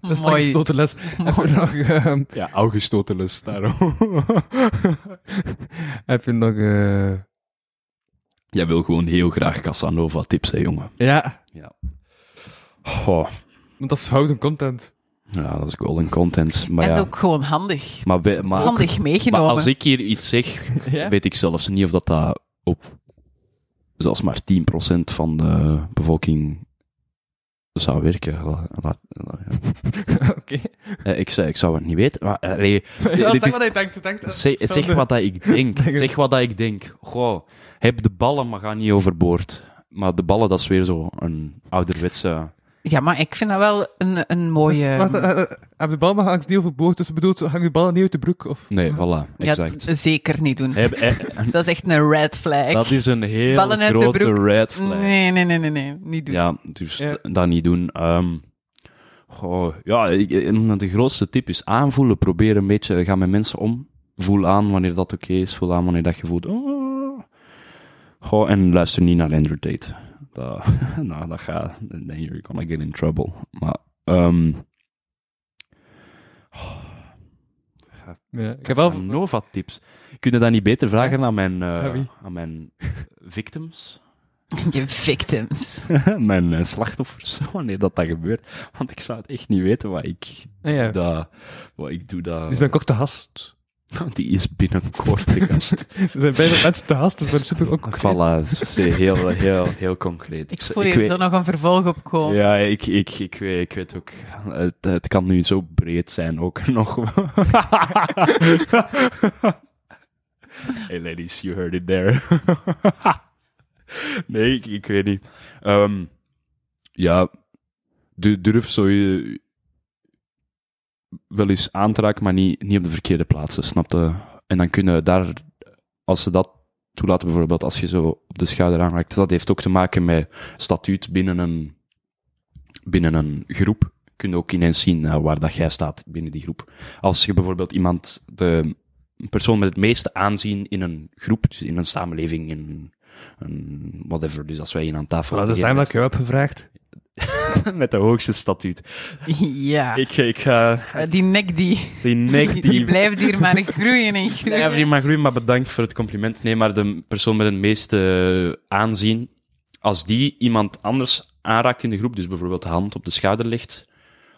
C: Dat is
E: Mooi.
C: Mooi. Aristoteles. Heb je nog, ehm,
D: ja, Augustoteles, daarom.
C: heb je nog eh,
D: Jij wil gewoon heel graag Casanova tips, hè, jongen.
C: ja,
D: Oh,
C: want dat is houden content.
D: ja, dat is golden content. Maar
E: en
D: ja,
E: ook gewoon handig.
D: maar, we- maar,
E: handig
D: maar
E: meegenomen.
D: als ik hier iets zeg,
C: Ja?
D: weet ik zelfs niet of dat, dat op zelfs maar 10% van de bevolking zou werken. La- la- la- ja.
C: Oké.
D: Eh, ik, zei, ik zou het niet weten, maar eh, nee,
C: Ja, zeg
D: dit is-
C: wat hij denkt. denkt eh,
D: Zeg,
C: stel
D: zeg
C: de-
D: wat dat ik denk.
C: Leg het.
D: Zeg wat dat ik denk. Goh, heb de ballen, maar ga niet overboord. Maar de ballen, dat is weer zo een ouderwetse...
E: Ja, maar ik vind dat wel een, een mooie...
C: Wacht, eh, eh, heb de bal maar hangt niet overboord, dus bedoelt, hang je bal niet uit de broek? Of...
D: Nee, voilà,
E: Ja,
D: exact.
E: zeker niet doen.
D: Heb- eh, en
E: Dat is echt een red flag.
D: dat is een heel
E: Ballen uit de
D: grote
E: broek. Mm,
D: red flag.
E: Nee, nee, nee, nee, nee. Niet doen.
D: Ja, dus
C: Ja.
D: d- dat niet doen. Ehm, goh, ja, ik- en de grootste tip is aanvoelen. Probeer een beetje, ga met mensen om. Voel aan wanneer dat oké is. Voel aan wanneer dat je voelt... oh. Goh, en luister niet naar Andrew Tate. Dat, nou, dat gaat... Then you're gonna get in trouble. Maar... ehm
C: Ja, ik heb wel...
D: Nova tips. Kun je dat niet beter vragen aan mijn, eh,
C: Aan wie?
D: aan mijn victims?
E: Je victims.
D: mijn eh, slachtoffers, wanneer dat, dat gebeurt. Want ik zou het echt niet weten wat ik
C: Ah, ja.
D: dat wat ik doe dat.
C: Dus ben ik ook te hast.
D: Die is binnenkort de gast.
C: Er zijn bijna mensen te hast, dus ik ben super ook...
D: voilà, ze is heel, heel, heel concreet.
E: Ik voel hier
D: weet-
E: zo nog een vervolg op komen.
D: Ja, ik, ik, ik, weet, ik weet ook. Het, het kan nu zo breed zijn ook nog. hey ladies, you heard it there. nee, ik, ik weet niet. Ehm, ja, du- durf zo je wel eens aan te raken, maar niet, niet op de verkeerde plaatsen, snap je? En dan kunnen daar, als ze dat toelaten bijvoorbeeld, als je zo op de schouder aanraakt, dat heeft ook te maken met statuut binnen een binnen een groep kun je ook ineens zien eh, waar dat jij staat binnen die groep. Als je bijvoorbeeld iemand, de persoon met het meeste aanzien in een groep, dus in een samenleving, in een whatever, dus als wij hier aan tafel
C: Voilà, dat is
D: liggen,
C: daarom dat ik jou heb gevraagd.
D: met de hoogste statuut.
E: Ja.
D: Ik, ga- ik ga
E: Eh, Die nek die,
D: die nek
E: die, die blijft hier maar groeien en groeien.
D: Blijf die maar groeien, maar bedankt voor het compliment. Nee, maar de persoon met het meeste eh, aanzien, als die iemand anders aanraakt in de groep, dus bijvoorbeeld de hand op de schouder legt,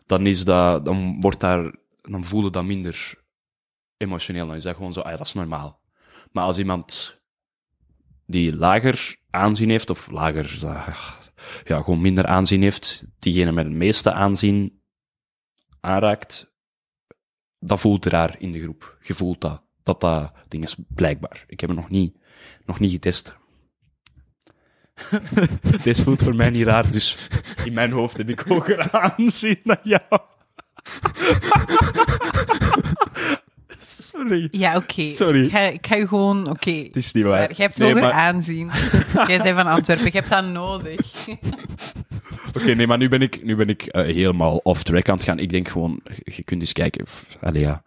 D: dan, is dat, dan, wordt daar, dan voel je dat minder emotioneel. Dan is dat gewoon zo, ah, ja, dat is normaal. Maar als iemand die lager aanzien heeft, of lager, ah, ja, gewoon minder aanzien heeft, diegene met het meeste aanzien aanraakt, dat voelt raar in de groep. Je voelt dat. Dat dat ding is blijkbaar. Ik heb het nog niet, nog niet getest. Dit voelt voor mij niet raar, dus in mijn hoofd heb ik hoger aanzien dan jou. Sorry.
E: Ja, oké.
D: Sorry.
E: Ik ga, ik ga je gewoon... Oké. Het
D: is niet waar.
E: Je hebt
D: Nee,
E: hoger
D: maar-
E: aanzien. Jij bent van Antwerpen. Je hebt dat nodig.
D: Oké, nee, maar nu ben ik, nu ben ik eh, helemaal off track aan het gaan. Ik denk gewoon, je kunt eens kijken. F- Allee, ja.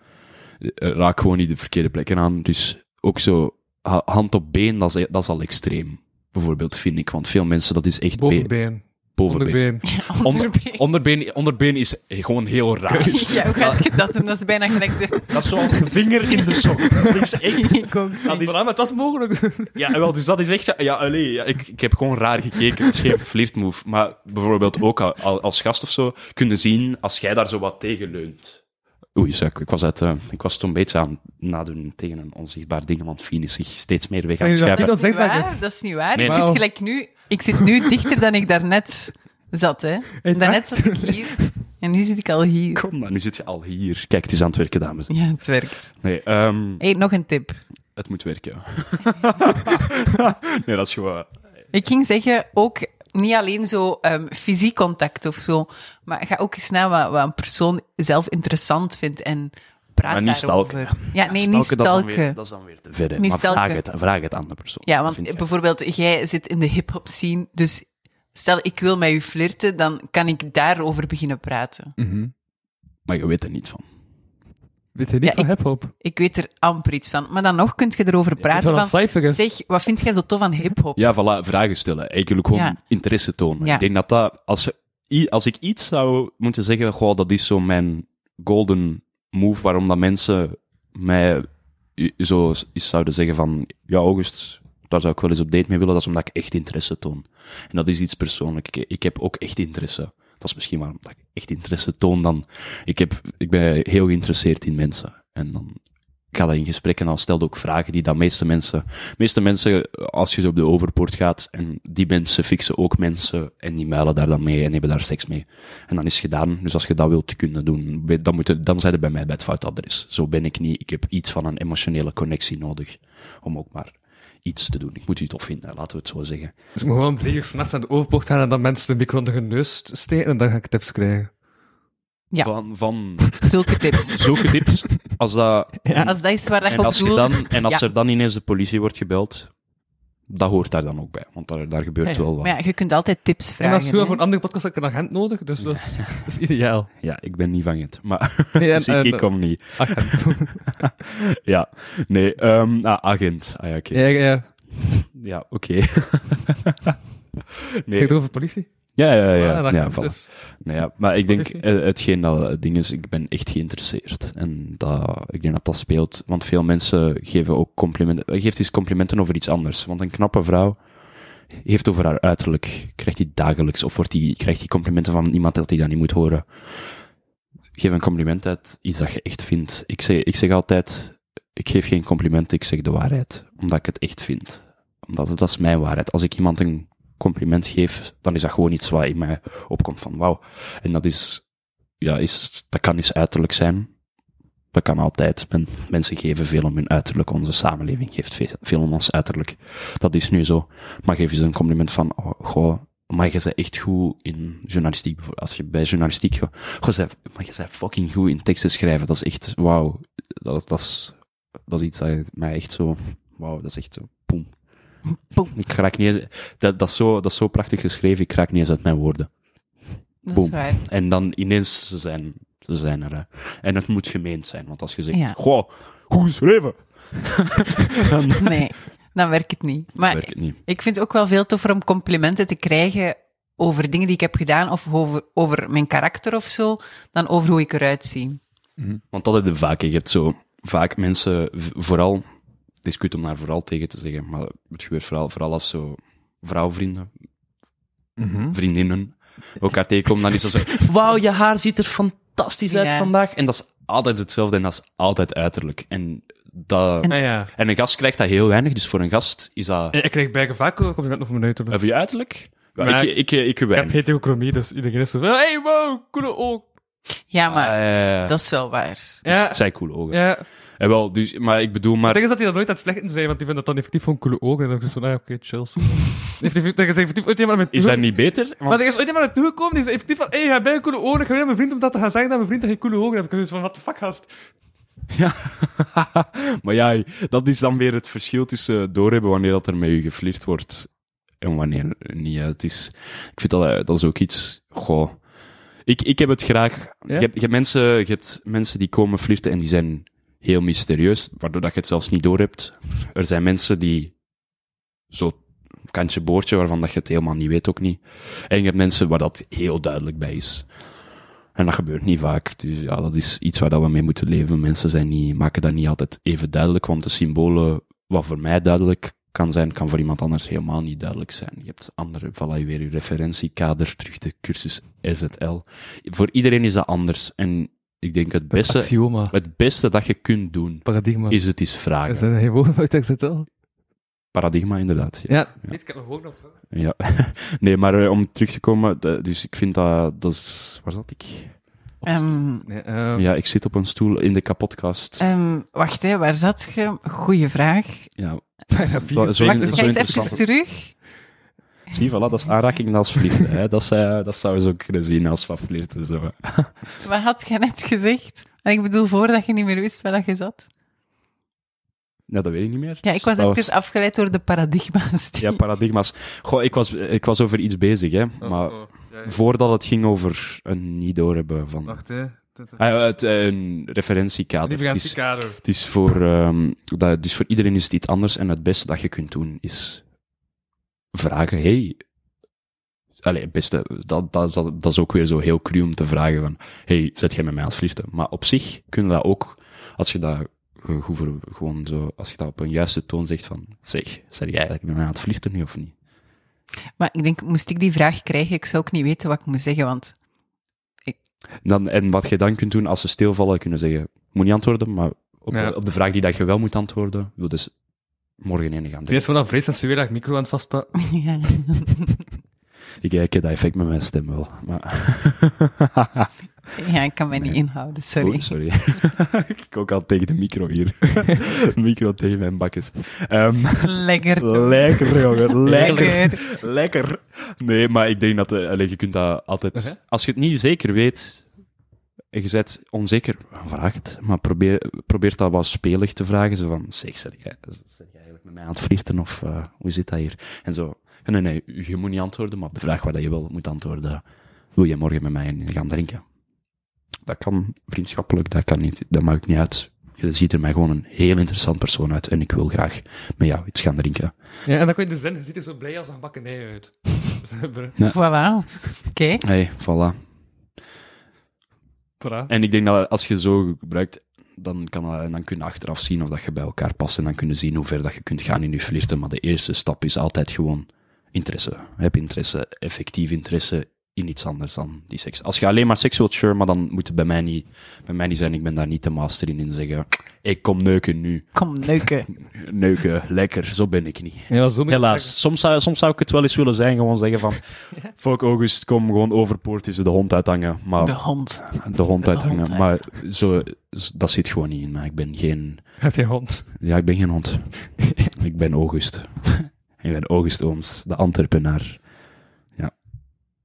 D: Eh, Raak gewoon niet de verkeerde plekken aan. Dus ook zo, ha- hand op been, dat is, dat is al extreem. Bijvoorbeeld, vind ik. Want veel mensen, dat is echt be-
C: Bovenbeen.
D: bovenbeen.
C: Onderbeen.
E: Onderbeen.
D: Onder, onderbeen, onderbeen is gewoon heel raar.
E: Ja, hoe gaat je dat doen? Dat is bijna gelijk de...
F: Dat is zoals een vinger in de sok. Dat is echt...
E: Ik ook zie.
D: Dat is-
C: Voilà, ah, maar dat is mogelijk.
D: ja, wel, dus dat is echt... zo- Ja, allee, ja, ik, ik heb gewoon raar gekeken. Het is geen flirtmove. Maar bijvoorbeeld ook al- al- als gast of zo, kunnen zien als jij daar zo wat tegen leunt. Oei, zo, ik, ik was, uit, eh, ik was toen een beetje aan het nadoen tegen een onzichtbaar ding, want Fien is zich steeds meer weg aan het
C: Zeg je dat niet
D: schuiven.
E: niet
C: Zeg maar
E: waar.
C: eens.
E: Dat is niet waar.
D: Nee,
E: ik,
C: maar-
E: zit gelijk nu, ik zit nu dichter dan ik daarnet zat. Hè. Daarnet zat ik hier. En nu zit ik al hier.
D: Kom dan, nu zit je al hier. Kijk, het is aan het werken, dames.
E: Ja, het werkt.
D: Nee, ehm,
E: Hé, nog een tip.
D: het moet werken. nee, dat is gewoon...
E: Ik ging zeggen, ook niet alleen zo ehm, fysiek contact of zo, maar ga ook eens na wat, wat een persoon zelf interessant vindt en praat
D: Maar niet
E: daarover.
D: stalken.
E: Ja, nee, niet
D: dat is dan weer-
E: stalken.
D: Dat is dan weer te ver. hè.
E: Niet
D: Maar vraag
E: stalken.
D: het, vraag het aan de persoon.
E: Ja,
D: Vind
E: want
D: ik.
E: bijvoorbeeld, jij zit in de hip-hop scene, dus stel ik wil met u flirten, dan kan ik daarover beginnen praten.
D: Hm. Maar je weet er niet van.
C: Weet je niet
E: Ja,
C: van
E: ik-
C: hip-hop?
E: Ik weet er amper iets van, maar dan nog kun je erover
C: Weet je
E: praten.
C: wat een
E: van,
C: cijfer is?
E: zeg, wat vind jij zo tof aan hip-hop?
D: Ja, voilà, vragen stellen. Ik wil ook gewoon
E: Ja.
D: interesse tonen.
E: Ja.
D: Ik denk dat dat, als, i- als ik iets zou moeten zeggen, goh, dat is zo mijn golden move, waarom dat mensen mij i- zo s- eens zouden zeggen van, ja, August, daar zou ik wel eens op date mee willen, dat is omdat ik echt interesse toon. En dat is iets persoonlijk. Ik, ik heb ook echt interesse. Dat is misschien waarom dat ik echt interesse toon dan. Ik, heb, ik ben heel geïnteresseerd in mensen. En dan ik ga dat in gesprek en dan stelde ook vragen die dat meeste mensen... meeste mensen, als je zo op de overpoort gaat, en die mensen fixen ook mensen en die muilen daar dan mee en hebben daar seks mee. En dan is het gedaan. Dus als je dat wilt kunnen doen, weet- dan, moet je, dan zijn je bij mij bij het fout adres. Zo ben ik niet. Ik heb iets van een emotionele connectie nodig om ook maar iets te doen. Ik moet u tof vinden, laten we het zo zeggen.
C: Dus ik moet gewoon om drie uur s'nachts aan de overpoort gaan en dan mensen de micro onder hun neus steken en dan ga ik tips krijgen.
E: Ja.
D: Van, van
E: Zulke tips.
D: zulke tips, als dat
E: Als dat is waar dat je
D: En
E: op
D: als, je
E: doelt,
D: dan, en als
E: ja.
D: er dan ineens de politie wordt gebeld, dat hoort daar dan ook bij. Want daar, daar gebeurt wel wat.
E: Maar ja, je kunt altijd tips
C: en
E: vragen.
C: als je
E: hè.
C: voor een andere podcast heb ik een agent nodig, dus dat, is, dat is ideaal.
D: Ja, ik ben niet van het. Maar
C: Nee, en-
D: dus ik, ik
C: en-
D: kom niet.
C: Agent.
D: Ja, nee. ehm, ah, agent. Ah ja, oké.
C: ja, ja, ja.
D: Ja, oké.
C: Kijk
D: nee.
C: het over politie.
D: Ja, ja, ja.
C: Ah,
D: ja,
C: dat
D: ja,
C: kan
D: voilà.
C: dus.
D: Nee, Nou ja, maar ik denk,
C: Wat is
D: eh, hetgeen dat het ding is, ik ben echt geïnteresseerd. En dat, ik denk dat dat speelt. Want veel mensen geven ook complimenten, eh, geeft eens complimenten over iets anders. Want een knappe vrouw heeft over haar uiterlijk, krijgt die dagelijks, of wordt die, krijgt die complimenten van iemand dat die dat niet moet horen. Geef een compliment uit, iets dat je echt vindt. Ik zeg, ik zeg altijd, ik geef geen complimenten, ik zeg de waarheid. Omdat ik het echt vind. Omdat dat is mijn waarheid. Als ik iemand een compliment geef, dan is dat gewoon iets wat in mij opkomt van wauw. En dat is, ja, is, dat kan eens uiterlijk zijn. Dat kan altijd. Men- mensen geven veel om hun uiterlijk. Onze samenleving geeft ve- veel om ons uiterlijk. Dat is nu zo. Maar geef eens een compliment van, oh, goh, maar je bent echt goed in journalistiek. bijvoorbeeld. Als je bij journalistiek, go- goh, zij- maar je bent fucking goed in teksten schrijven. Dat is echt, wauw. Dat, dat, is, dat is iets dat mij echt zo, wauw, dat is echt zo, boem.
E: Boem.
D: Ik raak niet eens, dat, dat, is zo, dat is zo prachtig geschreven, ik raak niet eens uit mijn woorden.
E: Dat
D: Boom.
E: is waar.
D: En dan ineens, ze zijn, ze zijn er. Hè. En het moet gemeend zijn, want als je zegt,
E: Ja.
D: goh, goed geschreven, dan
E: Nee, dan werkt het niet. Maar eh,
D: werkt het niet.
E: ik vind het ook wel veel toffer om complimenten te krijgen over dingen die ik heb gedaan of over, over mijn karakter of zo, dan over hoe ik eruit zie.
D: Want dat heb je vaak. hè. Je hebt zo vaak mensen, v- vooral, het is kut om daar vooral tegen te zeggen, maar het gebeurt vooral, vooral als zo vrouwvrienden,
E: Mhm.
D: vriendinnen, elkaar tegenkomen, dan is dat zo, Hm? wauw, je haar ziet er fantastisch uit
E: Ja.
D: vandaag. En dat is altijd hetzelfde en dat is altijd uiterlijk. En, dat, en,
C: Ah ja.
D: een gast krijgt dat heel weinig, dus voor een gast is dat...
C: Ik kreeg bij vaak complimenten van mijn uiterlijk.
D: Even je uiterlijk? Ja,
C: Maar-
D: ik, ik, ik, ik,
C: Ik
D: weinig.
C: heb heterochromie, dus iedereen is zo van, hey wow, coole oog.
E: Ja, maar
D: Ah, ja, ja.
E: dat is wel waar.
D: Dus
C: Ja,
D: het zijn coole ogen.
C: ja.
D: En wel, dus, maar ik bedoel,
C: Ik
D: maar
C: denk dat hij dat nooit aan het vlechten zijn, want die vinden dat dan effectief gewoon coole ogen. En dan is van, ah, oké, chill. zo. Heeft hij heeft hij effectief ooit iemand met
D: is dat niet beter?
C: Maar er is ooit iemand naartoe gekomen die zei effectief van, hey, jij bent coole ogen. Ik ga weer naar mijn vriend om dat te gaan zeggen dat mijn vriend geen coole ogen heeft. Ik was zoiets van, what the fuck, gast?
D: maar ja, dat is dan weer het verschil tussen doorhebben wanneer dat er met je geflirt wordt en wanneer niet. hè. Het is, ik vind dat, eh, dat is ook iets... Goh. Ik, ik heb het graag... Je, hebt, je, hebt mensen, je hebt mensen die komen flirten en die zijn heel mysterieus, waardoor dat je het zelfs niet doorhebt. Er zijn mensen die zo kantje boordje, waarvan dat je het helemaal niet weet ook niet. En je hebt mensen waar dat heel duidelijk bij is. En dat gebeurt niet vaak. Dus ja, dat is iets waar dat we mee moeten leven. Mensen zijn niet, maken dat niet altijd even duidelijk, want de symbolen, wat voor mij duidelijk kan zijn, kan voor iemand anders helemaal niet duidelijk zijn. Je hebt andere, voilà, weer je referentiekader, terug de cursus RZL. Voor iedereen is dat anders. En ik denk het beste,
C: Axioma.
D: het beste dat je kunt doen,
C: Paradigma.
D: is het eens vragen.
C: dat geen woord uit XZL?
D: Paradigma inderdaad. ja.
C: Ja. Dit kan nog ook nog.
D: Ja, nee, maar eh, om terug te komen, de- dus ik vind dat, dat is, waar zat ik?
E: Ehm,
C: Nee, eh,
D: Ja, ik zit op een stoel in de kapotkast.
E: ehm, wacht, hè, waar zat je? Goeie vraag.
D: ja,
C: bijna
D: zo-
C: vier
D: zo-
C: seconden.
D: zo-
E: Wacht, kijk eens even
D: interessant.
E: terug.
D: zie, voilà, dat is aanraking en dat is vliegen. Hè? Dat, is, eh, dat zou ze ook kunnen zien als wat flirten. Zo.
E: Wat had je net gezegd? En ik bedoel, voordat je niet meer wist waar dat je zat.
D: Ja, dat weet ik niet meer.
E: Ja, ik
D: Dus
E: was
D: dat
E: even afgeleid door de paradigma's. die-
D: Ja, paradigma's. Goh, ik was, ik was over iets bezig, hè. maar
C: Oh, ja, ja.
D: voordat het ging over een niet doorhebben van...
C: Wacht, hè. Dit- dit-
D: Ah, ja, het, eh, een referentiekader. Het is-
C: Differentiekader.
D: Het is voor, ehm, dat, dus voor iedereen is het iets anders en het beste dat je kunt doen is vragen, hey, Allee, het beste, dat, dat, dat, dat is ook weer zo heel cru om te vragen van, hey, zet jij met mij aan het flirten? Maar op zich kunnen dat ook, als je dat ge- goed voor- gewoon zo, als je dat op een juiste toon zegt van, zeg, zet jij eigenlijk met mij aan het flirten nu of niet?
E: Maar ik denk, moest ik die vraag krijgen, ik zou ook niet weten wat ik moet zeggen, want
D: Dan, en wat je dan kunt doen als ze stilvallen, kunnen zeggen, moet niet antwoorden, maar op,
C: Ja.
D: op de vraag die dat je wel moet antwoorden, wil dus morgen heen gaan.
C: Die is vanaf vrees dat ze weer dat micro aan het vastpakken.
E: ja.
D: Ik, ik heb dat effect met mijn stem wel. Maar...
E: ja, ik kan mij niet inhouden, sorry.
D: Oei, Oh, sorry. ik ook al tegen de micro hier. micro tegen mijn bakjes. Ehm,
E: Lekker. toch?
D: lekker, jongen. Lekker.
E: Lekker.
D: lekker. Nee, maar ik denk dat... eh, allee, je kunt dat altijd... Als je het niet zeker weet... en Je bent onzeker, vraag het. Maar probeer, probeer dat wat spelig te vragen. Zo van, zeg, zit jij, zit jij eigenlijk met mij aan het flirten? Of eh, hoe zit dat hier? En zo. Ja, Nee, nee, je moet niet antwoorden, maar op de vraag waar dat je wel moet antwoorden... Wil je morgen met mij gaan drinken? Dat kan vriendschappelijk, dat kan niet. Dat maakt niet uit. Je ziet er mij gewoon een heel interessant persoon uit en ik wil graag met jou iets gaan drinken.
C: Ja, en dan kun je de zin, je ziet er zo blij als een bakkenij uit.
E: Voilà. Kijk.
D: hey, voilà.
C: Voilà.
D: En ik denk dat als je zo gebruikt, dan, kan, dat- en dan kun je achteraf zien of dat je bij elkaar past. En dan kun je zien hoe ver dat je kunt gaan in je flirten. Maar de eerste stap is altijd gewoon interesse. Heb interesse, effectief interesse in iets anders dan die seks. Als je alleen maar seks wilt, sure, maar dan moet het bij mij niet, bij mij niet zijn. Ik ben daar niet de master in in zeggen, ik kom neuken nu.
E: Kom, leuke.
D: Neuken, lekker, zo ben ik niet.
C: Ja, zo moet je-
D: Helaas, soms zou, soms zou ik het wel eens willen zijn, gewoon zeggen van, fuck August, kom gewoon overpoort tussen de hond uithangen. Maar
E: De hond.
D: de hond
E: De
D: uithangen.
E: hond
D: maar zo, z- dat zit gewoon niet in mij. Ik ben geen,
C: Heb je hond?
D: ja, ik ben geen hond. ik ben August. ik ben August Ooms, de Antwerpenaar. Ja.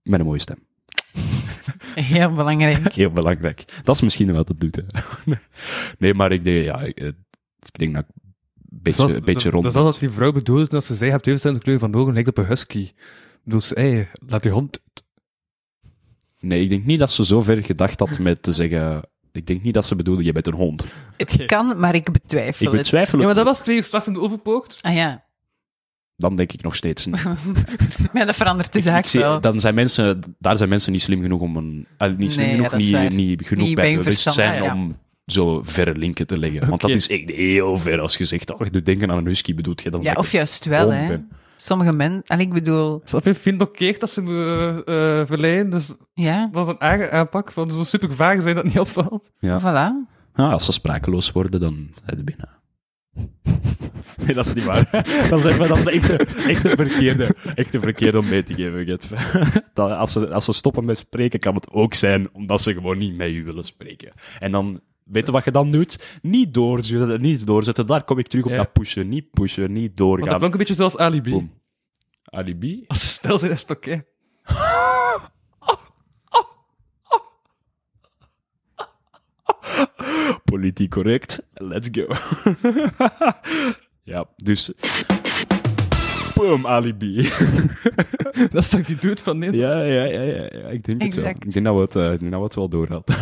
D: Met een mooie stem.
E: Heel belangrijk.
D: Heel belangrijk. Dat is misschien wat het doet. Hè. nee, maar ik denk, ja, ik, eh, ik denk dat ik een beetje, een beetje rond
C: Dus Dat is altijd die vrouw bedoelde als ze zei, hebt even de kleur van de ogen, lijkt op een husky. Dus, hey, laat die hond...
D: Nee, ik denk niet dat ze zo ver gedacht had met te zeggen... Ik denk niet dat ze bedoelde, je bent een hond.
E: Het kan, maar ik betwijfel
D: Ik
E: het.
D: betwijfel
C: Ja,
D: het.
C: maar dat was twee uur s'nachts in de overpoort.
E: Ah ja.
D: Dan denk ik nog steeds. nee.
E: Maar dat verandert de zaak
D: Ik zie-
E: wel.
D: dan zijn mensen, daar zijn mensen niet slim genoeg om een. eh, niet slim
E: Nee,
D: genoeg,
E: dat is waar.
D: niet, niet genoeg
E: Niet
D: bij
E: bij hun
D: bewust
E: verstand,
D: zijn
E: ja.
D: om zo verre linken te leggen. Want dat is echt heel ver als je zegt, oh, je doet denken aan een husky, bedoelt je dan
E: Ja,
D: dat
E: of
D: ik
E: juist wel,
D: dom
E: hè.
D: ben?
E: Sommige mensen... Ik bedoel,
C: Snap je? Vind ook keer dat ze me eh verleiden. Dus
E: ja,
C: dat is een eigen aanpak van zo super vaag zijn dat niet opvalt.
D: Ja.
E: voilà.
D: Ah, als ze sprakeloos worden, dan zijn ze binnen.
F: Nee, dat is niet waar. dat is, maar dat is echt, de- echt de verkeerde.
D: Echt een verkeerde om mee te geven, Gert. Dat- als, ze, als ze stoppen met spreken, kan het ook zijn omdat ze gewoon niet met u willen spreken. En dan, weet je wat je dan doet? Niet doorzetten, niet doorzetten. Daar kom ik terug op
C: Ja.
D: dat pushen. Niet pushen, niet
C: Want dat
D: doorgaan.
C: klonk een beetje zoals alibi.
D: Boom. Alibi?
C: Als ze stil zijn, is het oké.
D: Politiek correct. Let's go. ja, dus... Boom, alibi.
C: Dat is toch die dude van nee.
D: Ja, ja, ja, ja, ja, ik denk het wel.
E: Exact.
D: Ik denk dat we het, eh, ik denk dat we het wel door hadden.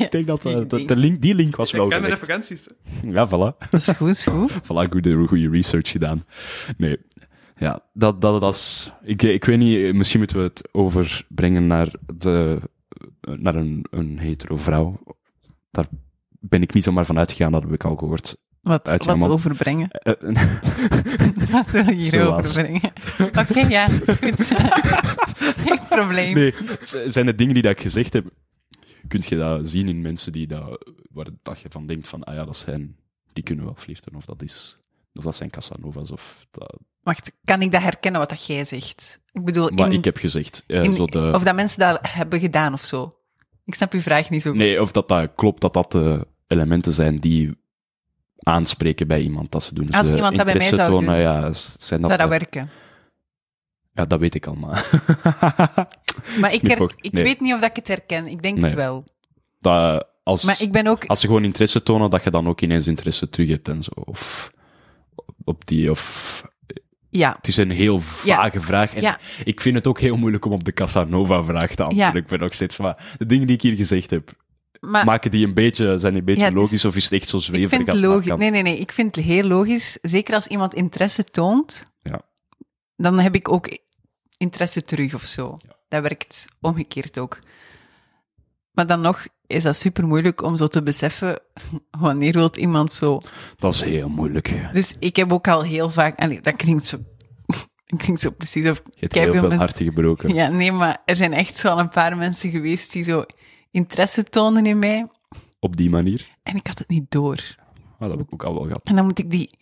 D: ik denk dat eh,
E: Ik
D: de,
E: denk-
D: de link, die link was wel
C: Ik ken mijn
D: gelegd.
C: referenties. hè.
D: Ja, voilà.
E: Dat is goed, is goed.
D: voilà, goede, goede research gedaan. Nee, ja, dat, dat, dat is... Ik, ik weet niet, eh, misschien moeten we het overbrengen naar, de, eh, naar een, een hetero vrouw. Daar ben ik niet zomaar van uitgegaan, dat heb ik al gehoord.
E: Wat,
D: Uitgaan,
E: wat
D: want-
E: overbrengen.
D: Eh, eh,
E: Wat wil je hierover
D: Zoals.
E: brengen? Oké, ja, is goed. Geen probleem.
D: nee, het zijn de dingen die dat ik gezegd heb. Kun je dat zien in mensen die dat, waar dat je van denkt van, ah ja, dat zijn... Die kunnen wel flirten, of dat is... Of dat zijn Casanovas, of... Dat,
E: Wacht, kan ik dat herkennen wat dat jij zegt? Ik bedoel,
D: maar
E: in-
D: ik heb gezegd, eh,
E: in-
D: zo de...
E: of dat mensen dat hebben gedaan of zo. Ik snap uw vraag niet zo goed.
D: Nee, of dat, dat klopt, dat dat de elementen zijn die aanspreken bij iemand dat ze doen.
E: Als
D: Ze
E: iemand dat bij mij
D: interesse
E: zou doen,
D: ja, s- zijn dat,
E: Zou dat
D: eh,
E: werken?
D: ja, dat weet ik allemaal.
E: Maar ik,
D: niet
E: her-
D: voor-
E: ik
D: nee.
E: weet niet of dat ik het herken. Ik denk
D: Nee.
E: het wel.
D: dat, als,
E: Maar ik ben ook...
D: als ze gewoon interesse tonen, dat je dan ook ineens interesse terug hebt en zo. Of op die, of...
E: Ja,
D: Het is een heel
E: Ja.
D: vage vraag. En
E: Ja.
D: ik vind het ook heel moeilijk om op de Casanova-vraag te antwoorden.
E: Ja.
D: Ik ben nog steeds van... De dingen die ik hier gezegd heb,
E: maar...
D: maken die een beetje, zijn die een beetje
E: Ah. Ja, het is-
D: logisch of is het echt zo
E: Ik
D: zweverig
E: vind
D: als
E: het
D: maar
E: logisch.
D: kan?
E: Nee, nee, nee. Ik vind het heel logisch. Zeker als iemand interesse toont,
D: Ja.
E: dan heb ik ook interesse terug of zo. Dat werkt omgekeerd ook. Maar dan nog is dat super moeilijk om zo te beseffen wanneer wil iemand zo.
D: Dat is heel moeilijk.
E: Dus ik heb ook al heel vaak. Allee, dat klinkt zo. dat klinkt zo precies. Of,
D: Je hebt
E: kei
D: heel
E: veel
D: veel
E: mensen-
D: harten gebroken.
E: ja, nee, maar er zijn echt zo al een paar mensen geweest die zo interesse toonden in mij.
D: Op die manier.
E: En ik had het niet door.
D: Ah, dat heb ik ook al wel gehad.
E: En dan moet ik die...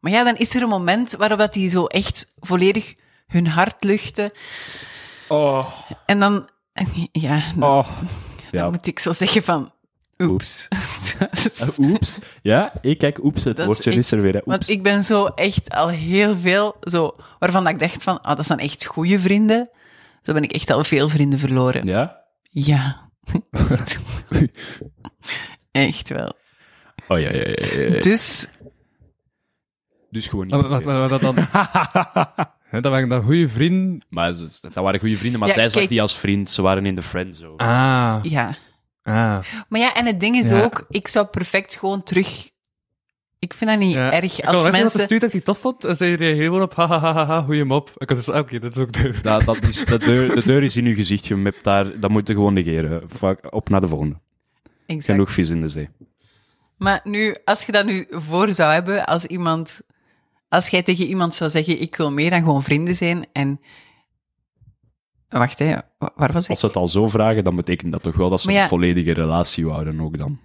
E: Maar ja, dan is er een moment waarop dat die zo echt volledig hun hart luchten.
D: Oh.
E: En dan... Ja,
C: Oh,
E: dan,
D: Ja.
E: dan moet ik zo zeggen van... Oeps.
D: Eh, Oeps. Ja, ik kijk, oeps, het
E: Dat is
D: woordje is, er
E: echt-
D: weer. hè. Oeps.
E: Want ik ben zo echt al heel veel... Zo, waarvan dat ik dacht van... ah dat zijn echt goede vrienden. Zo ben ik echt al veel vrienden verloren.
D: Ja?
E: Ja. echt wel.
D: Oh ja, ja, ja. ja, ja.
E: Dus...
D: Dus gewoon niet.
C: Maar wat, wat, wat dat dan? Hè, dat waren dan goede vrienden.
D: Maar ze- dat waren goede vrienden, maar
E: Ja,
D: zij zag
E: kijk.
D: die als vriend. Ze waren in de friendzone.
C: Ah.
E: Ja.
C: ah.
E: Maar ja, en het ding is
C: Ja.
E: ook, ik zou perfect gewoon terug. Ik vind dat niet
C: Ja.
E: erg
C: Ik had wel
E: als
C: echt iemand
E: mensen.
C: gestuurd dat ik die tof vond. En zei hij gewoon op, ha ha ha ha, ha, goeie mop. Ik had dus, ah, oké, dat is ook deugd.
D: Dat, dat is, de, deur, de deur is in uw gezicht gemapt daar. Dat moet je gewoon negeren. Fuck, op naar de volgende.
E: Exact.
D: Genoeg vis in de zee.
E: Maar nu, als je dat nu voor zou hebben, als iemand. Als jij tegen iemand zou zeggen: Ik wil meer dan gewoon vrienden zijn. En. Wacht, hè, wa- waar was ik?
D: Als ze het al zo vragen, dan betekent dat toch wel dat ze
E: Maar ja.
D: een volledige relatie houden ook dan.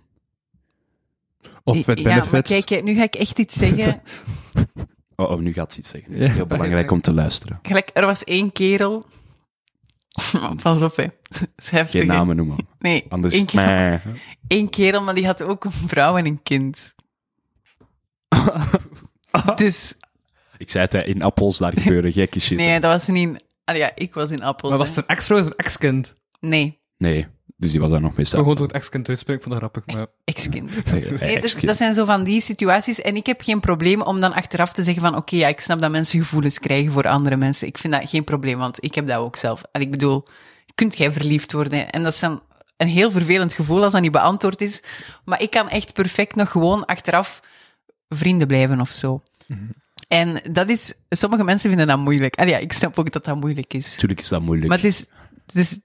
C: Of het
E: ja, maar
C: benefit.
E: kijk, hè, nu ga ik echt iets zeggen.
D: Oh, oh nu gaat ze iets zeggen.
C: Ja.
D: Heel belangrijk om te luisteren.
E: Gelijk, er was één kerel. Pas op, hè. Dat is heftig,
D: Geen
E: hè.
D: namen noemen.
E: Nee,
D: Anders is
E: één
D: het
E: kerel,
D: mij.
E: één kerel, maar die had ook een vrouw en een kind. dus
D: Ik zei het, hè, in appels, daar gebeuren gekke shit.
E: Nee, dat was niet. Allee, ja, ik was in Appels.
C: Maar
E: hè.
C: was zijn ex-vrouw zijn ex-kind?
E: Nee,
D: Nee, dus die was daar nog
C: Zo
D: mee staan.
C: gewoon door het ex-kind uitspreken, ik vond dat grappig. Maar...
E: ex-kind.
D: Eh,
E: Nee, dus
D: excuse-
E: dat zijn zo van die situaties. En ik heb geen probleem om dan achteraf te zeggen van... Oké, ja, ik snap dat mensen gevoelens krijgen voor andere mensen. Ik vind dat geen probleem, want ik heb dat ook zelf. En ik bedoel, kunt jij verliefd worden? En dat is dan een heel vervelend gevoel als dat niet beantwoord is.
D: Mhm.
E: Maar ik kan echt perfect nog gewoon achteraf vrienden blijven of zo. En dat is, sommige mensen vinden dat moeilijk. En ja, ik snap ook dat dat moeilijk is.
D: Natuurlijk is dat moeilijk.
E: Maar het is, het is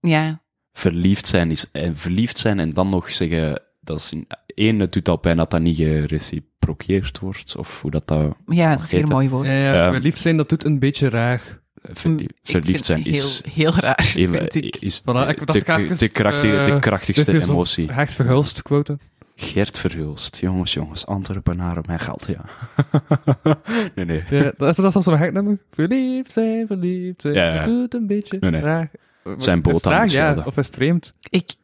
E: ja,
D: Verliefd zijn is, en verliefd zijn en dan nog zeggen, dat is, in- één, het doet al pijn dat dat niet gereciproceerd wordt, of hoe dat dat...
E: ja, dat is een heel mooi woord.
C: Ja,
D: Ja.
C: verliefd zijn, dat doet een beetje raar.
D: Verlie-
E: Ik vind
D: verliefd
E: het
D: zijn is...
E: Heel, heel raar,
D: Even,
E: vind ik.
D: is
C: Voilà,
D: de,
C: ik dacht
D: de-
C: graag eens,
D: de krachti-
C: eh,
D: de krachtigste
C: dit is een
D: emotie.
C: Hard verhulst, quote.
D: Gert Verhulst. Jongens, jongens, Antwerpenaren, mijn geld, ja. nee, nee.
C: Ja, dat is dat zelfs zo'n hard nummer. Verliefd zijn, verliefd zijn,
D: Ja, ja.
C: dat doet een beetje
D: Nee, nee.
C: raar. Maar
D: Zijn
C: is het
D: boot aan
C: raar,
D: het
C: ja,
D: schelden.
C: Of is het vreemd?
E: Ik,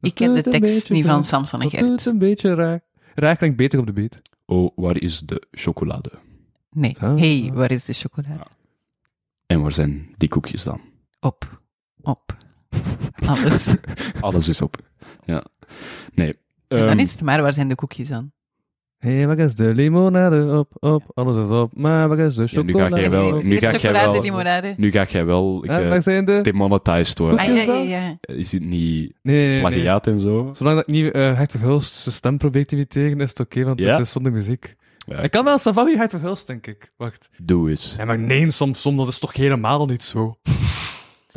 E: ik ken de
C: doet een
E: tekst
C: beetje
E: niet van
C: raar.
E: Samson en
C: Dat doet
E: Gert.
C: een beetje raar. Raar klinkt beter op de beat.
D: Oh, waar is de chocolade?
E: Nee.
C: Zo.
E: hey, waar is de chocolade?
D: En waar zijn die koekjes dan?
E: Op. Op. Alles.
D: Ehm. Alles is op. Ja. Nee.
E: En dan
D: Ehm,
E: is het maar, waar zijn de koekjes dan?
C: Hé, hey, waar is de limonade op, op, alles is op, maar waar is de
D: Ja, nu ga ik
C: chocolade?
D: jij wel-
E: Is
D: nu
E: hier
D: ga ik jij
E: chocolade,
D: wel-
E: limonade.
D: Nu ga jij wel ik,
C: Ja,
D: eh,
C: waar zijn de...
D: demonetized worden.
E: Ah, ja, ja, ja.
D: Is dit niet
C: Nee, nee, nee, nee.
D: plagiaat en zo?
C: Zolang dat ik niet eh Hart Verhulst zijn stem probeer te imiteren, is het oké, want
D: Ja?
C: het is zonder muziek.
D: Ja,
C: Ik kan wel Savawi Hart Verhulst, denk ik. Wacht.
D: Doe eens.
C: Nee, maar nee, soms, soms, dat is toch helemaal niet zo.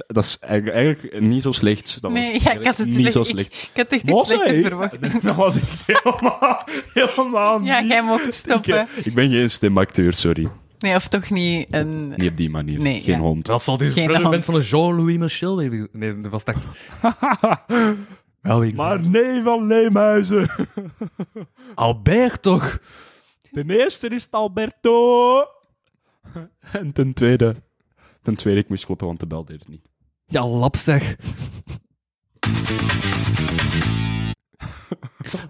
D: Dat is eigenlijk, eigenlijk niet zo slecht. Dat was
E: Nee, ja, ik had
D: eigenlijk
E: het
D: niet
E: slecht.
D: zo
E: ik,
D: slecht.
E: ik had echt iets
F: Mossel,
E: slechter
F: hè?
E: verwacht.
F: Dat was echt helemaal, helemaal
E: Ja,
F: niet.
E: jij mocht
D: Ik,
E: stoppen.
D: eh, ik ben geen stemacteur, sorry.
E: Nee, of toch niet een...
D: Niet op die manier.
E: Nee,
D: geen
E: ja.
D: hond.
C: Dat zal die
E: Geen
C: brother
E: hand.
C: bent van een Jean-Louis Michel. baby. Nee, dat was echt... Wel, ik
F: Maar nee van Leemhuizen.
C: Albert toch?
F: Ten eerste is het Alberto.
D: En ten tweede... Ten tweede, ik moest kloppen, want de bel deed het
E: Ah,
D: niet.
C: Ja, lap zeg.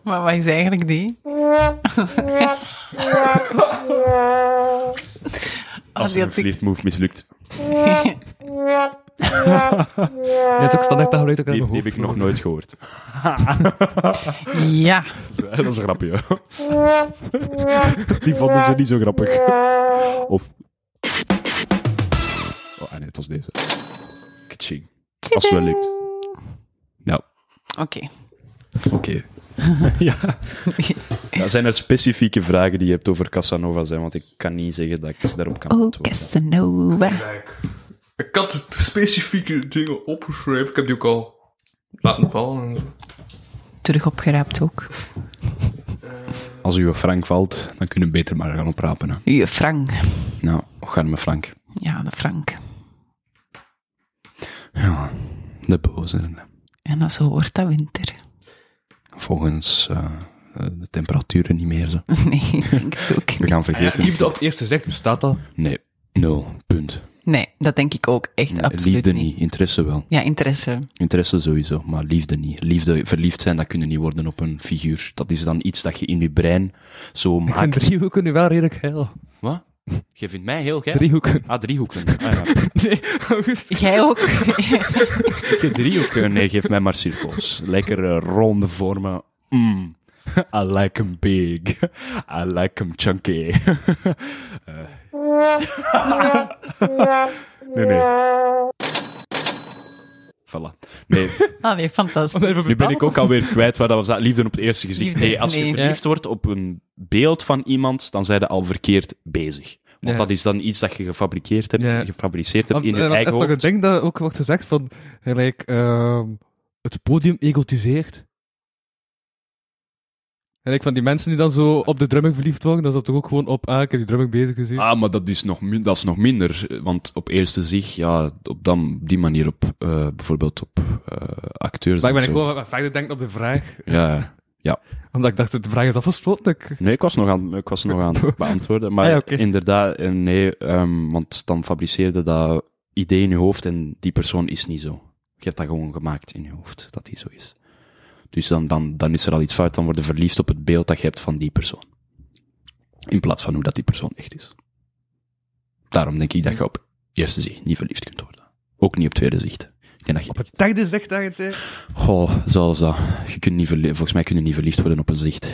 E: Maar wat is eigenlijk die? Oh,
D: Als
E: die
D: een
E: had ik...
D: flirtmove mislukt,
C: Ja, het is ook standaard, dat geluid ook aan
D: die,
C: mijn
D: die heb
C: hoofd.
D: ik nog nooit gehoord.
E: Ja.
D: Dat is een grapje. Die vonden ze niet zo grappig. Of... Oh, ah nee, het was deze. Kaching. Als het wel Nou, lukt. Ja,
E: Oké.
D: oké. ja. Ja, Zijn er specifieke vragen die je hebt over Casanova zijn? Want ik kan niet zeggen dat ik daarop kan
E: Oh,
D: antwoorden.
E: Casanova.
G: Ik had specifieke dingen opgeschreven. Ik heb die ook al laten vallen. en zo.
E: Terug opgeraapt ook.
D: Als u op Frank valt, dan kunnen we beter maar gaan oprapen. Hè.
E: Je Frank.
D: Nou, gaan we Frank.
E: Ja, de Frank.
D: Ja, de boze.
E: En dat zo wordt dat winter.
D: Volgens eh, eh, de temperaturen niet meer. Zo.
E: Nee, ik denk het ook
D: We
E: niet.
D: gaan vergeten.
C: Liefde op het eerste gezicht bestaat dat.
D: Nee, nul. Punt.
E: Nee, dat denk ik ook echt
D: Nee,
E: absoluut
D: liefde
E: niet.
D: niet. Interesse wel.
E: Ja, interesse.
D: Interesse sowieso, maar liefde niet. Liefde, verliefd zijn, dat kunnen niet worden op een figuur. Dat is dan iets dat je in je brein zo
C: Ik vind
D: maakt.
C: driehoeken nu wel redelijk heil.
D: Wat? Je vindt mij heel geil?
C: Driehoeken.
D: Ah, driehoeken. Ah, ja.
C: Nee, August.
E: Jij ook.
D: Ik heb driehoeken. eh, Nee, geef mij maar cirkels. Lekker eh, ronde vormen. Mm. I like 'em big. I like 'em chunky. Eh. nee, nee. Voilà. Nee,
E: Ah nee, fantastisch.
D: nu ben ik ook alweer kwijt waar dat was. Dat liefde op het eerste gezicht.
E: Liefde,
D: Nee, als je
E: nee.
D: verliefd wordt op een beeld van iemand, dan zijn je al verkeerd bezig. Want
C: Ja.
D: dat is dan iets dat je gefabriceerd hebt,
C: Ja.
D: gefabriceerd hebt
C: Want,
D: in
C: eh,
D: je
C: want
D: eigen
C: dat is
D: hoofd.
C: toch een ding dat ook wordt gezegd van, gelijk, ehm, het podium egotiseert. Gelijk van die mensen die dan zo op de drumming verliefd worden, dan is dat toch ook gewoon op, ah, ik heb die drumming bezig gezien.
D: Ah, maar dat is nog, min- dat is nog minder. eh, Want op eerste zicht, ja, op dan, die manier op eh, bijvoorbeeld op eh, acteurs.
C: maar ik
D: en
C: ben ik
D: zo.
C: wel wat verder denken op de vraag,
D: Ja,
C: omdat ik dacht, de vraag is afgesloten. Ik-
D: nee, ik was nog aan, ik was nog aan het beantwoorden. Maar
C: Ah, ja, oké.
D: inderdaad, eh, nee, ehm, want dan fabriceerde dat idee in je hoofd en die persoon is niet zo. Je hebt dat gewoon gemaakt in je hoofd, dat die zo is. Dus dan, dan, dan is er al iets fout, dan word je verliefd op het beeld dat je hebt van die persoon. In plaats van hoe dat die persoon echt is. Daarom denk ik dat je op eerste zicht niet verliefd kunt worden. Ook niet op tweede zicht. Ik denk dat je
C: Op het derde zegt eigenlijk.
D: Goh, zoals dat. Je kunt niet verlie- Volgens mij kun je niet verliefd worden op een zicht.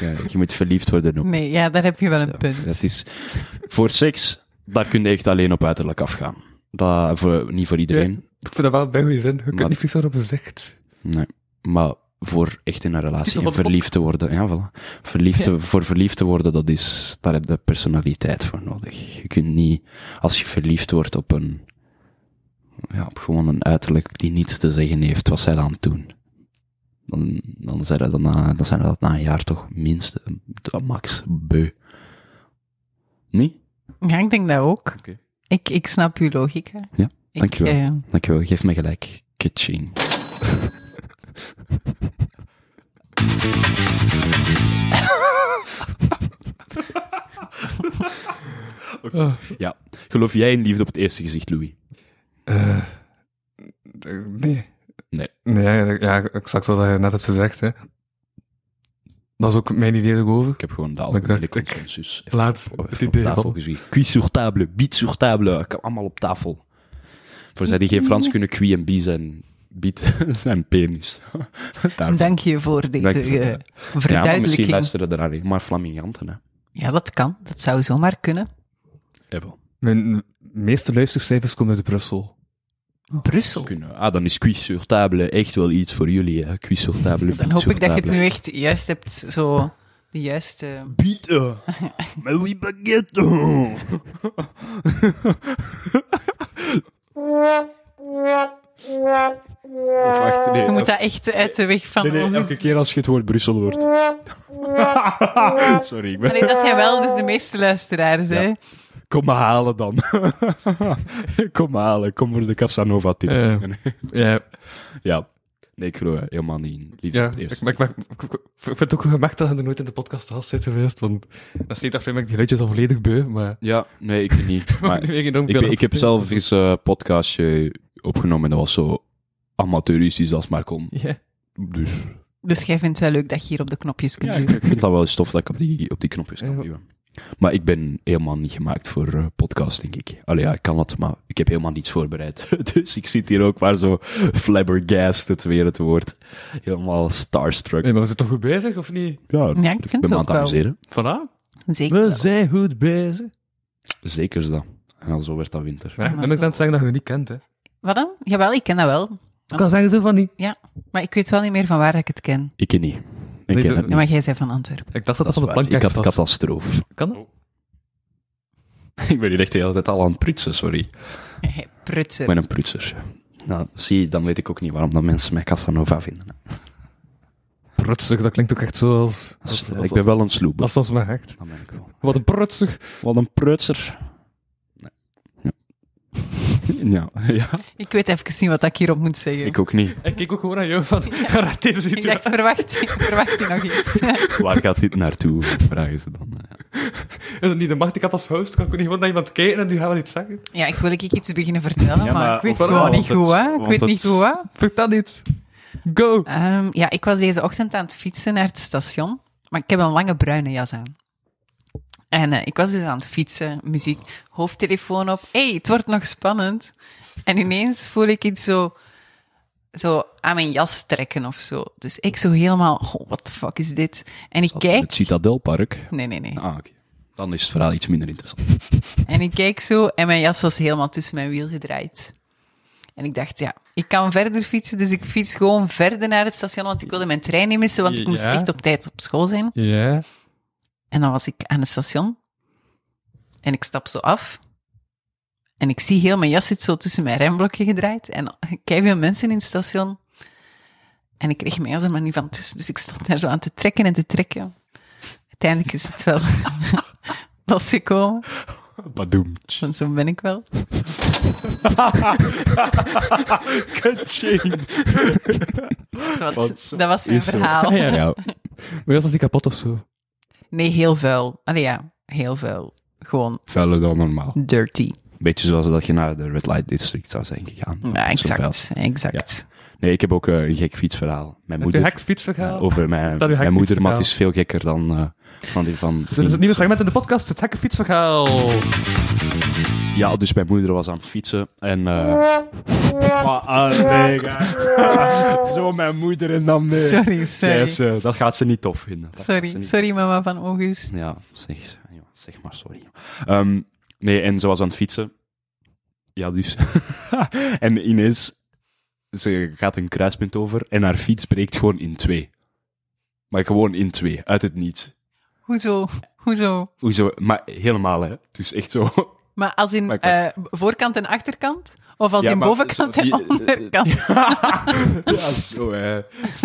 D: Ja, je moet verliefd worden op...
E: Nee, ja, daar heb je wel een punt.
D: Dat is... Voor seks, daar kun je echt alleen op uiterlijk afgaan. Dat, voor, niet voor iedereen,
C: Ik vind dat wel een goede zin. Je kunt
D: Maar-
C: niet fixen op een zicht.
D: nee. Maar voor echt in een relatie en verliefd te worden. Ja, voilà. Verliefd te- Voor verliefd te worden, dat is, daar heb je personaliteit voor nodig. Je kunt niet, als je verliefd wordt op een, ja, op gewoon een uiterlijk die niets te zeggen heeft, wat zij dan doen. Dan, dan zijn we dat na, dan zijn we dat na een jaar toch minst, eh, max, beu. Niet?
E: Ja, ik denk dat ook.
D: Oké.
E: Ik, ik snap uw logica.
D: Ja,
E: Ik,
D: dankjewel.
E: eh,
D: Dankjewel, geef me gelijk. Kitching.
C: Oh.
D: Ja, geloof jij in liefde op het eerste gezicht, Louis?
C: Eh, eh, nee.
D: Nee.
C: Nee, ja, exact wat je net hebt gezegd, hè. Dat is ook mijn idee erover.
D: Ik heb gewoon de
C: dacht,
D: algemene
C: ik
D: consensus. even-
C: Laat
D: even
C: het idee
D: op tafel
C: vallen.
D: gezien. Cuis sur table, biet sur table. Ik heb allemaal op tafel. Voor zij die geen Frans kunnen, cui en bi zijn, biet zijn penis. Daarvoor.
E: dank je voor deze
D: Dank je voor-
E: eh,
D: Ja, maar misschien
E: verduidelijking. Ja,
D: luisteren er alleen maar flaminganten, hè.
E: dat kan. Dat zou zomaar kunnen.
C: Mijn meeste luistercijfers komen uit Brussel.
E: Brussel.
D: kunnen. Ah, dan is cuis sur table echt wel iets voor jullie, hè. Cuis sur table, biet
E: Dan hoop
D: sur
E: ik dat je het
D: table.
E: nu echt juist hebt, zo de juiste...
F: Bieten. Met wie
D: Oh,
F: baguette.
D: Of wacht, nee.
E: Je moet dat echt uit de weg van...
F: Nee,
E: nog
F: nee,
E: eens-
F: elke keer als je het woord Brussel hoort. Sorry, ik ben...
E: Allee, dat zijn wel dus de meeste luisteraars, hè.
F: Kom me halen dan. kom me halen, kom voor de Casanova-tip.
C: Eh. Ja,
D: Ja. Nee, ik geloof helemaal niet in liefde
C: ja
D: op het
C: ik,
D: eerste
C: maar ik, maar- ik- ik- ik vind het ook gemerkt dat je er nooit in de podcast te gast bent geweest, want dat steeds dacht ik die geluidjes al volledig beu, maar...
D: Ja, nee, ik niet. Maar ik, ben- ik heb zelf eens eh, een podcastje opgenomen en dat was zo amateuristisch als maar kon.
C: Ja.
D: Dus
E: Dus jij vindt het wel leuk dat je hier op de knopjes kunt
D: ik
E: duwen.
D: vind dat wel eens tof dat ik op die, op die knopjes kan
C: Ja.
D: duwen. Maar ik ben helemaal niet gemaakt voor eh, podcast, denk ik. Allee, ja, ik kan dat, maar ik heb helemaal niets voorbereid. dus ik zit hier ook maar zo flabbergasted, weer het woord. Helemaal starstruck.
C: Nee, maar we zijn toch goed bezig, of niet?
D: Ja,
E: Ja, ik
D: ben me
E: vind
D: aan
E: het ook
D: het
E: wel.
D: amuseren.
C: Voilà.
E: Zeker. wel.
C: zijn goed bezig.
D: Zeker is dat. En dan zo werd dat winter.
C: Ja, dan ben ik aan het zeggen dat je het niet kent, hè.
E: Wat dan? Jawel, ik ken dat wel.
C: Ik kan zeggen zo van niet.
E: Maar ik weet wel niet meer van waar ik het ken.
D: Ik ken niet. Ik
C: Nee,
D: ken
C: de-
D: het
E: Ja,
D: niet.
E: maar jij bent van Antwerpen.
C: Ik dacht dat dat,
D: Dat
C: van
D: is
C: de
D: waar. Ik
C: plankkaart
D: had
C: was.
D: catastrofe.
C: Kan dat?
D: Oh. ik ben hier echt de hele tijd al aan het prutsen, sorry.
E: Hey, prutser.
D: Ik ben een prutser. Nou, zie, je, dan weet ik ook niet waarom dat mensen mij Casanova vinden.
C: Prutsig, dat klinkt ook echt zo als...
D: Dus,
C: als,
D: eh,
C: als-
D: ik ben wel een sloep.
C: als- als maar echt.
D: Dat ben ik wel.
C: Wat een prutsig.
D: Wat een prutser. Nee. Ja. Ja. ja,
E: Ik weet even niet wat ik hierop moet zeggen.
D: ik ook niet.
C: Ik keek ook gewoon naar jou van... Ga raad deze
E: Ik dacht,
C: situatie.
E: verwacht, verwacht je nog iets?
D: Waar gaat dit naartoe? Vragen ze dan. Ja.
C: Is dat niet de macht? Ik heb als host, kan ik niet gewoon naar iemand kijken en die gaat iets zeggen.
E: Ja, ik wil ik iets beginnen vertellen,
D: Ja,
E: maar,
D: maar
E: ik weet
D: overal,
E: gewoon
D: want
E: niet
D: het-
E: goed, hè. Ik
D: want
E: weet
D: het-
E: niet goed, hè.
C: Vertel iets. Go.
E: Ehm, ja, ik was deze ochtend aan het fietsen naar het station, maar ik heb een lange bruine jas aan. En eh, ik was dus aan het fietsen, muziek, hoofdtelefoon op. hey, het wordt nog spannend. En ineens voel ik iets zo, zo aan mijn jas trekken of zo. Dus ik zo helemaal, oh, what the fuck is dit? En ik
D: Het
E: kijk...
D: Citadelpark.
E: Nee, nee, nee.
D: Ah, oké. Dan is het verhaal iets minder interessant.
E: En ik keek zo en mijn jas was helemaal tussen mijn wiel gedraaid. En ik dacht, ja, ik kan verder fietsen, dus ik fiets gewoon verder naar het station, want ik wilde mijn trein niet missen, want ik moest
C: Ja.
E: echt op tijd op school zijn.
C: Ja.
E: En dan was ik aan het station en ik stap zo af en ik zie heel mijn jas zit zo tussen mijn remblokje gedraaid en veel mensen in het station. En ik kreeg mijn jas er maar niet van tussen, dus ik stond daar zo aan te trekken en te trekken. Uiteindelijk is het wel losgekomen.
F: Badoem.
E: Want zo ben ik wel.
F: Kaching.
E: Dus wat-
F: Wat zo-
E: dat was mijn
D: is zo.
E: verhaal.
C: Ja. ja. Maar was dat niet kapot of zo?
E: Nee, heel vuil. Allee, ja, heel vuil. Gewoon
D: Vuiler dan normaal.
E: dirty.
D: Beetje zoals dat je naar de Red Light District zou zijn gegaan.
E: Ja,
D: Zo vuil.
E: exact. exact.
D: Nee, ik heb ook eh, een gek fietsverhaal. Mijn
C: Heb je
D: moeder...
C: heksfietsverhaal?
D: eh, over mijn,
C: Dat uw
D: mijn moeder, maar het is
C: hekfietsverhaal.
D: veel gekker dan, eh, dan die van...
C: Dit is het nieuwe segment in de podcast, het hekkenfietsverhaal.
D: Ja, dus mijn moeder was aan het fietsen en... eh,
F: Zo mijn moeder en dan nee.
E: Sorry, sorry.
D: yes, eh, dat gaat ze niet tof vinden. Dat gaat ze
E: Sorry,
D: niet
E: sorry mama van August.
D: Ja, zeg, ja, zeg maar sorry. Ehm, nee, en ze was aan het fietsen. Ja, dus. en ineens ze gaat een kruispunt over en haar fiets breekt gewoon in twee. Maar gewoon in twee, uit het niets.
E: Hoezo? Hoezo?
D: Hoezo? Maar helemaal, hè. Dus echt zo.
E: Maar als in
D: Maar ik weet-
E: eh, voorkant en achterkant? Of als
D: Ja,
E: in
D: maar
E: bovenkant
D: zo-
E: en
D: die-
E: onderkant?
D: ja, zo, hè.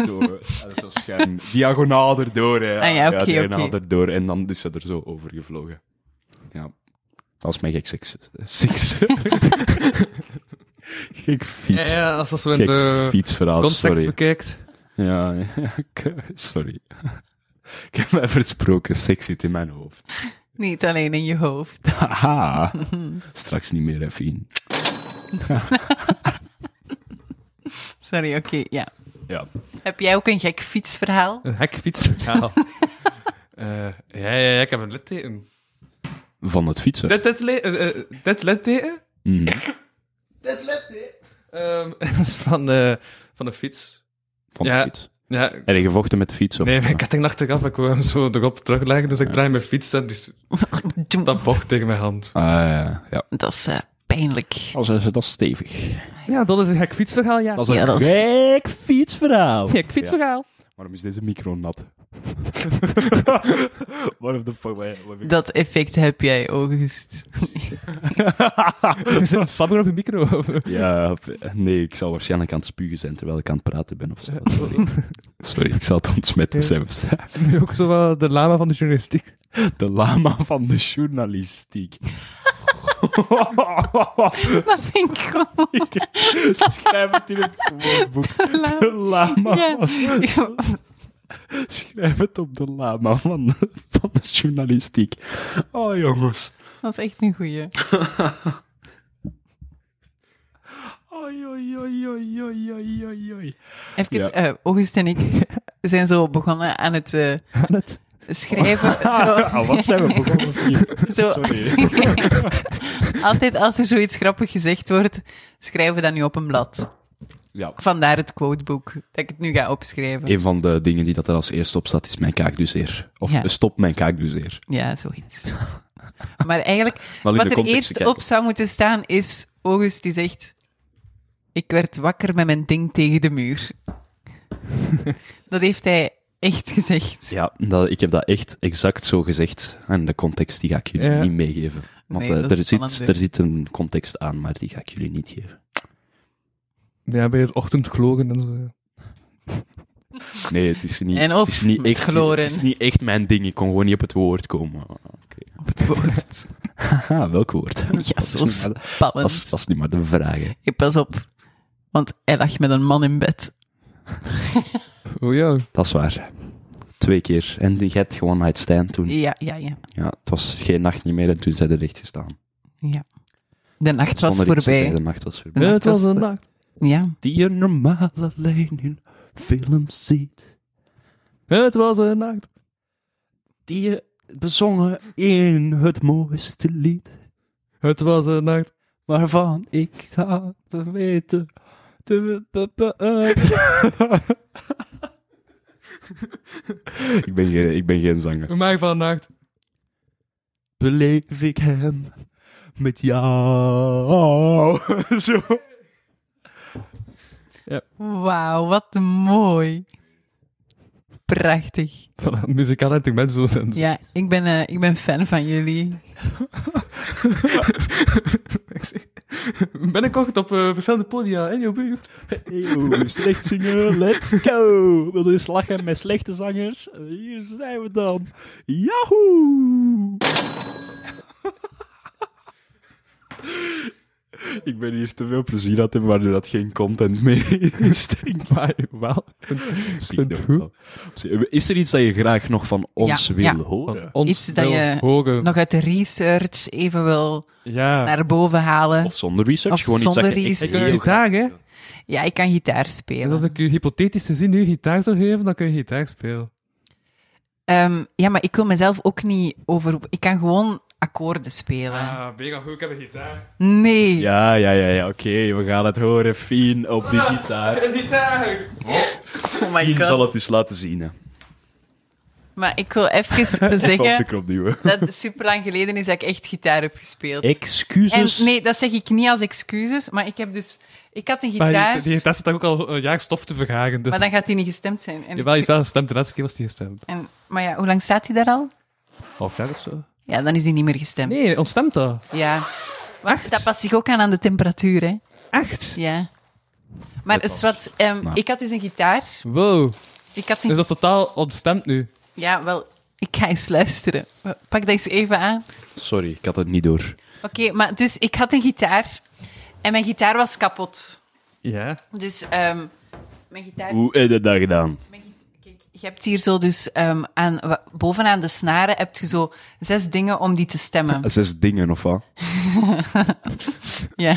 D: Zo, eh, zo schuin. Diagonaal erdoor, hè.
E: Ah ja, oké,
D: diagonaal
E: oké.
D: erdoor. En dan is ze er zo over gevlogen. Ja. Dat is mijn gek seks. seks. gek
C: Ja,
D: fiets.
C: ja, als dat zo in
D: Gek
C: de
D: fietsverhaal,
C: context
D: sorry.
C: bekijkt.
D: Ja, ja, ik- sorry. Ik heb mij versproken, seks zit in mijn hoofd.
E: Niet alleen in je hoofd.
D: Haha. Straks niet meer, even.
E: Sorry, oké, ja.
D: Ja.
E: Heb jij ook een gek fietsverhaal?
C: Een hekfietsverhaal. Eh ja, ja, ja, ik heb een litteken.
D: Van het fietsen.
C: Dit, dit, le- eh, eh, dit litteken
D: Mm.
C: ehm, is van, eh, van een fiets.
D: Van
C: Ja.
D: de fiets.
C: Ja,
D: En je gevochten met de fiets? Of?
C: nee, mijn ketting achteraf, ik wou hem zo erop terugleggen, dus ik draai mijn fiets en die s- dat bocht tegen mijn hand.
D: Ah, ja, ja.
E: Dat is eh, pijnlijk.
D: Als ze dat is stevig.
C: Ja, dat is een gek fietsverhaal, ja.
D: Dat is een
E: Ja, dat is-
D: gek fietsverhaal.
C: gek fietsverhaal.
D: Waarom is deze micro nat? What the fuck?
E: Dat effect heb jij, August.
C: We zitten samen op je micro.
D: Ja, nee, ik zal waarschijnlijk aan het spugen zijn terwijl ik aan het praten ben of zo. Sorry, Sorry ik zal het ontsmetten zelfs.
C: nu ook zo wel de lama van de journalistiek.
D: De lama van de journalistiek.
E: Dat vind ik gewoon...
D: Schrijf het in het woordboek. De lama.
E: Ja.
D: Schrijf het op de lama van de, van de journalistiek. Oh, jongens.
E: Dat is echt een goeie.
D: Oei, oei, oei, oei, oei, oei, oei, oei.
E: Even,
D: Ja.
E: eh, August en ik zijn zo begonnen aan het, eh, schrijven.
D: Ah, wat zijn we begonnen hier?
E: Zo, zo.
D: Sorry.
E: Altijd als er zoiets grappig gezegd wordt, schrijven we dat nu op een blad.
D: Ja.
E: Vandaar het quotebook, dat ik het nu ga opschrijven.
D: Een van de dingen die dat er als eerste op staat is mijn kaakduzeer. Of
E: Ja.
D: stop mijn kaakduzeer.
E: Ja, zoiets. maar eigenlijk,
D: Wel in
E: wat
D: de
E: er
D: context
E: eerst
D: te kijken.
E: op zou moeten staan is, August die zegt, ik werd wakker met mijn ding tegen de muur. dat heeft hij echt gezegd.
D: Ja, dat, ik heb dat echt exact zo gezegd. En de context die ga ik jullie
C: Ja.
D: niet meegeven. Want
E: Nee,
D: eh,
E: dat
D: er, zit,
E: is spannend.
D: er zit een context aan, maar die ga ik jullie niet geven.
C: Ja, bij het ochtendklogen en zo.
D: Nee, het is niet,
E: En of
D: het is niet
E: met
D: echt
E: gloren.
D: Het is niet echt mijn ding. Ik kon gewoon niet op het woord komen. Oké.
E: Op het woord.
D: Haha, welk woord?
E: Ja,
D: Dat is
E: zo
D: niet maar de-
E: spannend.
D: dat is- dat is niet maar de vraag. hè.
E: Ik pas op, want hij lag met een man in bed.
C: Oh ja.
D: Dat is waar. Twee keer. En jij hebt gewoon uit Stijn toen.
E: Ja, ja, ja.
D: Ja, het was geen nacht niet meer en toen zijn er recht gestaan.
E: De nacht was
D: Zonder iets te zeggen,
E: voorbij.
D: De nacht was voorbij.
E: De nacht was voor-
C: nacht.
E: Ja,
D: Die je normaal alleen in films ziet.
C: Het was een nacht.
D: Die je bezongen in het mooiste lied.
C: Het was een nacht.
D: Waarvan ik zou te weten. te- te- te- eh. ik, ben geen, ik ben geen zanger.
C: We maken van een nacht.
D: beleef ik hem met jou. Zo.
E: wauw, wat mooi. Prachtig.
C: Voilà, muzikaal en ik ben zo.
E: Ja, ik ben, eh, ik ben fan van jullie.
C: Binnenkort op eh, verschillende podia in jouw buurt.
F: Eeuw, slecht zingen, let's go. Wil dus lachen met slechte zangers? Hier zijn we dan. Yahoo!
D: Ik ben hier te veel plezier aan het hebben, waardoor dat geen content meer is. denk ik.
C: Maar wel.
D: Op zich
C: Vindt
D: nog
C: goed.
D: wel. Op zich- Is er iets dat je graag nog van ons
E: Ja,
D: wil
E: ja.
D: horen?
C: Ons
E: Iets dat
C: wil
E: je
C: horen.
E: Nog uit de research even wil
C: Ja.
E: naar boven halen.
D: Of zonder research?
E: Of
D: gewoon
E: zonder
D: iets dat je echt
E: research.
D: heel
C: Ik
D: graag-
C: gitaar, hè?
E: Ja, ik kan gitaar
C: Dus
E: spelen.
C: als ik u hypothetisch gezien nu gitaar zou geven, dan kun je gitaar spelen.
E: Ehm, ja, maar ik wil mezelf ook niet over... Ik kan gewoon akkoorden spelen.
C: Ah, mega goed, ik heb een gitaar.
E: Nee.
D: Ja, ja, ja, ja. Oké, we gaan het horen. Fien op die gitaar.
C: Een gitaar!
E: oh my
D: Fien
E: god.
D: zal het eens laten zien. hè.
E: Maar ik wil even zeggen
D: knop duwen.
E: dat het super lang geleden is dat ik echt gitaar heb gespeeld.
D: Excuses.
E: En nee, dat zeg ik niet als excuses, maar ik heb dus... Ik had een
B: Maar
E: gitaar,
B: die, die test zit ook al een jaar stof te vergaren. Dus.
E: maar dan gaat die niet gestemd zijn. En,
C: Jawel, je is wel gestemd. De laatste keer was die gestemd.
E: en, maar ja, hoe lang staat die daar al?
C: Half jaar of zo.
E: Ja, dan is die niet meer gestemd.
C: Nee, ontstemt dat.
E: Ja. Maar dat past zich ook aan aan de temperatuur, hè.
C: Echt?
E: Ja. Maar is wat, ehm,
D: Nou.
E: ik had dus een gitaar.
C: Wow.
E: Ik had een...
C: Dus dat is totaal ontstemd nu.
E: Ja, wel, ik ga eens luisteren. Pak dat eens even aan.
D: Sorry, ik had het niet door.
E: Oké, maar dus ik had een gitaar. En mijn gitaar was kapot.
C: Ja.
E: Dus ehm, mijn gitaar...
D: Hoe heb je dat gedaan?
E: Mijn git- Kijk, je hebt hier zo dus ehm, aan, wa- bovenaan de snaren heb je zo zes dingen om die te stemmen.
D: Zes dingen of wat?
E: Ja.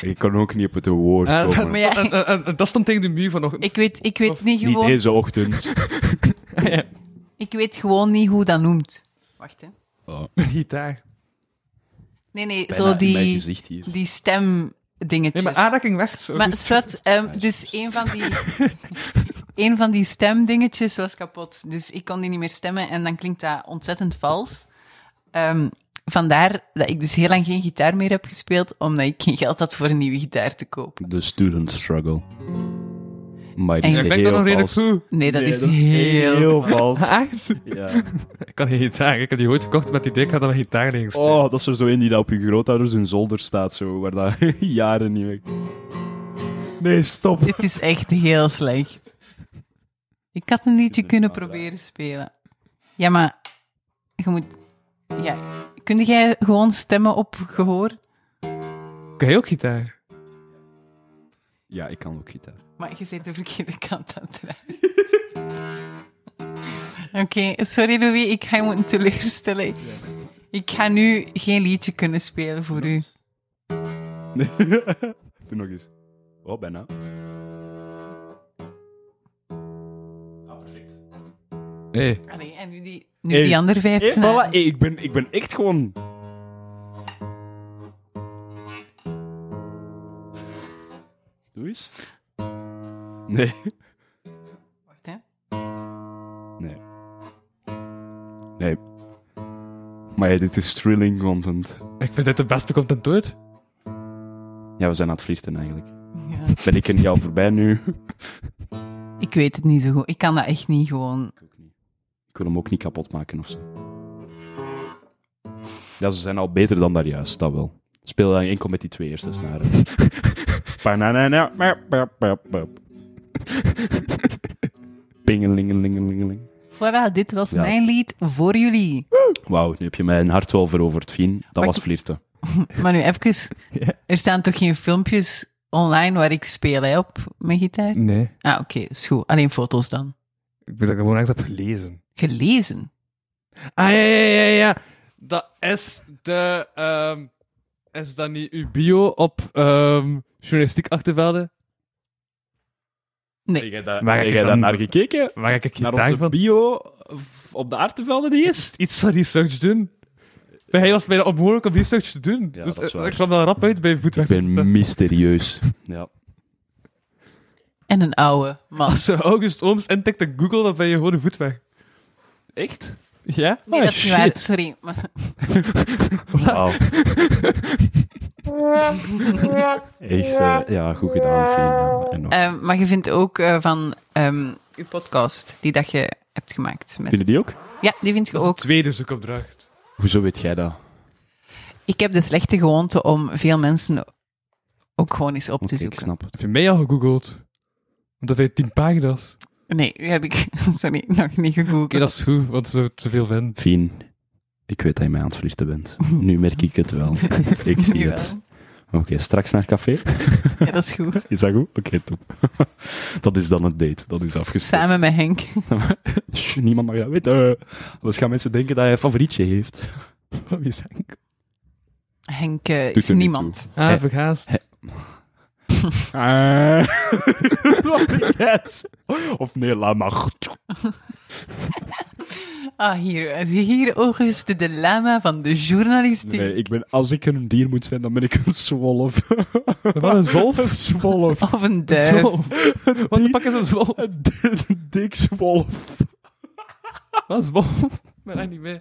D: Ik kon ook niet op het woord
C: En, Ah, en,
D: komen.
E: Maar ja,
C: en- en- en- en dat stond tegen de muur vanochtend.
E: Ik weet, ik weet niet
D: Niet
E: gewoon...
D: deze ochtend.
E: Ik weet gewoon niet hoe dat noemt. Wacht, hè.
C: Gitaar.
E: Nee, nee,
D: Oh, Bijna
E: zo
D: in mijn
E: die,
D: gezicht hier.
E: die
C: Nee,
E: stemdingetjes.
C: maar aanraking werkt. zo
E: Maar
C: goed.
E: zwart, ehm, dus een van die... Een van die stemdingetjes was kapot. Dus ik kon die niet meer stemmen en dan klinkt dat ontzettend vals. Ehm, vandaar dat ik dus heel lang geen gitaar meer heb gespeeld, omdat ik geen geld had voor een nieuwe gitaar te kopen.
D: De student struggle. Maar
E: En-
D: die is
E: Ja,
C: Ik denk dat
D: heel
C: nog redelijk
D: vals.
C: goed.
E: Nee, dat
F: Nee,
E: is heel...
F: vals.
E: Ah,
C: Echt?
F: Ja.
C: Ik kan geen gitaar. Ik heb die ooit verkocht met die idee, ik ga dan een gitaar neer spelen.
F: Oh, dat is er zo in die dat op je grootouders hun zolder staat, zo, waar dat jaren niet meer... Nee, stop.
E: Dit is echt heel slecht. Ik had een liedje kunnen proberen spelen. Ja, maar je moet. Ja. Kun jij gewoon stemmen op gehoor?
C: Kan je ook gitaar?
D: Ja, ik kan ook gitaar.
E: Maar je zit de verkeerde kant aan het draaien. Oké, sorry Louis, ik ga je moeten teleurstellen. Ik ga nu geen liedje kunnen spelen voor u.
D: Nee. Doe nog eens. Oh, bijna. Ah, perfect.
C: Nee.
E: Allee, en nu die, nu die andere vijf
D: Hey,
E: snaren.
D: Eh, voilà. Hey, ik, ben, ik ben echt gewoon... Doe eens. Nee.
E: Wacht, hè.
D: Nee. Nee. Maar ja, dit is thrilling content.
C: Ik vind dit de beste content ooit.
D: Ja, we zijn aan het vliegen eigenlijk.
E: Ja.
D: Ben ik er niet al voorbij nu?
E: Ik weet het niet zo goed. Ik kan dat echt niet gewoon.
D: Ik ook niet. Ik wil hem ook niet kapot maken of zo. Ja, ze zijn al beter dan daar juist, dat wel. Speel dan enkel met die twee eerste snaren. Pananana, merp, merp, merp, merp. Pingelingelingelingeling.
E: Voilà, dit was
D: Ja.
E: mijn lied voor jullie.
D: Wauw, nu heb je mijn hart wel veroverd, Fien. Dat
E: Wacht.
D: was flirten.
E: Maar nu even, er staan toch geen filmpjes online waar ik speel hè, op mijn gitaar?
C: Nee.
E: Ah, oké, is goed. Alleen foto's dan.
C: Ik ben dat gewoon echt heb gelezen.
E: Gelezen.
C: Ah, ja, ja, ja, ja. Dat is de... ehm, is dat niet uw bio op ehm, journalistiek achtervelden?
E: Nee.
D: Heb jij daar,
C: Maar
D: heb
C: ik
D: jij
C: dan-
D: daar naar gekeken?
C: Waar ik
D: Naar
C: gitaar
D: onze
C: van?
D: bio v- op de aartevelden die is?
C: Iets van research doen. Bij hij was bijna onmogelijk om research te doen.
D: Ja,
C: dus
D: dat is
C: eh,
D: waar.
C: ik kwam daar rap uit bij
D: Ik
C: voetwerk.
D: ben mysterieus. Ja.
E: En een oude man.
D: Oh,
C: Als je August Ooms intikt in Google, dan ben je gewoon een voetweg.
D: Echt?
C: Ja?
E: Nee, dat is niet waar. Sorry. Maar,
D: Wauw. Echt, eh, ja, goed gedaan, Fien. En nog.
E: ehm, maar je vindt ook eh, van ehm je podcast, die dat je hebt gemaakt. Met...
D: Vind je die ook?
E: Ja, die vind je
C: Dat is de
E: ook.
C: tweede zoekopdracht.
D: Hoezo weet jij dat?
E: Ik heb de slechte gewoonte om veel mensen ook gewoon eens op
D: Oké,
E: te
D: ik
E: zoeken.
D: snap het.
C: Heb je mij al gegoogeld? Want dat heeft tien pagina's. Oké,
E: Nee, u heb ik, sorry, nog niet gegoogeld.
C: dat is goed, want ze te veel vinden.
D: Fien, ik weet dat je mij aan het vliegen bent. Nu merk ik het wel. Ik
E: Nu
D: zie
E: wel.
D: het. Oké, straks naar café.
E: Ja, dat is goed.
D: Is dat goed? Oké, top. Dat is dan het date. Dat is afgesproken.
E: Samen met Henk.
D: Sst, Niemand mag dat weten. Anders gaan mensen denken dat hij een favorietje heeft. Wie is Henk?
E: Henk eh,
D: Doet
E: is
D: er niet
E: niemand.
C: Ah,
D: Hey.
C: vergaast.
D: Ah. Wat een cat. Of nee, laat maar.
E: Ah, hier, hier August, de lama van de journalistiek.
D: Nee, ik ben, als ik een dier moet zijn, dan ben ik een zwolf.
C: Wat is wolf?
D: Een zwolf.
E: Of een duif.
C: Wat de pak is een zwolf?
D: Een di- een dik zwolf.
C: Wat is Bob? Ik ben echt niet mee.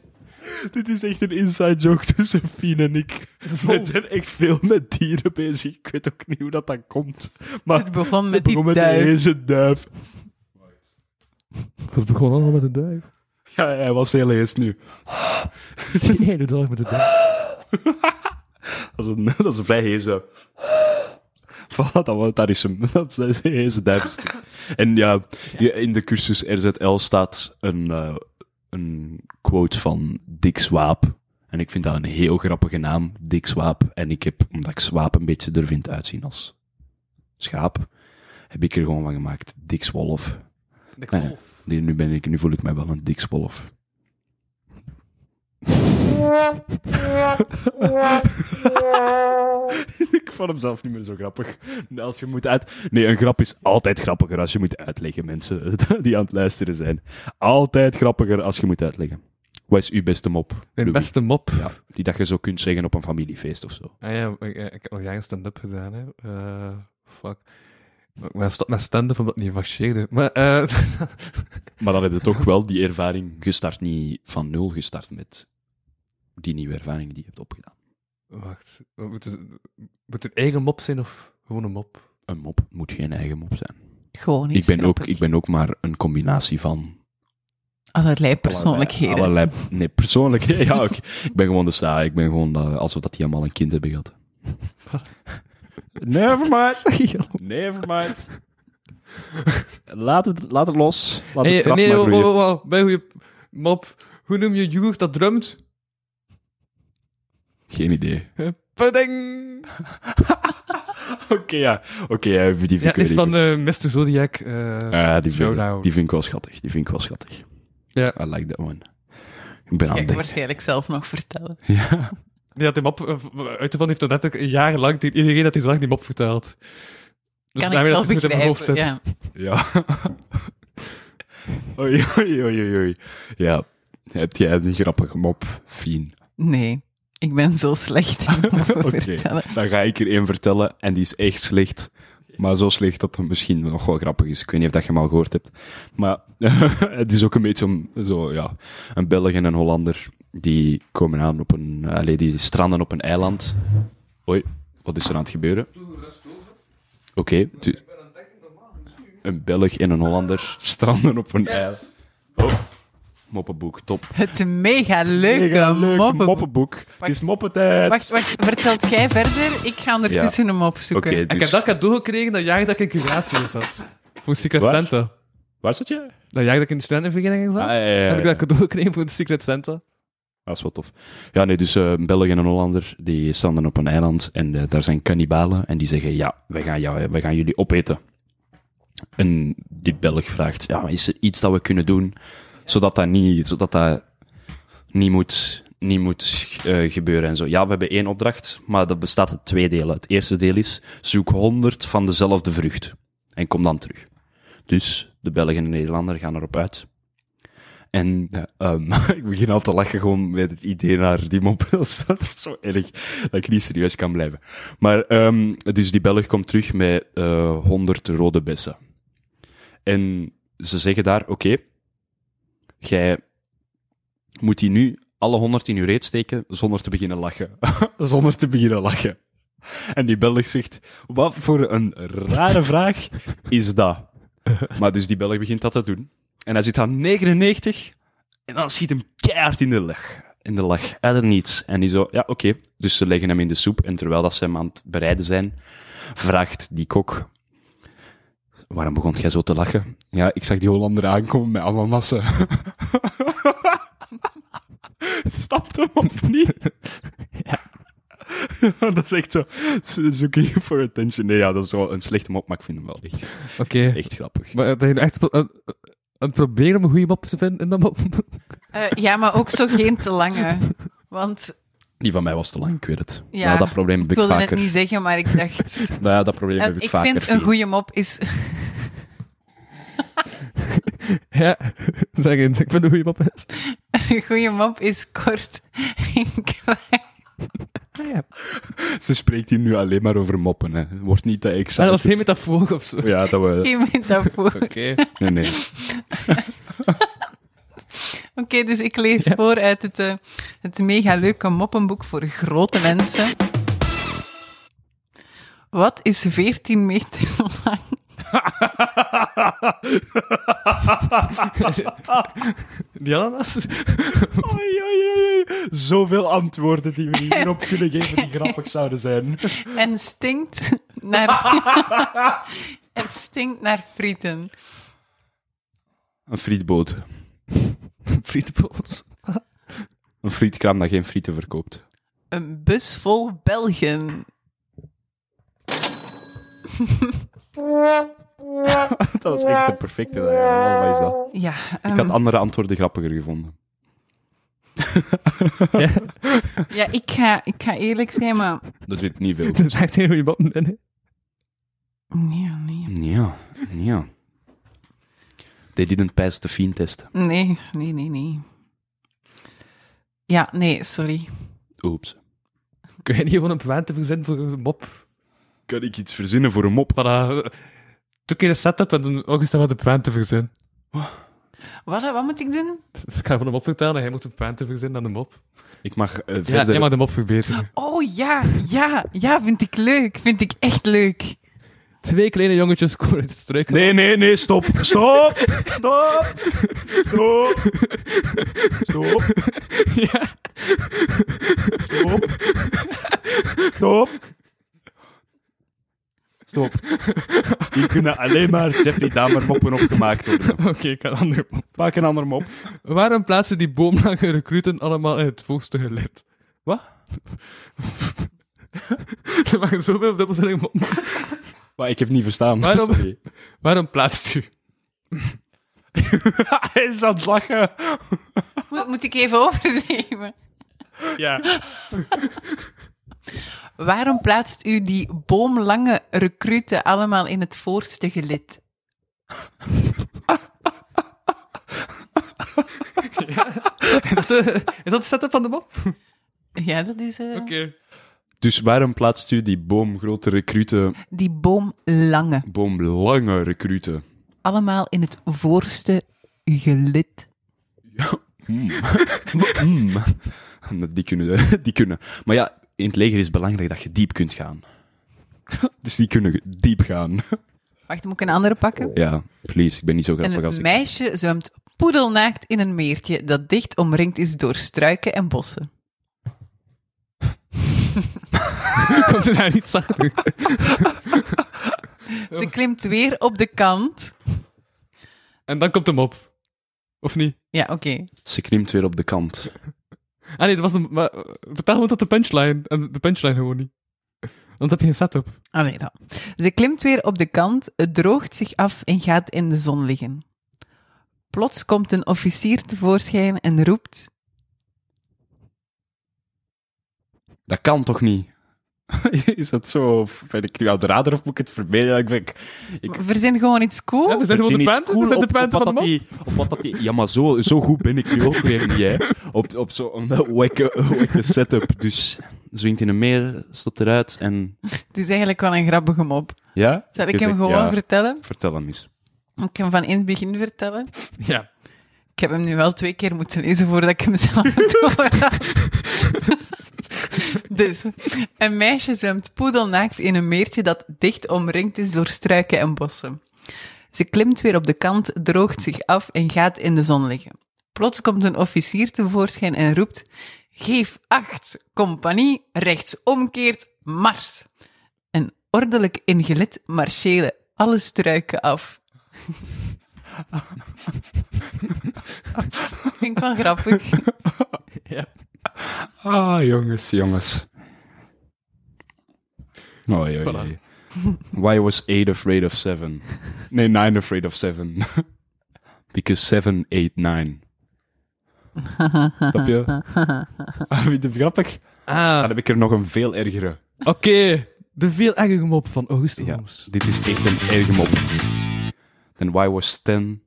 F: Dit is echt een inside joke tussen Fien en ik. We zijn echt veel met dieren bezig. Ik weet ook niet hoe dat dan komt. Maar
E: Het begon met
F: het begon
E: die
F: met
E: duif.
F: deze duif.
B: Het begon allemaal met een duif.
F: Ja, hij was heel eens nu.
B: Nee, doe dag met de duif.
F: Dat is een, dat is een vrij heese.
D: Voilà, dat, wa- daar is hem. Dat is de eerste duivelstuk. En ja, je- in de cursus RZL staat een, eh, een quote van Dick Swaap. En ik vind dat een heel grappige naam, Dick Swaap. En ik heb, omdat ik Swaap een beetje er vind uitzien als schaap, heb ik er gewoon van gemaakt, Dick Swolf.
C: Dick
D: Ah ja. Die- Nu, ben ik, nu voel ik mij wel een Dick Swolf.
F: Ik vond hem zelf niet meer zo grappig.
D: Als je moet uit... Nee, een grap is altijd grappiger als je moet uitleggen, mensen die aan het luisteren zijn. Altijd grappiger als je moet uitleggen. Wat is uw beste mop?
C: Mijn
D: Louis?
C: beste mop.
D: Ja, die dat je zo kunt zeggen op een familiefeest of zo.
C: Ah ja, ik, ik heb nog jaren stand-up gedaan, hè. Eh, fuck. Maar ik ben gestopt met stand-up omdat het niet marcheerde. Maar, eh...
D: Maar dan heb je toch wel die ervaring gestart, niet van nul gestart met die nieuwe ervaring die je hebt opgedaan.
C: wacht. Wat Moet het, moet het een eigen mop zijn of gewoon een mop?
D: Een mop moet geen eigen mop zijn.
E: Gewoon
D: Ik
E: iets
D: ben, ook,
E: grappig.
D: ik ben ook maar een combinatie van
E: Allerlei persoonlijkheden.
D: Allerlei, nee, persoonlijkheden. Ja, oké. ik ben gewoon de sta. Ik ben gewoon eh, alsof dat die allemaal een kind hebben gehad.
F: Nevermind. Nevermind. Laat het, laat het los. Laat
C: Hey,
F: het gras
C: nee, oh,
F: maar
D: oh,
C: wow,
F: groeien.
C: wow, wow. Bij goeie mop. Hoe noem je yoghurt dat drumt?
D: Geen idee.
C: Pudding!
F: Oké, ja.
D: Oké, ja, die vind
C: Ja,
D: ik
C: is
D: wel-
C: van eh Mr. Zodiac. eh,
D: Ah, die, vind,
C: Showdown.
D: die vind ik wel schattig. Die vind ik wel schattig.
C: Ja.
D: I like that one. Ik ben aan
E: Ga
D: het
E: ik
D: denken.
E: waarschijnlijk zelf nog vertellen.
D: Dus
B: Ja, die mop eh, v- uit te van heeft dat net een jaar lang die- iedereen dat die zag die mop verteld. Dus
E: kan
B: daarmee
E: ik wel
B: dat het goed in mijn hoofd
E: begrijpen.
B: zit.
E: Ja.
D: Ja. oei, oei, oei, oei, oei. Ja. Heb jij een grappige mop, Fien?
E: Nee, ik ben zo slecht in moppen
D: Oké.
E: vertellen.
D: Dan ga ik er één vertellen en die is echt slecht. Maar zo slecht dat het misschien nog wel grappig is. Ik weet niet of dat je hem al gehoord hebt. Maar het is ook een beetje om, zo, ja, een Belg en een Hollander. Die komen aan op een, allee, die stranden op een eiland. Oei, wat is er aan het gebeuren? Oké, tu- een Belg en een Hollander stranden op een eiland. Oh, moppenboek, top.
E: Het is mega leuke
F: Mega leuk
E: moppenboek.
F: moppenboek. Het is moppentijd.
E: Wacht, wacht, vertelt jij verder? Ik ga ondertussen hem
D: Oké,
E: opzoeken.
B: Ik heb
D: dus,
B: dat cadeau gekregen dat jaar dat ik in Gratio zat. Voor Secret
D: Waar?
B: Santa.
D: waar zit je?
B: Dat jaar dat ik in de studentenvereniging zat,
D: Ah, ja, ja, ja.
B: heb ik dat cadeau gekregen voor de Secret Santa.
D: Dat is wel tof. Ja, nee, dus eh, een Belg en een Hollander, die staan dan op een eiland en eh, daar zijn kannibalen en die zeggen, ja, wij gaan, jou, wij gaan jullie opeten. En die Belg vraagt, ja, maar is er iets dat we kunnen doen, zodat dat niet, zodat dat niet moet, niet moet eh, gebeuren en zo. Ja, we hebben één opdracht, maar dat bestaat uit twee delen. Het eerste deel is, zoek 100 van dezelfde vrucht en kom dan terug. Dus de Belgen en de Nederlander gaan erop uit. En eh, ehm, ik begin al te lachen gewoon met het idee naar die mop. Dat is dat is zo erg dat ik niet serieus kan blijven. Maar ehm, dus die Belg komt terug met eh 100 rode bessen. En ze zeggen daar, oké, jij moet die nu alle 100 in je reet steken zonder te beginnen lachen. zonder te beginnen lachen. En die Belg zegt, wat voor een rare vraag is dat? Maar dus die Belg begint dat te doen. En hij zit aan 99. En dan schiet hem keihard in de lach. In de lach. Uit het niets. En die zo, ja, oké. Dus ze leggen hem in de soep. En terwijl dat ze hem aan het bereiden zijn, vraagt die kok... Waarom begon jij zo te lachen? Ja, ik zag die Hollander aankomen met allemaal massa.
F: Stapt hem of niet?
D: Ja, dat is echt zo. Ze zoeken je voor attention. Nee, ja, dat is wel een slechte mop, maar ik vind hem wel echt,
C: Oké.
D: echt grappig.
C: Maar
B: eh,
C: dat
B: nou
C: je echt pro- aan aan het proberen om een goede mop te vinden in dat mop.
E: Eh, ja, maar ook zo geen te lange. Want
D: Die van mij was te lang, ik weet het.
E: Ja,
D: Ja, dat probleem heb ik
E: ik wilde het
D: vaker.
E: niet zeggen, maar ik dacht...
D: Nou ja, dat probleem
E: Eh,
D: heb ik,
E: ik
D: vaker.
E: vind een
D: Fien.
E: goede mop is...
C: ja, zeg eens, ik vind een goede mop is.
E: Een goede mop is kort en kwaad.
D: Ze spreekt hier nu alleen maar over moppen. Hè. Wordt niet te excited.
C: Ah, dat was geen metafoor of zo.
D: Ja, dat we...
E: Geen metafoor.
C: Oké.
D: Nee, nee.
E: dus ik lees voor uit het, eh, het mega leuke moppenboek voor grote mensen. Wat is 14 meter lang?
B: Die ananas?
F: Oei, oei, oei, oei. Zoveel antwoorden die we hierop kunnen geven die grappig zouden zijn.
E: En stinkt naar. en stinkt naar frieten.
D: Een frietboot.
C: Frietboot.
D: Een frietkraam dat geen frieten verkoopt.
E: Een bus vol Belgen.
D: Dat is echt de perfecte. Wat is dat?
E: Ja,
D: Ik
E: ehm,
D: had andere antwoorden grappiger gevonden.
E: ja ik, ga, ik ga eerlijk zijn, maar.
D: Er zit niet veel.
C: Dat is echt een goede bot. Nee, nee.
E: Nee, nee.
D: Ja, ja. They didn't pass the fiend test.
E: Nee, nee, nee, nee. Ja, nee, sorry.
D: Oeps.
B: Kun je niet gewoon een puant verzinnen voor een mop?
D: Kan ik iets verzinnen voor een mop?
B: Voilà. Doe keer een setup en dan ook eens wat een puant te verzinnen.
E: Wat, wat moet ik doen?
B: Dus ik ga van een mop vertellen en hij moet een puant te verzinnen aan de mop.
D: Ik mag eh,
B: Ja,
D: verder...
B: jij mag de mop verbeteren.
E: Oh ja, ja, ja, vind ik leuk. Vind ik echt leuk.
C: Twee kleine jongetjes komen uit de struik.
D: Nee, nee, nee, stop. Stop!
F: Stop! Stop! Stop! Stop! Stop! Stop. Hier kunnen alleen maar Jeffrey Dahmer moppen opgemaakt worden.
C: Oké, ik ga een andere mop.
F: Maak een ander mop.
B: Waarom plaatsen die boomlange recruten allemaal in het voorste gelid?
C: Wat?
B: Er maken zoveel op dubbelzinnig mop.
D: Maar ik heb niet verstaan.
B: Waarom?
D: Sorry.
B: Waarom plaatst u?
F: Hij is aan het lachen.
E: Moet, moet ik even overnemen?
B: Ja.
E: Waarom plaatst u die boomlange recruten allemaal in het voorste gelid?
B: Is dat, eh, is dat de setup van de mop? Oké.
E: Ja, dat is eh,
D: Dus waarom plaatst u die boomgrote recruten,
E: die boomlange.
D: boomlange recruten?
E: Allemaal in het voorste gelid.
D: Mm. Die kunnen, die kunnen. Maar ja, in het leger is het belangrijk dat je diep kunt gaan. Dus die kunnen diep gaan.
E: Wacht, moet ik een andere pakken?
D: Ja, please, ik ben niet zo grappig als
E: Een
D: ik...
E: meisje zwemt poedelnaakt in een meertje dat dicht omringd is door struiken en bossen.
C: Komt er daar niet zachter?
E: Ze klimt weer op de kant.
B: En dan komt de mop. Of niet?
E: Ja, oké.
D: Ze klimt weer op de kant.
B: Ah nee, dat was een... Maar, eh, vertel me tot de punchline. En de punchline gewoon niet. Anders heb je geen setup.
E: Allee dan. Ze klimt weer op de kant, het droogt zich af en gaat in de zon liggen. Plots komt een officier tevoorschijn en roept...
D: Dat kan toch niet? Is dat zo? Of ben ik nu aan de radar of moet ik het verbeteren? Ik ben... Oh, Ik-
E: Verzin gewoon iets cool.
B: Ja, er zijn gewoon de punten. er zijn de punten van de mop.
D: Op wat dat die... Ja, maar zo, zo goed ben ik nu ook weer niet, hè. Op, op zo'n wekke, wekke setup. Dus zwingt in een meer, stopt eruit en...
E: Het is eigenlijk wel een grappige mop.
D: Ja?
E: Zal ik
D: Je
E: hem
D: zegt-
E: gewoon
D: ja,
E: vertellen?
D: Vertel hem eens.
E: Moet Ik hem van in het begin vertellen.
B: Ja.
E: Ik heb hem nu wel twee keer moeten lezen voordat ik hem zelf door had. Dus, een meisje zwemt poedelnaakt in een meertje dat dicht omringd is door struiken en bossen. Ze klimt weer op de kant, droogt zich af en gaat in de zon liggen. Plots komt een officier tevoorschijn en roept: Geef acht, compagnie, rechts omkeert, mars. En ordelijk in gelid marchelen alle struiken af. Vind ik wel grappig.
D: Ah, jongens, jongens. Oh, ja,
B: Voilà.
D: Why was 8 afraid of 7? Nee, 9 afraid of 7. Because 7, 8, 9. Snap je? Ah, vind je het grappig? Dan
B: Ah,
D: heb ik er nog een veel ergere.
B: oké. De veel ergere mop van Augusto
D: Ja,
B: Holmes.
D: dit is echt een erge mop. Then why was 10...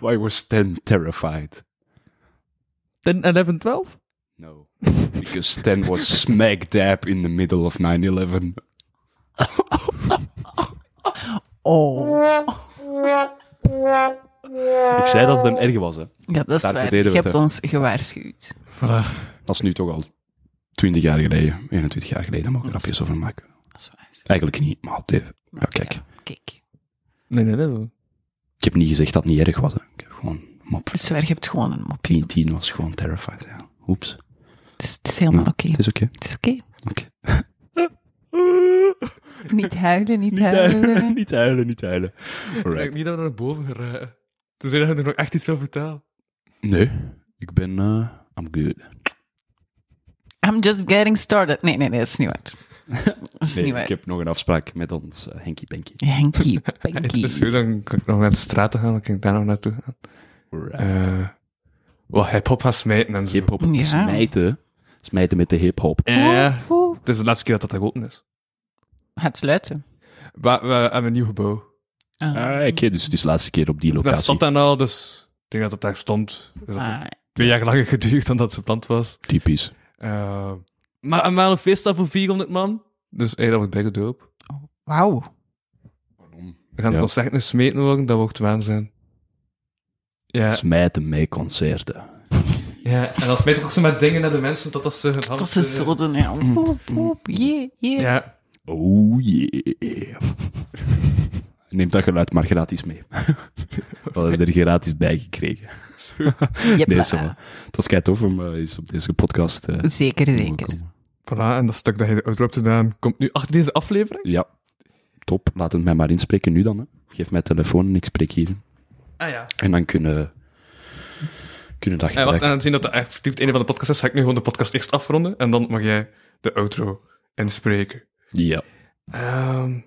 D: why was 10 terrified?
B: 10, 11, 12?
D: No. Because Stan was smack dab in the middle of 9 11.
E: Oh.
D: Ik zei dat het een erge was, hè.
E: Ja, dat is
D: Daarvoor
E: waar.
D: deden
E: Je
D: we het,
E: hebt ons gewaarschuwd.
D: Dat is nu toch al 20 jaar geleden, 21 jaar geleden, daar mogen we grapjes over maken.
E: Dat is waar.
D: Eigenlijk niet, maar het- ja, kijk.
E: Ja, kijk.
H: Nee, nee, nee.
D: Ik heb niet gezegd dat het niet erg was, hè. Ik heb gewoon mop.
E: Dat is Dus waar, je hebt gewoon een mop.
D: 10, 10 was gewoon terrified, ja. Oeps.
E: Het is, Dus het is helemaal
D: Ja,
E: oké.
D: Het is oké.
E: Het is oké.
D: Oké.
E: Niet huilen, niet,
I: Niet
E: huilen.
I: huilen, niet huilen, niet huilen.
C: Ik denk niet dat we naar boven geraken. Toen zei hij er nog echt iets veel verteld.
D: Nee, ik ben... eh, I'm good.
E: I'm just getting started. Nee, nee, nee, dat is niet waar. Dat is
D: Nee,
E: niet
D: ik
E: waar.
D: heb nog een afspraak met ons eh, Henkie Benkie.
E: Henkie,
C: Het is
E: Penkie.
C: zo, dan kan ik nog naar de straat gaan, dan kan ik daar nog naartoe gaan. Eh wat hip-hop gaan smijten en zo.
D: Hip-hop
E: Ja.
D: smijten. Smijten met de hip-hop.
C: Eh, het is de laatste keer dat dat open is.
E: Gaat sluiten.
C: We, we hebben een nieuw gebouw.
E: Ah.
D: Ah, oké, dus het is de laatste keer op die
C: Dat
D: locatie.
C: stond daar al, dus ik denk dat het daar stond. Dus dat heeft
E: Ah,
C: twee jaar langer geduurd dan dat ze plant was.
D: Typisch.
C: Eh, maar maar een feest voor 400 man. Dus hey, dat wordt bijna doop.
E: Wauw.
C: We gaan het
D: Ja.
C: concert nu smeten worden, dat wordt waanzin. Ja,
D: Smijten met concerten.
C: ja, en dan smijt ik ook zo met dingen naar de mensen totdat ze hun
E: Dat
C: hand, eh,
E: is zo doen, ja. Poep, poep, jee, jee.
C: Ja,
D: Oh yeah. Neem dat geluid maar gratis mee. We hadden er gratis bij gekregen.
E: Jeppa.
D: Nee, ça va. Het was kei tof om eh, eens op deze podcast eh,
E: Zeker,
D: te
E: zeker.
D: komen.
C: voilà, en dat stuk dat je eruit hebt gedaan komt nu achter deze aflevering.
D: Ja, top. Laat het mij maar inspreken nu dan. Hè. Geef mij telefoon en ik spreek hier.
C: Ah ja.
D: En dan kunnen, kunnen
E: Eh,
D: dat
C: En wacht,
D: gebruiken.
C: aan het zien dat dat effectief het einde van de podcast is, ga ik nu gewoon de podcast eerst afronden en dan mag jij de outro inspreken.
D: Ja.
C: Ehm,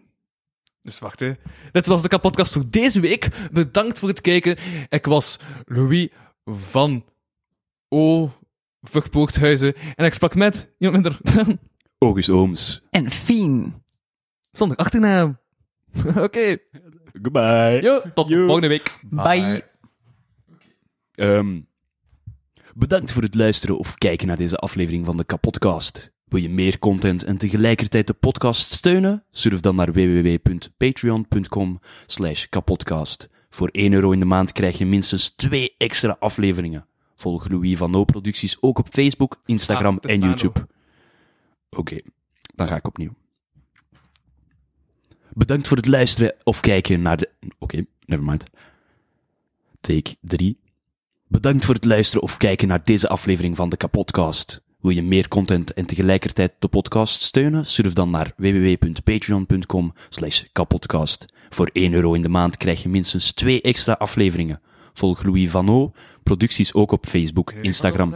C: dus wacht, hè. Dit was de podcast voor deze week. Bedankt voor het kijken. Ik was Louis van O. Verpoorthuizen. En ik sprak met iemand minder dan
D: August Ooms.
E: En Fien.
C: zonder achternaam. Oké,
D: Goodbye.
C: yo, tot
I: Yo.
C: volgende week.
E: Bye.
D: Ehm, bedankt voor het luisteren of kijken naar deze aflevering van de Kapodcast. Wil je meer content en tegelijkertijd de podcast steunen? Surf dan naar www.patreon.com slash kapodcast. Voor 1 euro in de maand krijg je minstens 2 extra afleveringen. Volg Louis van No Producties ook op Facebook, Instagram
C: Ah,
D: en
C: Tefano.
D: YouTube. Oké, dan ga ik opnieuw. Bedankt voor het luisteren of kijken naar de... Oké, nevermind. Take 3. Bedankt voor het luisteren of kijken naar deze aflevering van de Kapodcast. Wil je meer content en tegelijkertijd de podcast steunen? Surf dan naar www.patreon.com slash kapodcast. Voor 1 euro in de maand krijg je minstens 2 extra afleveringen. Volg Louis Vano, producties ook op Facebook, Instagram.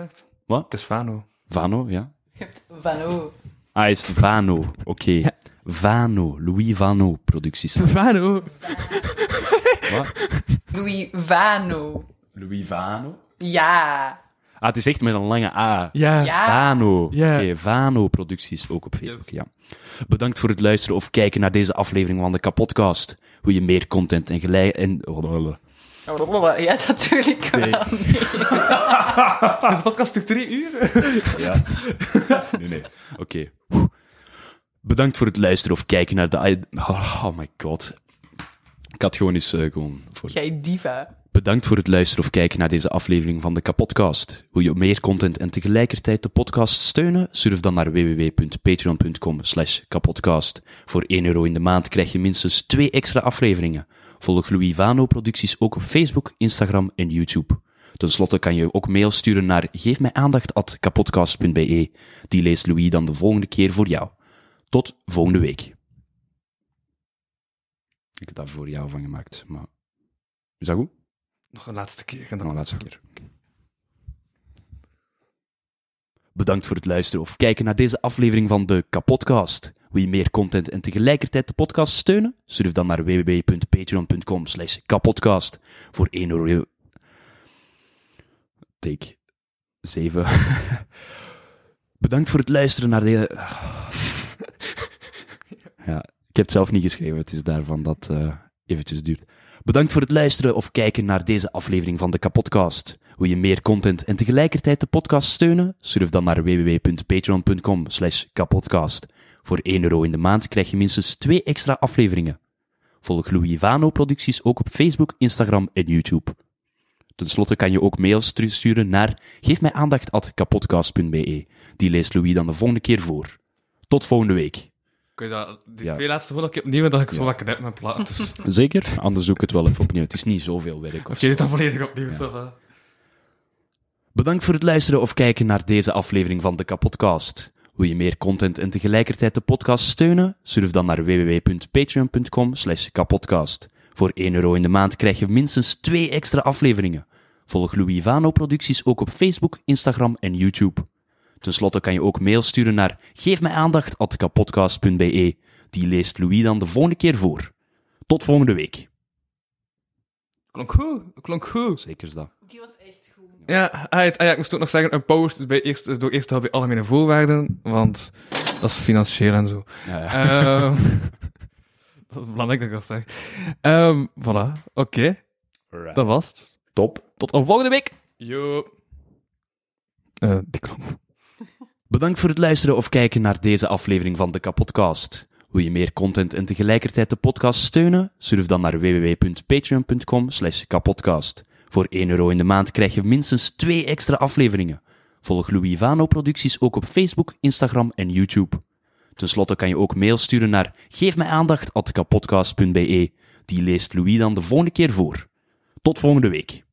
C: Het is Vano.
D: Vano, ja?
E: Je hebt Van O.
D: Ah, is het Vano. Oké. Vano, Louis Vano, producties.
C: Vano.
D: Wat?
E: Louis Vano.
D: Louis Vano?
E: Ja.
D: Ah, het is echt met een lange A.
C: Ja.
E: Ja.
D: Eh, Vano.
C: Ja.
D: Oké, Vano Producties, ook op Facebook, ja. Bedankt voor het luisteren of kijken naar deze aflevering van de Kapodcast. Hoe je meer content en gelijk... En...
E: Ja, natuurlijk wel.
C: Is de podcast toch drie uur?
D: Ja. Nee, nee. Oké. Bedankt voor het luisteren of kijken naar de... i- Oh, my god. Ik had gewoon eens eh, gewoon... Voor...
E: Jij diva.
D: Bedankt voor het luisteren of kijken naar deze aflevering van de Kapodcast. Wil je meer content en tegelijkertijd de podcast steunen? Surf dan naar www.patreon.com slash kapodcast. Voor 1 euro in de maand krijg je minstens 2 extra afleveringen. Volg Louis Vano producties ook op Facebook, Instagram en YouTube. Ten slotte kan je ook mail sturen naar geefmijaandacht.kapodcast.be. Die leest Louis dan de volgende keer voor jou. Tot volgende week. Ik heb daar voor jou van gemaakt, maar... Is dat goed?
C: Nog een laatste keer.
D: En dan een laatste keer. Bedankt voor het luisteren of kijken naar deze aflevering van de Kapodcast. Wil je meer content en tegelijkertijd de podcast steunen? Surf dan naar www.patreon.com slash kapodcast voor 1 euro... Take 7. Bedankt voor het luisteren naar deze... Ja, ik heb het zelf niet geschreven, het is daarvan dat eh eventjes duurt. Bedankt voor het luisteren of kijken naar deze aflevering van de Kapodcast. Wil je meer content en tegelijkertijd de podcast steunen? Surf dan naar www.patreon.com slash kapodcast. Voor 1 euro in de maand krijg je minstens 2 extra afleveringen. Volg Louis Vano producties ook op Facebook, Instagram en YouTube. Ten slotte kan je ook mails sturen naar geefmijaandacht.kapodcast.be. Die leest Louis dan de volgende keer voor. Tot volgende week.
C: Kun je dat, die
D: Ja.
C: twee laatste gewoon nog een keer opnieuw, dat ik zo wakker heb mijn plaat. Dus of
D: Zeker? Anders zoek ik het wel even opnieuw. Het is niet zoveel werk. of
C: je dit dan volledig opnieuw, zo eh. van.
D: Bedankt voor het luisteren of kijken naar deze aflevering van de Kapodcast. Wil je meer content en tegelijkertijd de podcast steunen? Surf dan naar www.patreon.com slash kapodcast. Voor 1 euro in de maand krijg je minstens 2 extra afleveringen. Volg Louis Vano producties ook op Facebook, Instagram en YouTube. Ten slotte kan je ook mail sturen naar geefmijaandacht.kapodcast.be. Die leest Louis dan de volgende keer voor. Tot volgende week.
C: Klonk goed, klonk goed.
D: Zeker is dat.
J: Die was echt goed.
C: Ja, uit, ah ja, ik moest ook nog zeggen, een post bij eerst, door eerst te houden bij alle mijn voorwaarden, want dat is financieel en zo.
D: Ja, ja.
C: Ehm, dat is belangrijk dat ik dat zeg. Ehm, voilà, oké, dat was het.
D: Top.
C: Tot de volgende week. Yo. Eh, die klonk.
D: Bedankt voor het luisteren of kijken naar deze aflevering van de Kapodcast. Wil je meer content en tegelijkertijd de podcast steunen? Surf dan naar www.patreon.com slash kapodcast. Voor 1 euro in de maand krijg je minstens 2 extra afleveringen. Volg Louis Vano producties ook op Facebook, Instagram en YouTube. Ten slotte kan je ook mail sturen naar geefmijaandacht.kapodcast.be. Die leest Louis dan de volgende keer voor. Tot volgende week.